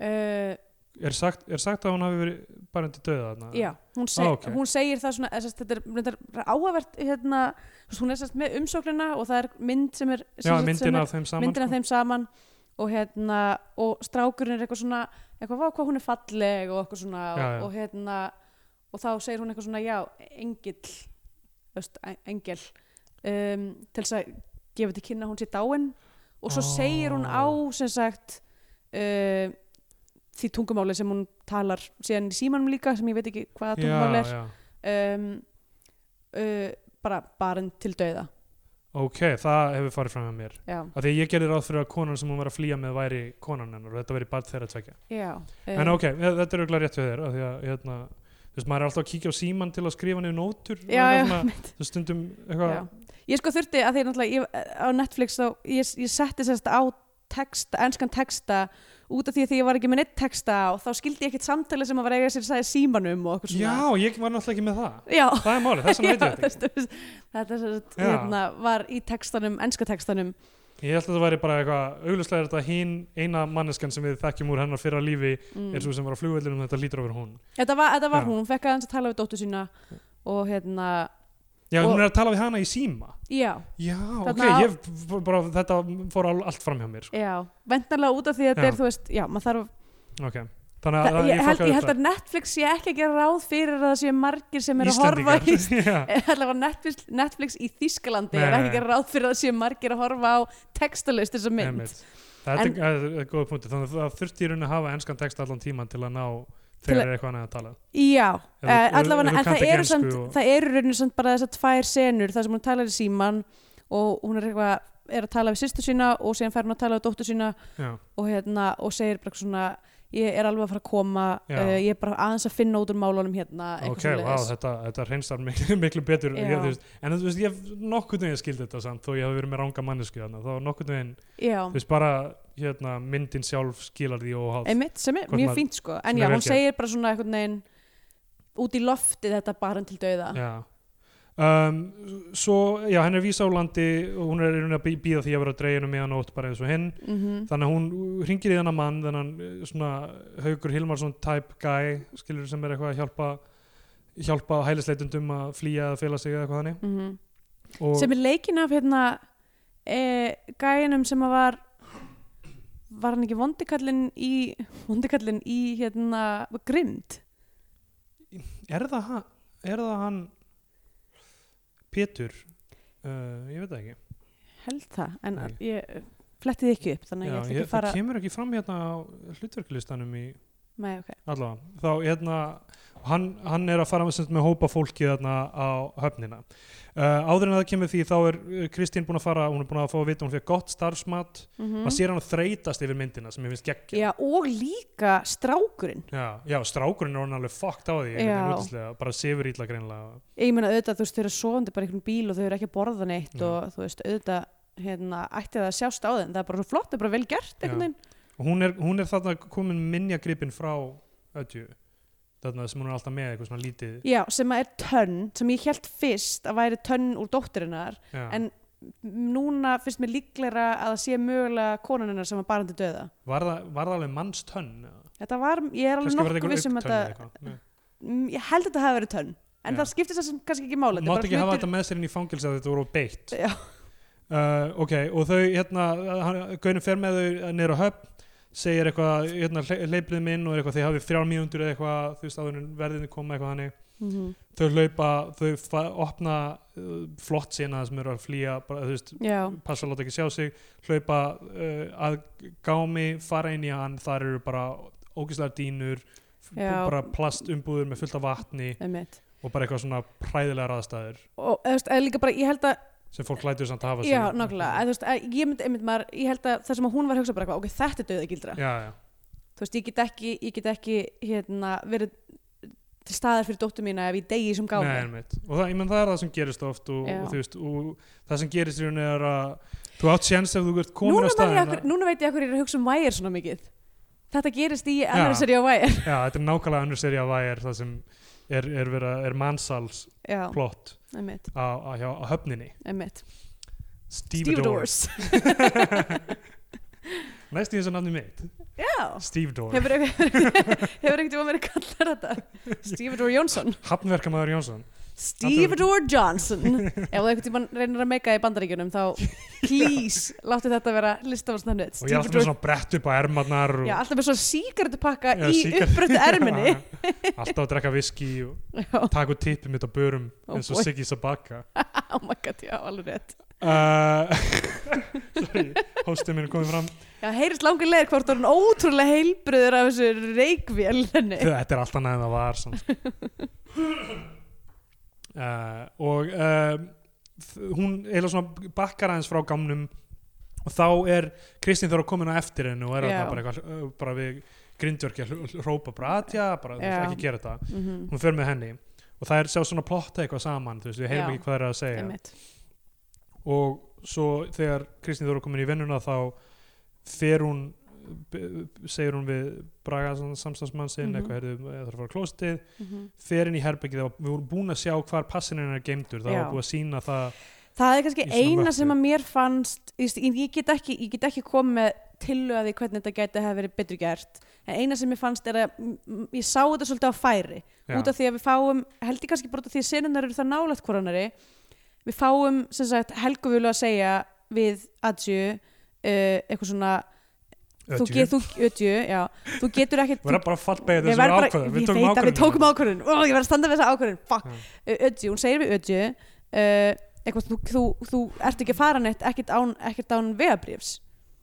Speaker 3: uh,
Speaker 2: er sagt, er sagt að hún hafi verið bara undir döða þarna
Speaker 3: Já, hún, seg,
Speaker 2: Ah, ok.
Speaker 3: hún segir það svona, eða sem sagt, þetta er, reyndar áhugavert hérna, þú veist, hún er sem sagt, með umsóknina og það er mynd sem er sem
Speaker 2: já
Speaker 3: sagt, sem
Speaker 2: myndin
Speaker 3: er-
Speaker 2: af þeim saman
Speaker 3: myndin af
Speaker 2: sko.
Speaker 3: þeim saman og hérna og strákurinn er eitthvað svona eitthvað, vá, hvað hún er falleg og eitthvað svona
Speaker 2: Já, já.
Speaker 3: og, og hérna og þá segir hún eitthvað svona, já, engill þú veist, en- engel um, til þess að gefa til kynna að hún sér dáin og svo
Speaker 2: Ó.
Speaker 3: segir hún á sem sagt uh, því tungumáli sem hún talar síðan í símanum líka sem ég veit ekki hvaða tungumáli
Speaker 2: já, já.
Speaker 3: er um, uh, bara barinn til dauða
Speaker 2: ok, það hefur farið fram með mér
Speaker 3: já,
Speaker 2: af því að ég gerði ráð fyrir að konan sem hún var að flýja með væri konan hennar og þetta verið bara þeirra tvekja
Speaker 3: já
Speaker 2: en ok, eh, þetta er auðvitað rétt við þér af því að hérna, þú veist, maður er alltaf að kíkja á síman til að skrifa niður nótur og
Speaker 3: já,
Speaker 2: eitthvað
Speaker 3: já,
Speaker 2: svona,
Speaker 3: mitt.
Speaker 2: þú veist, stundum eitthvað,
Speaker 3: Já. Ég sko þurfti að því náttúrulega ég, á Netflix þá, ég, ég setti sérst á texta, enskan texta út af því að því ég var ekki með neitt texta og þá skildi ég ekkert samtali sem að var eiga sér sæði símanum og eitthvað
Speaker 2: já,
Speaker 3: svona.
Speaker 2: ég var náttúrulega ekki með það
Speaker 3: Já.
Speaker 2: það er málið, þess
Speaker 3: (laughs)
Speaker 2: vegna veit
Speaker 3: Já,
Speaker 2: ég þetta
Speaker 3: þess- þess- þetta er sérst,
Speaker 2: Já.
Speaker 3: hérna, var í textanum, enska textanum.
Speaker 2: ekki ég held að þetta væri bara eitthvað, auðvitað er þetta hinn eina manneskan sem við þekkjum úr hennar fyrra lífi
Speaker 3: Mm.
Speaker 2: er svo sem var á flugvöldunum, þetta lítur over hún
Speaker 3: Þetta var, þetta var
Speaker 2: Já.
Speaker 3: hún, hún fekk aðeins að tala við dóttu sína og hérna,
Speaker 2: já,
Speaker 3: Og-
Speaker 2: hún er að tala við hana í síma
Speaker 3: já,
Speaker 2: já, ok,
Speaker 3: á-
Speaker 2: ég, f- bara, þetta fór al- allt fram hjá mér sko.
Speaker 3: já, vendanlega út af því að þetta
Speaker 2: Já.
Speaker 3: er, þú veist, já, maður þarf
Speaker 2: ok, þannig að
Speaker 3: Það, ég, held,
Speaker 2: fokkaði upp
Speaker 3: ég held að Netflix sé ekki að gera ráð fyrir að það sé margir sem eru að horfa
Speaker 2: Íslendingar
Speaker 3: í
Speaker 2: (laughs) Já.
Speaker 3: (laughs) allavega Netflix, Netflix í Þískalandi
Speaker 2: Nei,
Speaker 3: er ekki
Speaker 2: nei.
Speaker 3: að gera ráð fyrir að sé margir að horfa á textalust þessa mynd
Speaker 2: Einmitt. Það er,
Speaker 3: En-
Speaker 2: það er góð punkti, þannig að það þurfti í rauninni að hafa enskan text allan tíman til að ná
Speaker 3: Til
Speaker 2: þegar er eitthvað annað að tala.
Speaker 3: Já,
Speaker 2: Ef þú-
Speaker 3: uh,
Speaker 2: ef-
Speaker 3: allavega
Speaker 2: ef þú
Speaker 3: en
Speaker 2: kannt
Speaker 3: það
Speaker 2: ekki
Speaker 3: eru
Speaker 2: ensku
Speaker 3: samt,
Speaker 2: og-
Speaker 3: það eru rauninu samt bara þessar tvær senur þar sem hún talar í síman og hún er eitthvað er að tala við sýstu sína og síðan fær hún að tala við dóttu sína
Speaker 2: Já,
Speaker 3: og hérna og segir bara svona ég er alveg að fara að koma
Speaker 2: Já.
Speaker 3: uh, ég er bara aðeins að finna út úr málunum hérna eitthvað
Speaker 2: ok, wow,
Speaker 3: svoleiðis.
Speaker 2: þetta, þetta reynsar miklu, (laughs) miklu betur.
Speaker 3: Já.
Speaker 2: Ég, þú veist, en þú veist, ég hef nokkurn veginn skildi þetta samt, þó ég hef verið með ranga mannesku þannig, þá nokkurn veginn,
Speaker 3: Já.
Speaker 2: þú veist, bara hérna, myndin sjálf skilar því óháð.
Speaker 3: einmitt sem er
Speaker 2: Hvort
Speaker 3: mjög
Speaker 2: maður-
Speaker 3: fínt sko
Speaker 2: sem
Speaker 3: en
Speaker 2: er
Speaker 3: já,
Speaker 2: vel
Speaker 3: hún
Speaker 2: gert.
Speaker 3: segir bara svona einhvern veginn út í lofti þetta bara til dauða
Speaker 2: Já. Um, svo, já, henn er vísa á landi og hún er í rauninni að bí- bíða því að vera að dreiginu meðan ótt bara eins og hinn.
Speaker 3: Mhm.
Speaker 2: þannig að hún ringir í þennan mann þennan eh, svona Haugur Hilmarsson type guy, skilur sem er eitthvað að hjálpa hjálpa hælisleitundum að flýja að fela sig eða eitthvað þannig
Speaker 3: Mhm.
Speaker 2: og
Speaker 3: sem er leikin af hérna e, gæinum sem að var var hann ekki vondikallin í vondikallin í hérna grind
Speaker 2: er, það hann, er það hann Pétur uh, ég veit það ekki
Speaker 3: held það, en
Speaker 2: Nei.
Speaker 3: ég flettið ekki upp þannig
Speaker 2: Já,
Speaker 3: að ég ætla
Speaker 2: ég,
Speaker 3: ekki að fara
Speaker 2: það kemur ekki fram hérna á hlutverklistanum í
Speaker 3: Nei, okay.
Speaker 2: allavega, þá hérna hann, hann er að fara með, sem sagt með hópa fólki þarna á höfnina uh, áður en það kemur því þá er eh, Kristín búin að fara, hún er búin að fá að vita hún fyrir gott starfsmat
Speaker 3: mm
Speaker 2: maður sér hann að þreytast yfir myndina sem ég finnst geggja
Speaker 3: já, og líka strákurinn
Speaker 2: já, já, strákurinn er hann alveg fucked á því einhvern
Speaker 3: Já.
Speaker 2: veginn útlislega, bara sefur ítla greinlega
Speaker 3: ég meina auðvitað þú veist þau eru sofandi bara í einhvern bíl og þau eru ekki að borða neitt
Speaker 2: Já.
Speaker 3: og þú veist auðvitað hérna, ætti það að sjást á þeim það er bara svo flott, það er bara vel gert einhvern
Speaker 2: Já.
Speaker 3: veginn
Speaker 2: og hún er, hún er þarna komin minjagripin frá öðju þarna sem hún er alltaf með eitthvað svona lítið
Speaker 3: já, sem að er tönn, sem ég held fyrst að væri tönn úr dóttirinnar
Speaker 2: já,
Speaker 3: En- núna finnst mér líklegra að það sé mögulega konanennar sem var barandi döða
Speaker 2: var, það, var það alveg mannstönn eða?
Speaker 3: þetta var, ég er alveg
Speaker 2: Kannski var
Speaker 3: nokkuð viss um
Speaker 2: aukatönn
Speaker 3: þetta
Speaker 2: eða eitthvað. Nei.
Speaker 3: Mm, ég held að þetta hafi verið tönn en
Speaker 2: Já.
Speaker 3: það skiptir þess að kannski ekki mála þetta er
Speaker 2: mátt
Speaker 3: bara
Speaker 2: ekki hafa
Speaker 3: hlutur-
Speaker 2: þetta með sér inn í fangilsi að þetta voru of beitt
Speaker 3: Já.
Speaker 2: uh, ok, og þau hérna, hann- Gaunin fer með þau niður á höfn segir eitthvað, hérna, hleyplið minn og er eitthvað, þið hafið þrjár mínútur eða eitthvað þú veist, áður en verðinni koma eitthvað þannig
Speaker 3: Mhm.
Speaker 2: þau hlaupa, þau fa- opna uh, flott sína sem eru að flýja bara, þú veist,
Speaker 3: Já,
Speaker 2: passa að láta ekki sjá sig hlaupa uh, að gámi fara inn í hann, þar eru bara ógislega dýnur f-
Speaker 3: Já.
Speaker 2: bara plastumbúður með fullt af vatni
Speaker 3: einmitt.
Speaker 2: og bara eitthvað svona præðilegar aðstæður
Speaker 3: Og eða þú veist, eða líka bara, ég held að,
Speaker 2: sem fólk lætur samt að hafa sig
Speaker 3: já, nákvæmlega, eða þú veist, að ég myndi, einmitt maður, ég held að það sem að hún var að hugsa bara eitthvað, ok, þetta er döða gildra.
Speaker 2: já,
Speaker 3: (laughs)
Speaker 2: já,
Speaker 3: Þú veist, ég get ekki, ég get ekki, hérna, verið til staðar fyrir dóttur mína ef ég degi sem gáði.
Speaker 2: Nei, einmitt. og það, ég menn, það er það sem gerist oft og,
Speaker 3: Já.
Speaker 2: og, þú veist, og það sem gerist í rauninni er að þú átt séns ef þú ert komin
Speaker 3: núna,
Speaker 2: á
Speaker 3: man ég
Speaker 2: staðina
Speaker 3: akkur, núna veit ég okkur ég er að hugsa um vægir svona mikið. Þetta gerist í
Speaker 2: Já.
Speaker 3: annars er ég á vægir.
Speaker 2: já, þetta er nákvæmlega önnur serið af vægir það sem er, er, vera, er mansals
Speaker 3: Já,
Speaker 2: plott
Speaker 3: einmitt,
Speaker 2: á, á, hjá- á höfninni
Speaker 3: einmitt.
Speaker 2: Steve (laughs) Doors
Speaker 3: Stevedores.
Speaker 2: næst í þessu nafni mitt
Speaker 3: (laughs) Já.
Speaker 2: Steve Doors
Speaker 3: Hefur
Speaker 2: (laughs)
Speaker 3: ekkert um að vera kallar þetta? Stevedore Jónsson.
Speaker 2: Hafnverkamæður Jónsson
Speaker 3: Stevedore Johnson ef þú einhvern tímann reynir að meika í bandaríkjunum þá
Speaker 2: (laughs)
Speaker 3: please láttu þetta vera listafarsnafnið
Speaker 2: og ég er alltaf með
Speaker 3: Stevedore
Speaker 2: svona brett upp á ermarnar og
Speaker 3: Já, alltaf með svona síkartupakka
Speaker 2: Já,
Speaker 3: í
Speaker 2: sígarettu-
Speaker 3: uppbröndu
Speaker 2: (laughs)
Speaker 3: erminni
Speaker 2: alltaf að drekka viski og
Speaker 3: Já,
Speaker 2: taka út tippið mitt á börum
Speaker 3: Oh
Speaker 2: eins og
Speaker 3: boy.
Speaker 2: Siggy Sabaka
Speaker 3: oh my god, já, alveg rétt
Speaker 2: uh, (laughs) sorry, hóstið minn er komið fram
Speaker 3: Já, heyrist langur leir hvort orðin ótrúlega heilbröður af þessu reikvél henni
Speaker 2: þetta er alltaf neðan það var samt. uh, og uh, hún eiginlega svona bakkar aðeins frá gamnum og þá er Kristín þarf að koma inn á eftir henni og er
Speaker 3: Já.
Speaker 2: þarna bara, eitthvað, hl- uh, bara við grindjörki að hl- hrópa bara atja, bara þú veist,
Speaker 3: Já.
Speaker 2: ekki gera þetta
Speaker 3: mm -hmm.
Speaker 2: hún fer með henni og það er sjá svona plotta eitthvað saman þú veist, við heyrum
Speaker 3: Já.
Speaker 2: ekki hvað það er að segja
Speaker 3: Einmitt.
Speaker 2: og svo þegar Kristín Þóra komin í vinnuna þá fer hún b- b- segir hún við Braga samstagsmann sinn, mm -hmm.
Speaker 3: Mhm.
Speaker 2: eitthvað heyrðu eða þarf að fara á klóstið,
Speaker 3: Mm
Speaker 2: fer inn í herbergið og við vorum búin að sjá hvar passin hennar er geimdur, það
Speaker 3: Já.
Speaker 2: var búið að sína það
Speaker 3: Það er kannski
Speaker 2: Í svona
Speaker 3: eina
Speaker 2: möppu.
Speaker 3: sem að mér fannst ég, veist, ég, get, ekki, ég get ekki komið með tilöði hvernig þetta gæti að hafa verið betur gert en eina sem mér fannst er að m- m- ég sá þetta svolítið á færi
Speaker 2: Já.
Speaker 3: út af því að við fáum, held ég kannski bara út af því að senunar eru það nálægt hvoranari við fáum, sem sagt, Helgu vilja að segja við Adju uh, eitthvað svona þú,
Speaker 2: Ödju.
Speaker 3: get, þú, ödju, já, þú getur ekkert
Speaker 2: Við erum bara að fallbega
Speaker 3: Ég
Speaker 2: þessu
Speaker 3: verð bara-
Speaker 2: ákvöðum,
Speaker 3: ég
Speaker 2: við tókum
Speaker 3: veit að
Speaker 2: ákvöðum
Speaker 3: við tókum ákvörðun Ó, ég var að standa við þessa ákvörðun fuck, Ödju, hún segir við Ödju uh, eitthvað, þú, þú, þú ert ekki að fara neitt ekkert án, ekkert án vegabrifs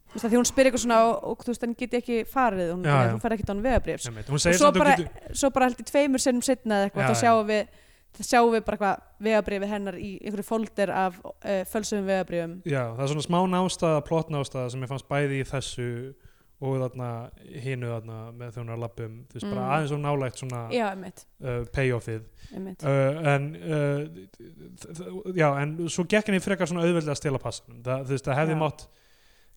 Speaker 3: þú veist að því hún spyr eitthvað svona og, og þú veist, hann geti ekki farið hún,
Speaker 2: Já,
Speaker 3: já,
Speaker 2: já.
Speaker 3: hún fær ekkert án vegabrifs
Speaker 2: Hún
Speaker 3: og
Speaker 2: segir
Speaker 3: svo
Speaker 2: samt að þú
Speaker 3: bara,
Speaker 2: getur
Speaker 3: svo bara held í tveimur sinnum setna eða
Speaker 2: Já,
Speaker 3: eitthvað, þá
Speaker 2: já.
Speaker 3: sjáum við þá sjáum við bara eitthvað vegabrifið hennar í einhverju folder af uh, fölsum vegabrifum
Speaker 2: Já, það er svona smá nástaða, plott nástaða sem ég fannst bæði í þessu og þarna hinu þarna með þjónar lappum, um, þú veist, bara
Speaker 3: Mm.
Speaker 2: aðeins og nálægt svona uh,
Speaker 3: já, einmitt,
Speaker 2: payoffið
Speaker 3: einmitt.
Speaker 2: uh, en uh, þ- þ- já, en svo gekk henni frekar svona auðveldlega að stela passanum, það, þú veist, það hefði
Speaker 3: Já.
Speaker 2: mátt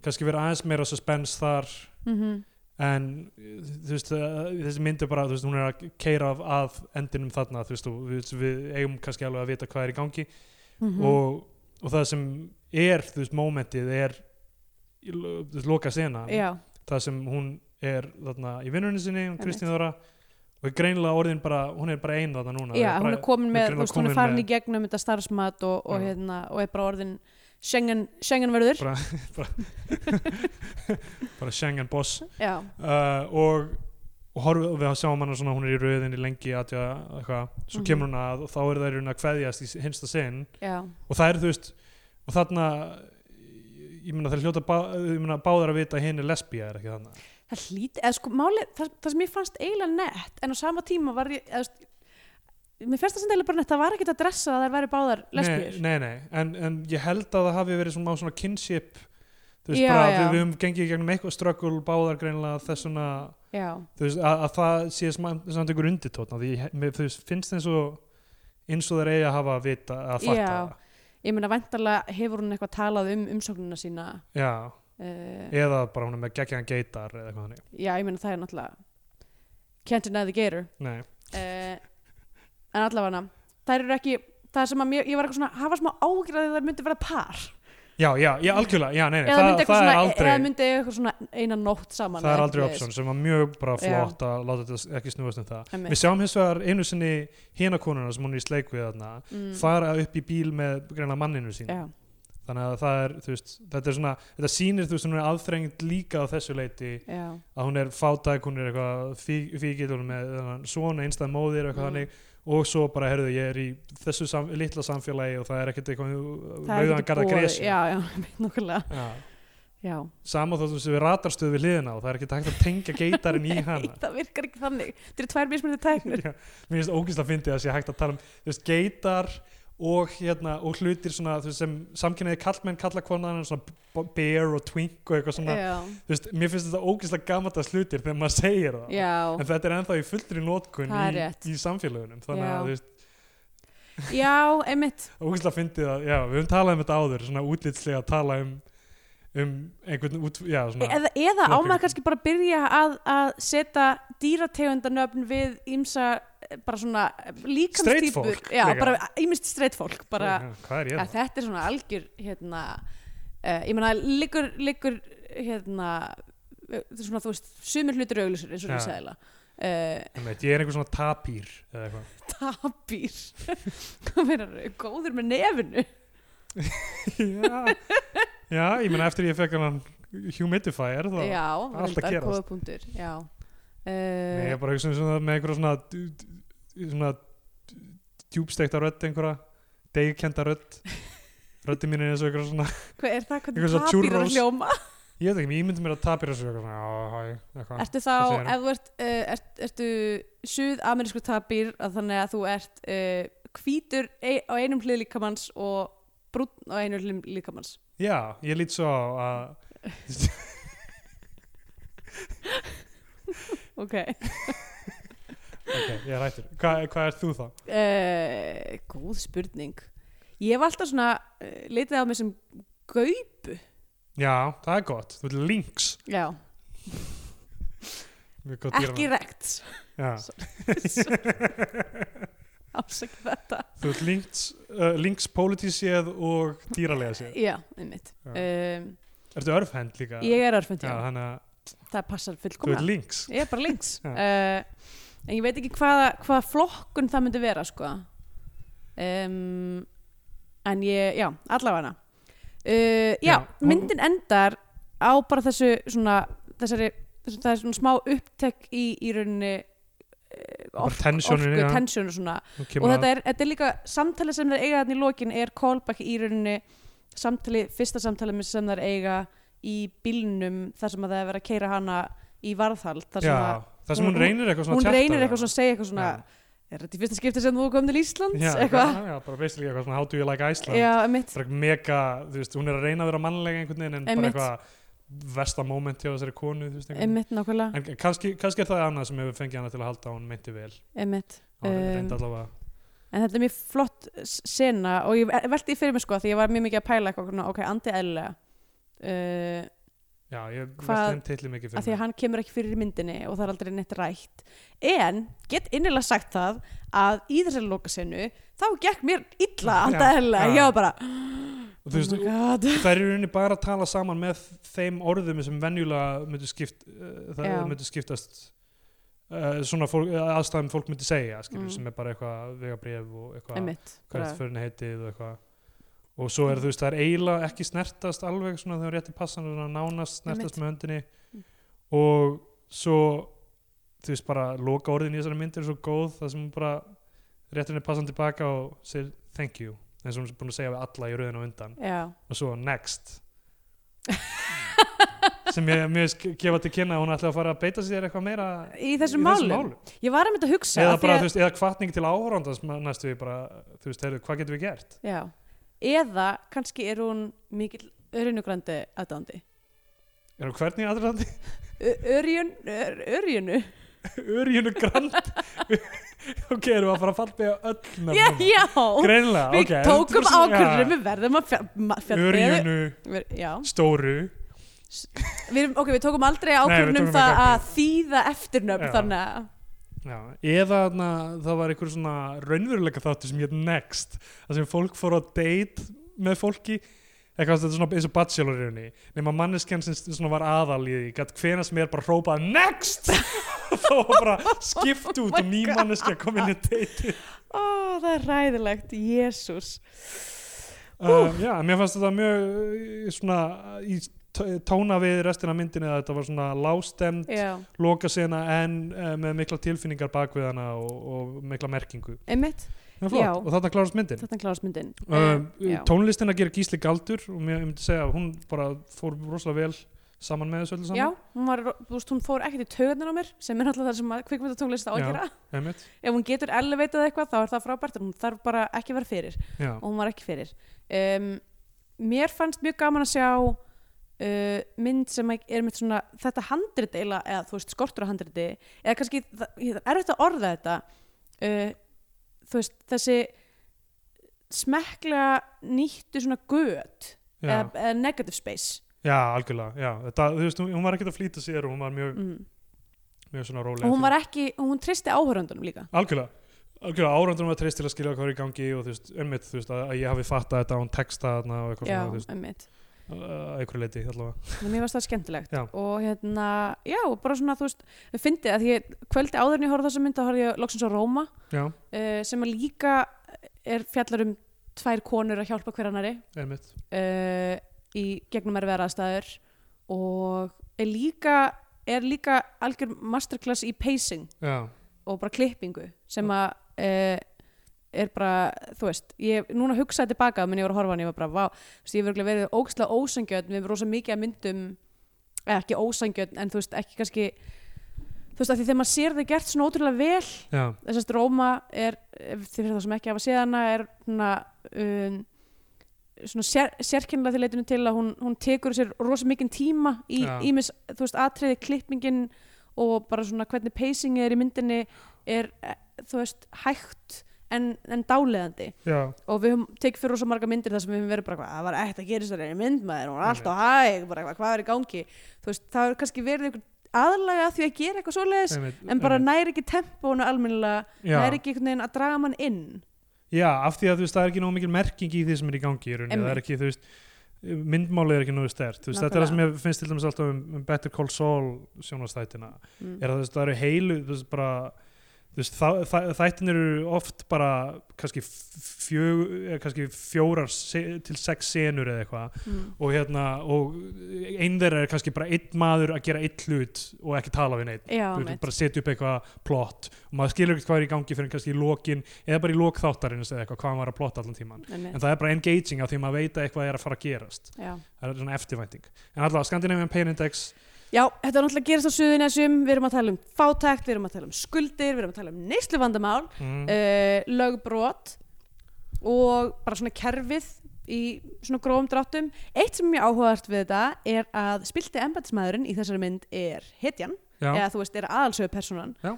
Speaker 2: kannski verið aðeins meira suspense þar
Speaker 3: Mm
Speaker 2: en uh, þú veist, uh, þessi mynd er bara, þú veist, hún er að keira af, að endinum þarna, þú veist, og við, við eigum kannski alveg að vita hvað er í gangi
Speaker 3: Mhm.
Speaker 2: og, og það sem er, þú veist, momentið er í lo- þú veist, loka sena
Speaker 3: já,
Speaker 2: það sem hún er þarna í vinnunni sinni, hún
Speaker 3: Einmitt.
Speaker 2: Kristín Þóra og er greinilega orðin bara, hún er bara ein þarna núna
Speaker 3: já,
Speaker 2: bara,
Speaker 3: hún er komin með,
Speaker 2: greinilega
Speaker 3: þú veist, hún er
Speaker 2: komin
Speaker 3: farin
Speaker 2: með-
Speaker 3: í gegnum þetta starfsmat og, og,
Speaker 2: Já.
Speaker 3: hérna, og er bara orðin Schengen, Schengen verður
Speaker 2: bara Schengen boss
Speaker 3: já,
Speaker 2: uh, og, og horfum og við sjáum hana svona, hún er í rauðinni lengi atja, eitthvað, svo
Speaker 3: Mhm.
Speaker 2: kemur hún að og þá er það í rauninni að kveðjast í hinsta sinn
Speaker 3: já,
Speaker 2: og það er þú veist og þarna ég- ég meina það er hljóta bá, ég meina, báðar að vita að hinn er lesbía er ekki þannig
Speaker 3: það hlít eða sko máli, það, það sem ég fannst eiginlega nett en á sama tíma var ég eða, þú veist, mér fannst það sem eiginlega bara nett það var ekkert að dressa að þær væri báðar lesbíur
Speaker 2: Nei, nei, nei. En, en ég held að það hafi verið svona, svona kinship þú veist
Speaker 3: Já,
Speaker 2: bara,
Speaker 3: já.
Speaker 2: við, við höfum gengið í gegnum eitthvað ströggul báðar greinlega þessuna
Speaker 3: já,
Speaker 2: þú veist, að, að það sé sma- samt einhver undirtótna því ég- mér- þú veist, finnst eins og eins og þeir eiga að hafa að vita að fatta
Speaker 3: Já. ég meina væntalega hefur hún eitthvað talað um umsóknina sína
Speaker 2: það já,
Speaker 3: uh,
Speaker 2: eða bara hún er með geggjaðan geitar eða eitthvað þannig
Speaker 3: já, ég meina það er náttúrulega can't deny the gator
Speaker 2: Nei.
Speaker 3: uh, en allavega þær eru ekki, það er sem að mér, ég var eitthvað svona hafa smá ágjörði að þær myndi vera par
Speaker 2: já, já, já, algjörlega, já, nei, nei,
Speaker 3: eða myndi
Speaker 2: það,
Speaker 3: eitthvað
Speaker 2: það er
Speaker 3: svona,
Speaker 2: aldrei
Speaker 3: eða myndi eiga eitthvað svona eina nótt saman
Speaker 2: það er
Speaker 3: eða
Speaker 2: aldrei
Speaker 3: eitthvað
Speaker 2: option sem var mjög bara
Speaker 3: sko. Já.
Speaker 2: flott að láta þetta ekki snúast um það
Speaker 3: Einmitt.
Speaker 2: við sjáum hins vegar einu sinni hina konuna sem hún er í sleik við þarna
Speaker 3: svoleiðis.
Speaker 2: fara upp í bíl með greina manninu sín
Speaker 3: mm, já,
Speaker 2: þannig að það er, þú veist, þetta er svona þetta sýnir, þú veist, hún er aðþrengd líka á þessu leiti
Speaker 3: já,
Speaker 2: að hún er fátæk, hún er eitthvað fí- fíkild, hún er með þennan svona einstæð móðir
Speaker 3: Mm.
Speaker 2: eitthvað þannig og svo bara, herðu, ég er í þessu sam, litla samfélagi og það er ekkert eitthvað
Speaker 3: það er
Speaker 2: rauðan
Speaker 3: ekki
Speaker 2: garða
Speaker 3: búið
Speaker 2: gresi.
Speaker 3: já, já, (laughs) nokkulega
Speaker 2: Já.
Speaker 3: já,
Speaker 2: sama þóttum sem við ratarstöðu við hliðina og það er ekkert hægt að tengja
Speaker 3: (laughs)
Speaker 2: geitarinn í hana
Speaker 3: það virkar ekki þannig þetta eru tvær mismunni
Speaker 2: (laughs)
Speaker 3: tæknir
Speaker 2: Já, mér finnst ógæslega fyndið að sé hægt að tala um þú veist, geitar og, hérna, og hlutir svona, þú veist, sem samkynniði kallmenn kalla konan svona b- bear og twink og eitthvað svona
Speaker 3: já,
Speaker 2: þú veist, mér finnst þetta ógæslega gammaldast hlutir þegar maður segir það
Speaker 3: já,
Speaker 2: en þetta er ennþá í fullri notkun
Speaker 3: Það er
Speaker 2: í,
Speaker 3: rétt.
Speaker 2: í samfélagunum þannig
Speaker 3: Já.
Speaker 2: að þú veist,
Speaker 3: já, einmitt
Speaker 2: ógæslega fyndið að já, við höfum talað um þetta áður svona útlitslega að tala um um einhvern út, já, svona
Speaker 3: eða, eða á
Speaker 2: Flokkur.
Speaker 3: maður kannski bara að byrja að, að setja dýrategundanöfn við ímsa eh, bara svona eh,
Speaker 2: Straight
Speaker 3: líkamstýpur
Speaker 2: folk,
Speaker 3: já,
Speaker 2: líka.
Speaker 3: bara ímist straight folk bara,
Speaker 2: Já, hvað er ég
Speaker 3: ja,
Speaker 2: það?
Speaker 3: þetta er svona algjör hérna, uh, ég meina liggur, liggur hérna eh, þetta er svona, þú veist, sumir hlutir auglisur eins og
Speaker 2: Já.
Speaker 3: við segðila uh,
Speaker 2: Einmitt, ég er einhver svona tapýr eða eitthvað
Speaker 3: (laughs) tapir hvað meina, góður með nefinu
Speaker 2: já, já, ég meina eftir ég fekk hann humidifier þá
Speaker 3: já,
Speaker 2: allt að
Speaker 3: reyndar,
Speaker 2: gerast.
Speaker 3: góða punktur já
Speaker 2: Nei, ég
Speaker 3: uh,
Speaker 2: er bara hugsa um svona, með einhverja svona d- d- svona djúbstekta rödd einhverja degkenda
Speaker 3: (laughs)
Speaker 2: rödd röddi mín er eins og einhverja svona
Speaker 3: hvað er það,
Speaker 2: Eitthvað
Speaker 3: hvernig
Speaker 2: svo
Speaker 3: tapir er
Speaker 2: churros.
Speaker 3: að hljóma
Speaker 2: ég veit ekki, ég myndi mér að tapir þessu eitthvað svona, já, hæ, eitthvað
Speaker 3: Ertu þá,
Speaker 2: Hvað segirðu?
Speaker 3: ef þú ert, uh, ert, ertu suð-amerísku tapir að þannig að þú ert uh, hvítur ei, á einum hlið líkamanns og brúnn á einum hlið líkamanns
Speaker 2: já, ég lít svo á að
Speaker 3: Ok
Speaker 2: ok, ég er hættur, hvað hva er þú þá?
Speaker 3: uh, Góð spurning Ég hef alltaf svona uh, litið á mig sem gaup
Speaker 2: já, það er gott, þú ert links
Speaker 3: Já,
Speaker 2: Mjög gott
Speaker 3: ekki
Speaker 2: dýranafn.
Speaker 3: rekt (laughs)
Speaker 2: Já.
Speaker 3: Ásækja þetta
Speaker 2: þú ert links, uh, links politíséð og dýralega séð
Speaker 3: Já, einmitt
Speaker 2: Já.
Speaker 3: um,
Speaker 2: ertu örfhend líka?
Speaker 3: Ég er örfend,
Speaker 2: já,
Speaker 3: já,
Speaker 2: þannig að
Speaker 3: það passar
Speaker 2: Þú
Speaker 3: fullkomlega
Speaker 2: ert links
Speaker 3: Ég er bara links
Speaker 2: Já.
Speaker 3: uh, En ég veit ekki hvaða, hvaða flokkun það myndi vera sko. um, En ég, já, allavega hana uh, já,
Speaker 2: Já, hún-
Speaker 3: myndin endar á bara þessu svona, þessari, þessu, það er svona smá upptek í, í rauninni uh,
Speaker 2: Bara tensionin,
Speaker 3: orku,
Speaker 2: já.
Speaker 3: tensjónu svona
Speaker 2: Nú
Speaker 3: og
Speaker 2: kemur
Speaker 3: þetta
Speaker 2: að-
Speaker 3: er, þetta er líka samtalið sem þeir eiga þannig í lokin er callback í rauninni samtali, fyrsta samtalið sem þeir eiga í bílnum þar sem að það er verið að keira hana í varðhald þar sem
Speaker 2: já,
Speaker 3: að
Speaker 2: það sem hún,
Speaker 3: hún-
Speaker 2: reynir eitthvað svona
Speaker 3: hún
Speaker 2: að tjarta
Speaker 3: reynir
Speaker 2: við
Speaker 3: eitthvað svona að segja eitthvað svona er þetta í fyrsta skipti sem þú kom til Íslands
Speaker 2: já,
Speaker 3: eitthvað,
Speaker 2: já, bara basically eitthvað svona how do you like Iceland
Speaker 3: já, mitt
Speaker 2: bara mega, þú veist, hún er að reyna að vera mannlega einhvern veginn en
Speaker 3: Einmitt.
Speaker 2: bara eitthvað versta moment hjá þessari konu þú veist, einhvern
Speaker 3: Emitt nákvæmlega,
Speaker 2: veginn. en kannski, kannski er það annað sem hefur fengið hana til að halda að hún meinti vel
Speaker 3: emitt
Speaker 2: hún um,
Speaker 3: Um,
Speaker 2: reyndi allavega
Speaker 3: en þetta er mjög flott s- sena og ég velti í fyrir mig sko því ég var mjög mikið að pæla eitthvað svona, ok, andi eðlilega uh,
Speaker 2: já, ég veist
Speaker 3: hvað-
Speaker 2: þeim titli mikið
Speaker 3: af því
Speaker 2: fyrir
Speaker 3: að
Speaker 2: mig
Speaker 3: hann kemur ekki fyrir í myndinni og það er aldrei neitt rætt en get innilega sagt það að í þessari lokasenu þá gekk mér illa
Speaker 2: Já,
Speaker 3: anda eðlilega,
Speaker 2: já.
Speaker 3: ég var bara
Speaker 2: og þú veist,
Speaker 3: oh my god
Speaker 2: það er í rauninni bara að tala saman með þeim orðum sem venjulega myndu, skipt, uh, það
Speaker 3: Já.
Speaker 2: myndu skiptast uh, svona fólk, uh, aðstæðum fólk myndu segja skilur,
Speaker 3: Mm.
Speaker 2: sem er bara eitthvað vegabrif og
Speaker 3: (laughs)
Speaker 2: eitthvað
Speaker 3: Emitt,
Speaker 2: hvað þetta fyrir heitið og eitthvað og svo
Speaker 3: Mm.
Speaker 2: er þú veist það er eiginlega ekki snertast alveg svona þegar rétti passan svona nánast snertast með höndinni
Speaker 3: Mm.
Speaker 2: og svo þú veist bara loka orðin í þessari myndir er svo góð það sem hún bara réttir henni passan tilbaka og segir thank you eins og hún er búin að segja við alla í rauðin og undan
Speaker 3: já
Speaker 2: og svo
Speaker 3: (laughs)
Speaker 2: next sem ég mjög gefa til kynna að hún ætla að fara að beita sér eitthvað meira
Speaker 3: í þessum málum. Ég var einmitt að hugsa
Speaker 2: eða
Speaker 3: af því
Speaker 2: bara,
Speaker 3: að-
Speaker 2: þú veist, eða hvatning til áhórandans næstu við bara, þú veist, heyrðu, hvað getum við gert
Speaker 3: Já, eða kannski er hún mikill örjunugrandi aðdándi
Speaker 2: erum hvernig aðrandi (laughs)
Speaker 3: Örjun, ör, örjunu
Speaker 2: örjunu grand (laughs) ok, erum við að fara að falla beða öll
Speaker 3: (laughs) Já,
Speaker 2: nöfnum?
Speaker 3: já,
Speaker 2: greinlega,
Speaker 3: við
Speaker 2: ok en
Speaker 3: tókum um
Speaker 2: þú-
Speaker 3: ákvörðum
Speaker 2: já.
Speaker 3: við verðum að fjallbega
Speaker 2: örjunu
Speaker 3: Já,
Speaker 2: stóru
Speaker 3: við, erum- ok, við tókum aldrei
Speaker 2: við
Speaker 3: ákvörðum um
Speaker 2: tókum
Speaker 3: það
Speaker 2: ekki
Speaker 3: að þýða eftirnöfn
Speaker 2: Já.
Speaker 3: þannig að
Speaker 2: já. eða na, það var einhver svona raunveruleika þáttur sem hétt next það sem fólk fór á date með fólki eitthvað þetta er svona eins og bachelorunni nema manneskjan sem svona var aðal í því gætt hvena sem er bara hrópað next (laughs) þá var bara skipt
Speaker 3: Oh
Speaker 2: út og ný manneskja kom inn í date
Speaker 3: Ó, það er ræðilegt, jésús
Speaker 2: um, já, mér fannst þetta mjög eh, svona í t- tóna við restina af myndinni að þetta var svona lágstemd
Speaker 3: já,
Speaker 2: loka sena en uh, með mikla tilfinningar bak við hana og, og mikla merkingu
Speaker 3: einmitt,
Speaker 2: Já, flott,
Speaker 3: Já.
Speaker 2: og þarna klárast myndin
Speaker 3: þetta er kláðsmyndin
Speaker 2: um,
Speaker 3: já,
Speaker 2: tónlistina gerir Gísli Galdur og mér ég myndi segja að hún bara fór rosalega vel saman með þessu öllu
Speaker 3: já,
Speaker 2: saman
Speaker 3: hún var, þú veist, hún fór ekkert í taugarnar á mér sem er alltaf það sem að kvikmyndatónglist á að
Speaker 2: Já.
Speaker 3: gera
Speaker 2: einmitt.
Speaker 3: ef hún getur elevatað eitthvað þá er það frábært en hún þarf bara ekki að vera fyrir
Speaker 2: já,
Speaker 3: og hún var ekki fyrir um, mér fannst mjög gaman að sjá uh, mynd sem er með svona þetta handrit eila, eða þú veist skortur á handriti eða kannski, það ég- það er þetta orða þetta uh, þú veist þessi smekkla nýttu svona göt
Speaker 2: já,
Speaker 3: eða, eða negative space
Speaker 2: já, algjörlega já. Þetta, þú veist, hún- hún var ekkert að flýta sér og hún var mjög,
Speaker 3: mm.
Speaker 2: mjög svona rólega
Speaker 3: Mhm. og hún var ekki, hún tristi áhöröndunum líka
Speaker 2: algjörlega algjörlega árandurum að treyst til að skilja hvað er í gangi og þú veist, einmitt, þú veist, að, að ég hafi fattað þetta án texta þarna og eitthvað
Speaker 3: já,
Speaker 2: svona, þú veist,
Speaker 3: einmitt
Speaker 2: að einhverju leiti allavega,
Speaker 3: Þannig að mér varst það skemmtilegt
Speaker 2: Já.
Speaker 3: og hérna, já, og bara svona, þú veist ég fyndi að ég, kvöldi áður en ég horfði á þessa mynd þá horfði ég loksins á Róma
Speaker 2: já,
Speaker 3: uh, sem að líka er fjallar um tvær konur að hjálpa hver annari
Speaker 2: einmitt
Speaker 3: uh, í gegnum erfiðar aðstæður og er líka er líka algjör masterclass í pacing
Speaker 2: já,
Speaker 3: og bara klippingu sem að uh, er bara, þú veist ég núna hugsaði tilbaka menn ég var að horfa á hann ég var bara, vá, þú veist, ég hef örugglega verið ógstlega ósangjörn við erum rosa mikið að myndum eða ekki ósangjörn, en þú veist, ekki kannski þú veist, af því þegar maður sér það gert svona ótrúlega vel
Speaker 2: já,
Speaker 3: þessast Róma er ef þið fyrir það sem ekki hafa séð hana er svona, um, svona sér, sérkennilega til leitinu til að hún, hún tekur sér rosa mikinn tíma í
Speaker 2: Já.
Speaker 3: ímis, þú veist, atriði klippingin og bara svona hvernig pacingið er í myndinni er, eh, þú veist, hægt en, en dáleðandi
Speaker 2: já
Speaker 3: og við höfum tekið fyrir rosa marga myndir þar sem við höfum verið bara hvað, það var ekkert að gera þessari mynd maður, hún var
Speaker 2: Einmitt.
Speaker 3: alltaf hæg, bara eitthvað, hvað er í gangi þú veist, það er kannski verið einhver aðlaga að því að gera eitthvað svoleiðis
Speaker 2: einmitt,
Speaker 3: en bara næri ekki tempónu almennilega
Speaker 2: já,
Speaker 3: það er ekki einhvern veginn að draga mann inn
Speaker 2: já, af því að þú veist, það er ekki nóg mikil merking í því sem er í gangi í rauninni, það er
Speaker 3: Einmitt.
Speaker 2: ekki, þú veist myndmálið er ekki nógu stert, þú veist, þetta er það sem ég finnst til dæmis alltaf um, um Better Call Saul sjónastætina,
Speaker 3: mm.
Speaker 2: er að þú veist, það eru heilu þú veist, bara þú veist, þa- þa- þættin eru oft bara kannski, fjög, eða kannski fjórar se- til sex senur eða eitthvað
Speaker 3: Mm.
Speaker 2: og hérna, og einn þeirra er kannski bara einn maður að gera einn hlut og ekki tala við neitt
Speaker 3: já,
Speaker 2: Þú veist,
Speaker 3: mitt,
Speaker 2: bara setja upp eitthvað plott og maður skilur ekkert hvað er í gangi fyrir kannski í lokin eða bara í lok þáttarins eða eitthvað hvað hann var að plotta allan tíman en
Speaker 3: mitt.
Speaker 2: það er bara engaging af því að maður veit að eitthvað er að fara að gerast
Speaker 3: Já.
Speaker 2: það er svona eftirvænting en allavega Scandinavian Pain Index
Speaker 3: já, þetta er náttúrulega gerist á suðunessum við erum að tala um fátækt, við erum að tala um skuldir við erum að tala um neysluvandamál
Speaker 2: mm,
Speaker 3: uh, lögbrot og bara svona kerfið í svona grófum dráttum eitt sem er mjög áhugavert við þetta er að spilti embatismæðurinn í þessari mynd er hetjan,
Speaker 2: já,
Speaker 3: eða þú veist er aðalsögu persónan
Speaker 2: Já.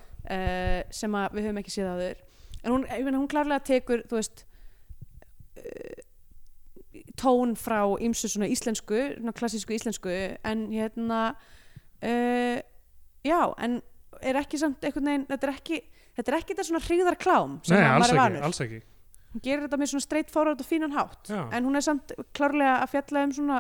Speaker 3: sem að við höfum ekki séð áður en hún, ég meina, hún klárlega tekur þú veist uh, tón frá ýmsu svona íslensku, svona klassísku íslensku en hérna uh, já, en er ekki samt einhvern veginn, þetta er ekki þetta er ekki þetta svona hryggðar klám sem
Speaker 2: nei,
Speaker 3: að
Speaker 2: alls
Speaker 3: maður er
Speaker 2: ekki,
Speaker 3: vanur
Speaker 2: alls ekki
Speaker 3: hún gerir þetta með svona straight forward og fínan hátt
Speaker 2: Já.
Speaker 3: en hún er samt klárlega að fjalla um svona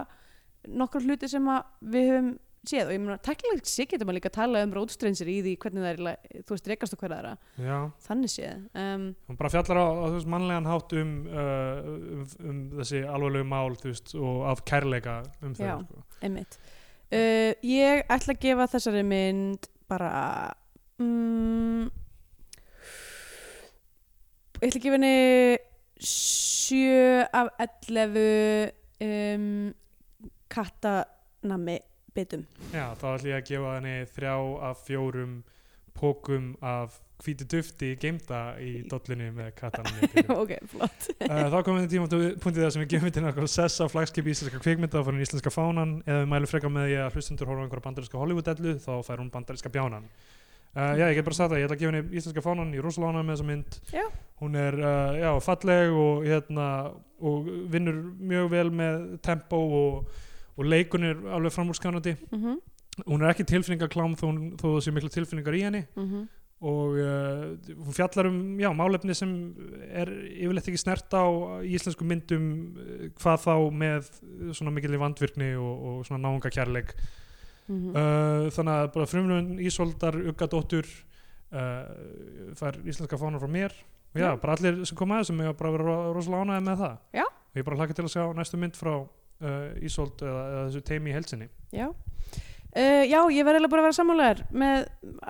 Speaker 3: nokkur hluti sem að við höfum séð og ég meina, teknilega sér getur maður líka að tala um rótstrensir í því hvernig það er, eiginlega- þú veist, rekast og hverða þeirra
Speaker 2: já
Speaker 3: þannig séð um,
Speaker 2: hún bara fjallar á, á þú veist, mannlegan hátt um, uh, um, um þessi alveglegu mál þú veist, og af kærleika um þau
Speaker 3: Já.
Speaker 2: sko.
Speaker 3: einmitt uh, ég ætla að gefa þessari mynd bara mm, ég ætla að gefa henni 7 af 11 um, kattanami bitum
Speaker 2: Já, þá ætlum ég að gefa henni þrjá af fjórum pókum af hvítu dufti geimda í dollunni með kattanum uh,
Speaker 3: (laughs) ok, flott
Speaker 2: þá komum við tímapunktið þar sem við gefum við til náttúrulega sessa á flagskipi íslenska kvikmynda og fórum íslenska fánan eða við mælum frekar með því að hlustendur horfa á einhverja bandarinska Hollywood-ellu þá fær hún bandarinska bjánan uh, Já, ég get bara sagt það, ég ætla að gefa henni íslenska fánan í rosalána með þessa mynd
Speaker 3: já,
Speaker 2: hún er uh, já, falleg og, hérna, og vinnur mjög vel með tempo og, og leikun er alveg framúrskanandi
Speaker 3: mhm mm
Speaker 2: hún er ekki tilfinningaklám þó, hún- þó það séu miklu tilfinningar í henni
Speaker 3: mhm,
Speaker 2: og uh, hún fjallar um já, málefni sem er yfirleitt ekki snert á í íslensku myndum eh, hvað þá með eh, svona mikilvæg vandvirkni og, og svona náunga kærleik
Speaker 3: mhm. Mm.
Speaker 2: uh, þannig að bara frumlun Ísoldar, Uggadóttur uh, fær íslenska fánar frá mér og já,
Speaker 3: Já.
Speaker 2: bara allir sem koma að þessu mig að bara vera ro- rosalega ánægði með það
Speaker 3: Já.
Speaker 2: og ég bara hlakka til að sjá næstu mynd frá uh, Ísolt eða, eða þessu teimi í helsinni
Speaker 3: Já, uh, já ég verði eiginlega bara að vera sammálaðar með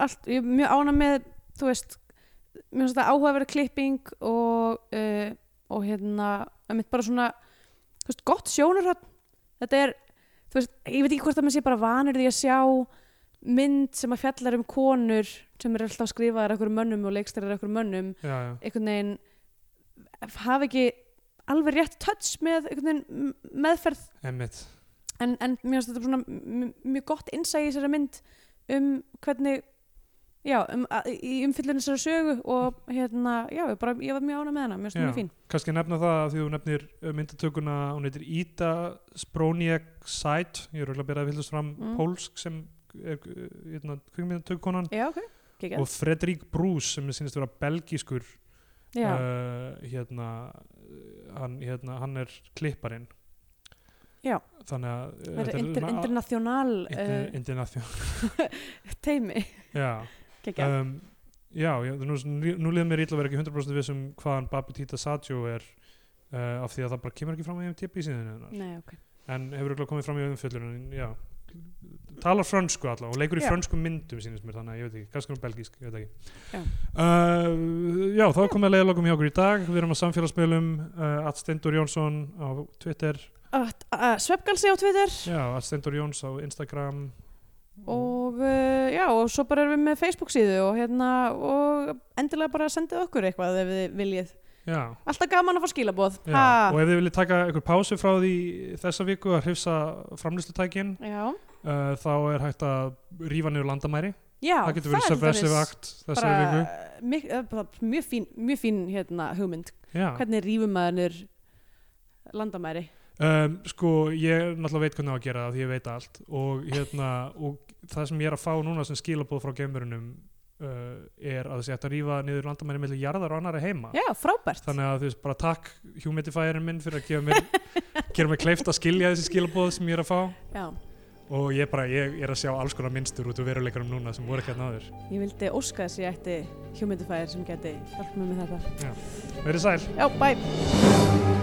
Speaker 3: allt, ég er mjög ána með þú veist, mér finnst þetta áhugaverð klipping og, uh, og hérna, það mitt bara svona þú veist, gott sjónarhöld þetta er, þú veist, ég veit ekki hvort að maður sé bara vanur því að sjá mynd sem að fjallar um konur sem er alltaf skrifaðar okkur mönnum og leikstærar okkur mönnum,
Speaker 2: já, já.
Speaker 3: einhvern veginn hafa ekki alveg rétt touch með einhvern veginn meðferð
Speaker 2: Emmitt,
Speaker 3: en, en mér finnst þetta svona m- mjög gott innsæg í þessari mynd um hvernig já, um, að- í umfyllinu þessari sögu og hérna, já, ég, bara, ég var mjög ána með hana mér finnst
Speaker 2: Já.
Speaker 3: þetta mjög fín
Speaker 2: kannski nefna það að því þú nefnir uh, myndatökuna, hún heitir Ida Sproniak Sæt ég er örugglega að byrja að vildast fram
Speaker 3: Mm.
Speaker 2: pólsk sem er uh, kvíkmyndatökukonan
Speaker 3: já, ok,
Speaker 2: og
Speaker 3: geggjað
Speaker 2: Fredrik Brús sem er sínist að vera belgískur
Speaker 3: já,
Speaker 2: uh, hérna, uh, hann, hérna hann er klipparinn
Speaker 3: Já.
Speaker 2: þannig að uh,
Speaker 3: það
Speaker 2: þetta
Speaker 3: er inter,
Speaker 2: svona-
Speaker 3: international
Speaker 2: inter-
Speaker 3: uh,
Speaker 2: international (laughs)
Speaker 3: teimi
Speaker 2: já
Speaker 3: (laughs) geggjað,
Speaker 2: um, já, já nú, nú liðum mér illa að vera ekki 100% vissum um hvaðan Babi Tita Satjó er uh, af því að það bara kemur ekki fram í MTP síðan hennar
Speaker 3: nei, ok
Speaker 2: en hefur ekki komið fram í umfjöllunum en já, talar frönsku allavega og leikur í
Speaker 3: Já.
Speaker 2: frönskum myndum sínist mér þannig að ég veit ekki, kannski hún er belgísk, ég veit ekki
Speaker 3: Já.
Speaker 2: uh, já þá er komið að leiða lokum hjá okkur í dag, við erum að samfélagsmiðlum uh, at Stendur Jónsson á Twitter,
Speaker 3: uh, uh, sveppgalsi á Twitter
Speaker 2: já, at Stendur Jóns á Instagram
Speaker 3: og uh, já, og svo bara erum við með Facebook síðu og hérna og endilega bara sendið okkur eitthvað ef þið viljið
Speaker 2: já,
Speaker 3: alltaf gaman að fá skilaboð
Speaker 2: já.
Speaker 3: Ha.
Speaker 2: og ef þið viljið taka einhver pásu frá því þessa viku að hrifsa framlýslutækin
Speaker 3: já,
Speaker 2: uh, þá er hægt að rífa niður landamæri
Speaker 3: já
Speaker 2: það getur verið
Speaker 3: er til dæmis-
Speaker 2: subversive akt þessari
Speaker 3: bara,
Speaker 2: viku
Speaker 3: mik- eh, bara mjög fín, mjög fín hérna, hugmynd
Speaker 2: já.
Speaker 3: hvernig rífum maður landamæri
Speaker 2: Um, sko, ég náttúrulega veit hvernig á að gera það því ég veit allt og, hérna, og það sem ég er að fá núna sem skilabóð frá geimurunum uh, er að þessi ætti að rífa niður landamæri millir jarðar og annari heima
Speaker 3: já, frábært
Speaker 2: þannig að þú veist bara takk humidifierin minn fyrir að gefa mér, (laughs) gera mér kleift að skilja þessi skilabóð sem ég er að fá
Speaker 3: já,
Speaker 2: og ég, bara, ég er að sjá alls konar minnstur út úr veruleikunum núna sem voru hérna ekki að náður
Speaker 3: ég vildi óska þess að ég ætti hugmyndufæðir sem geti hjálpa mig með þetta
Speaker 2: verið sæl
Speaker 3: já, bæ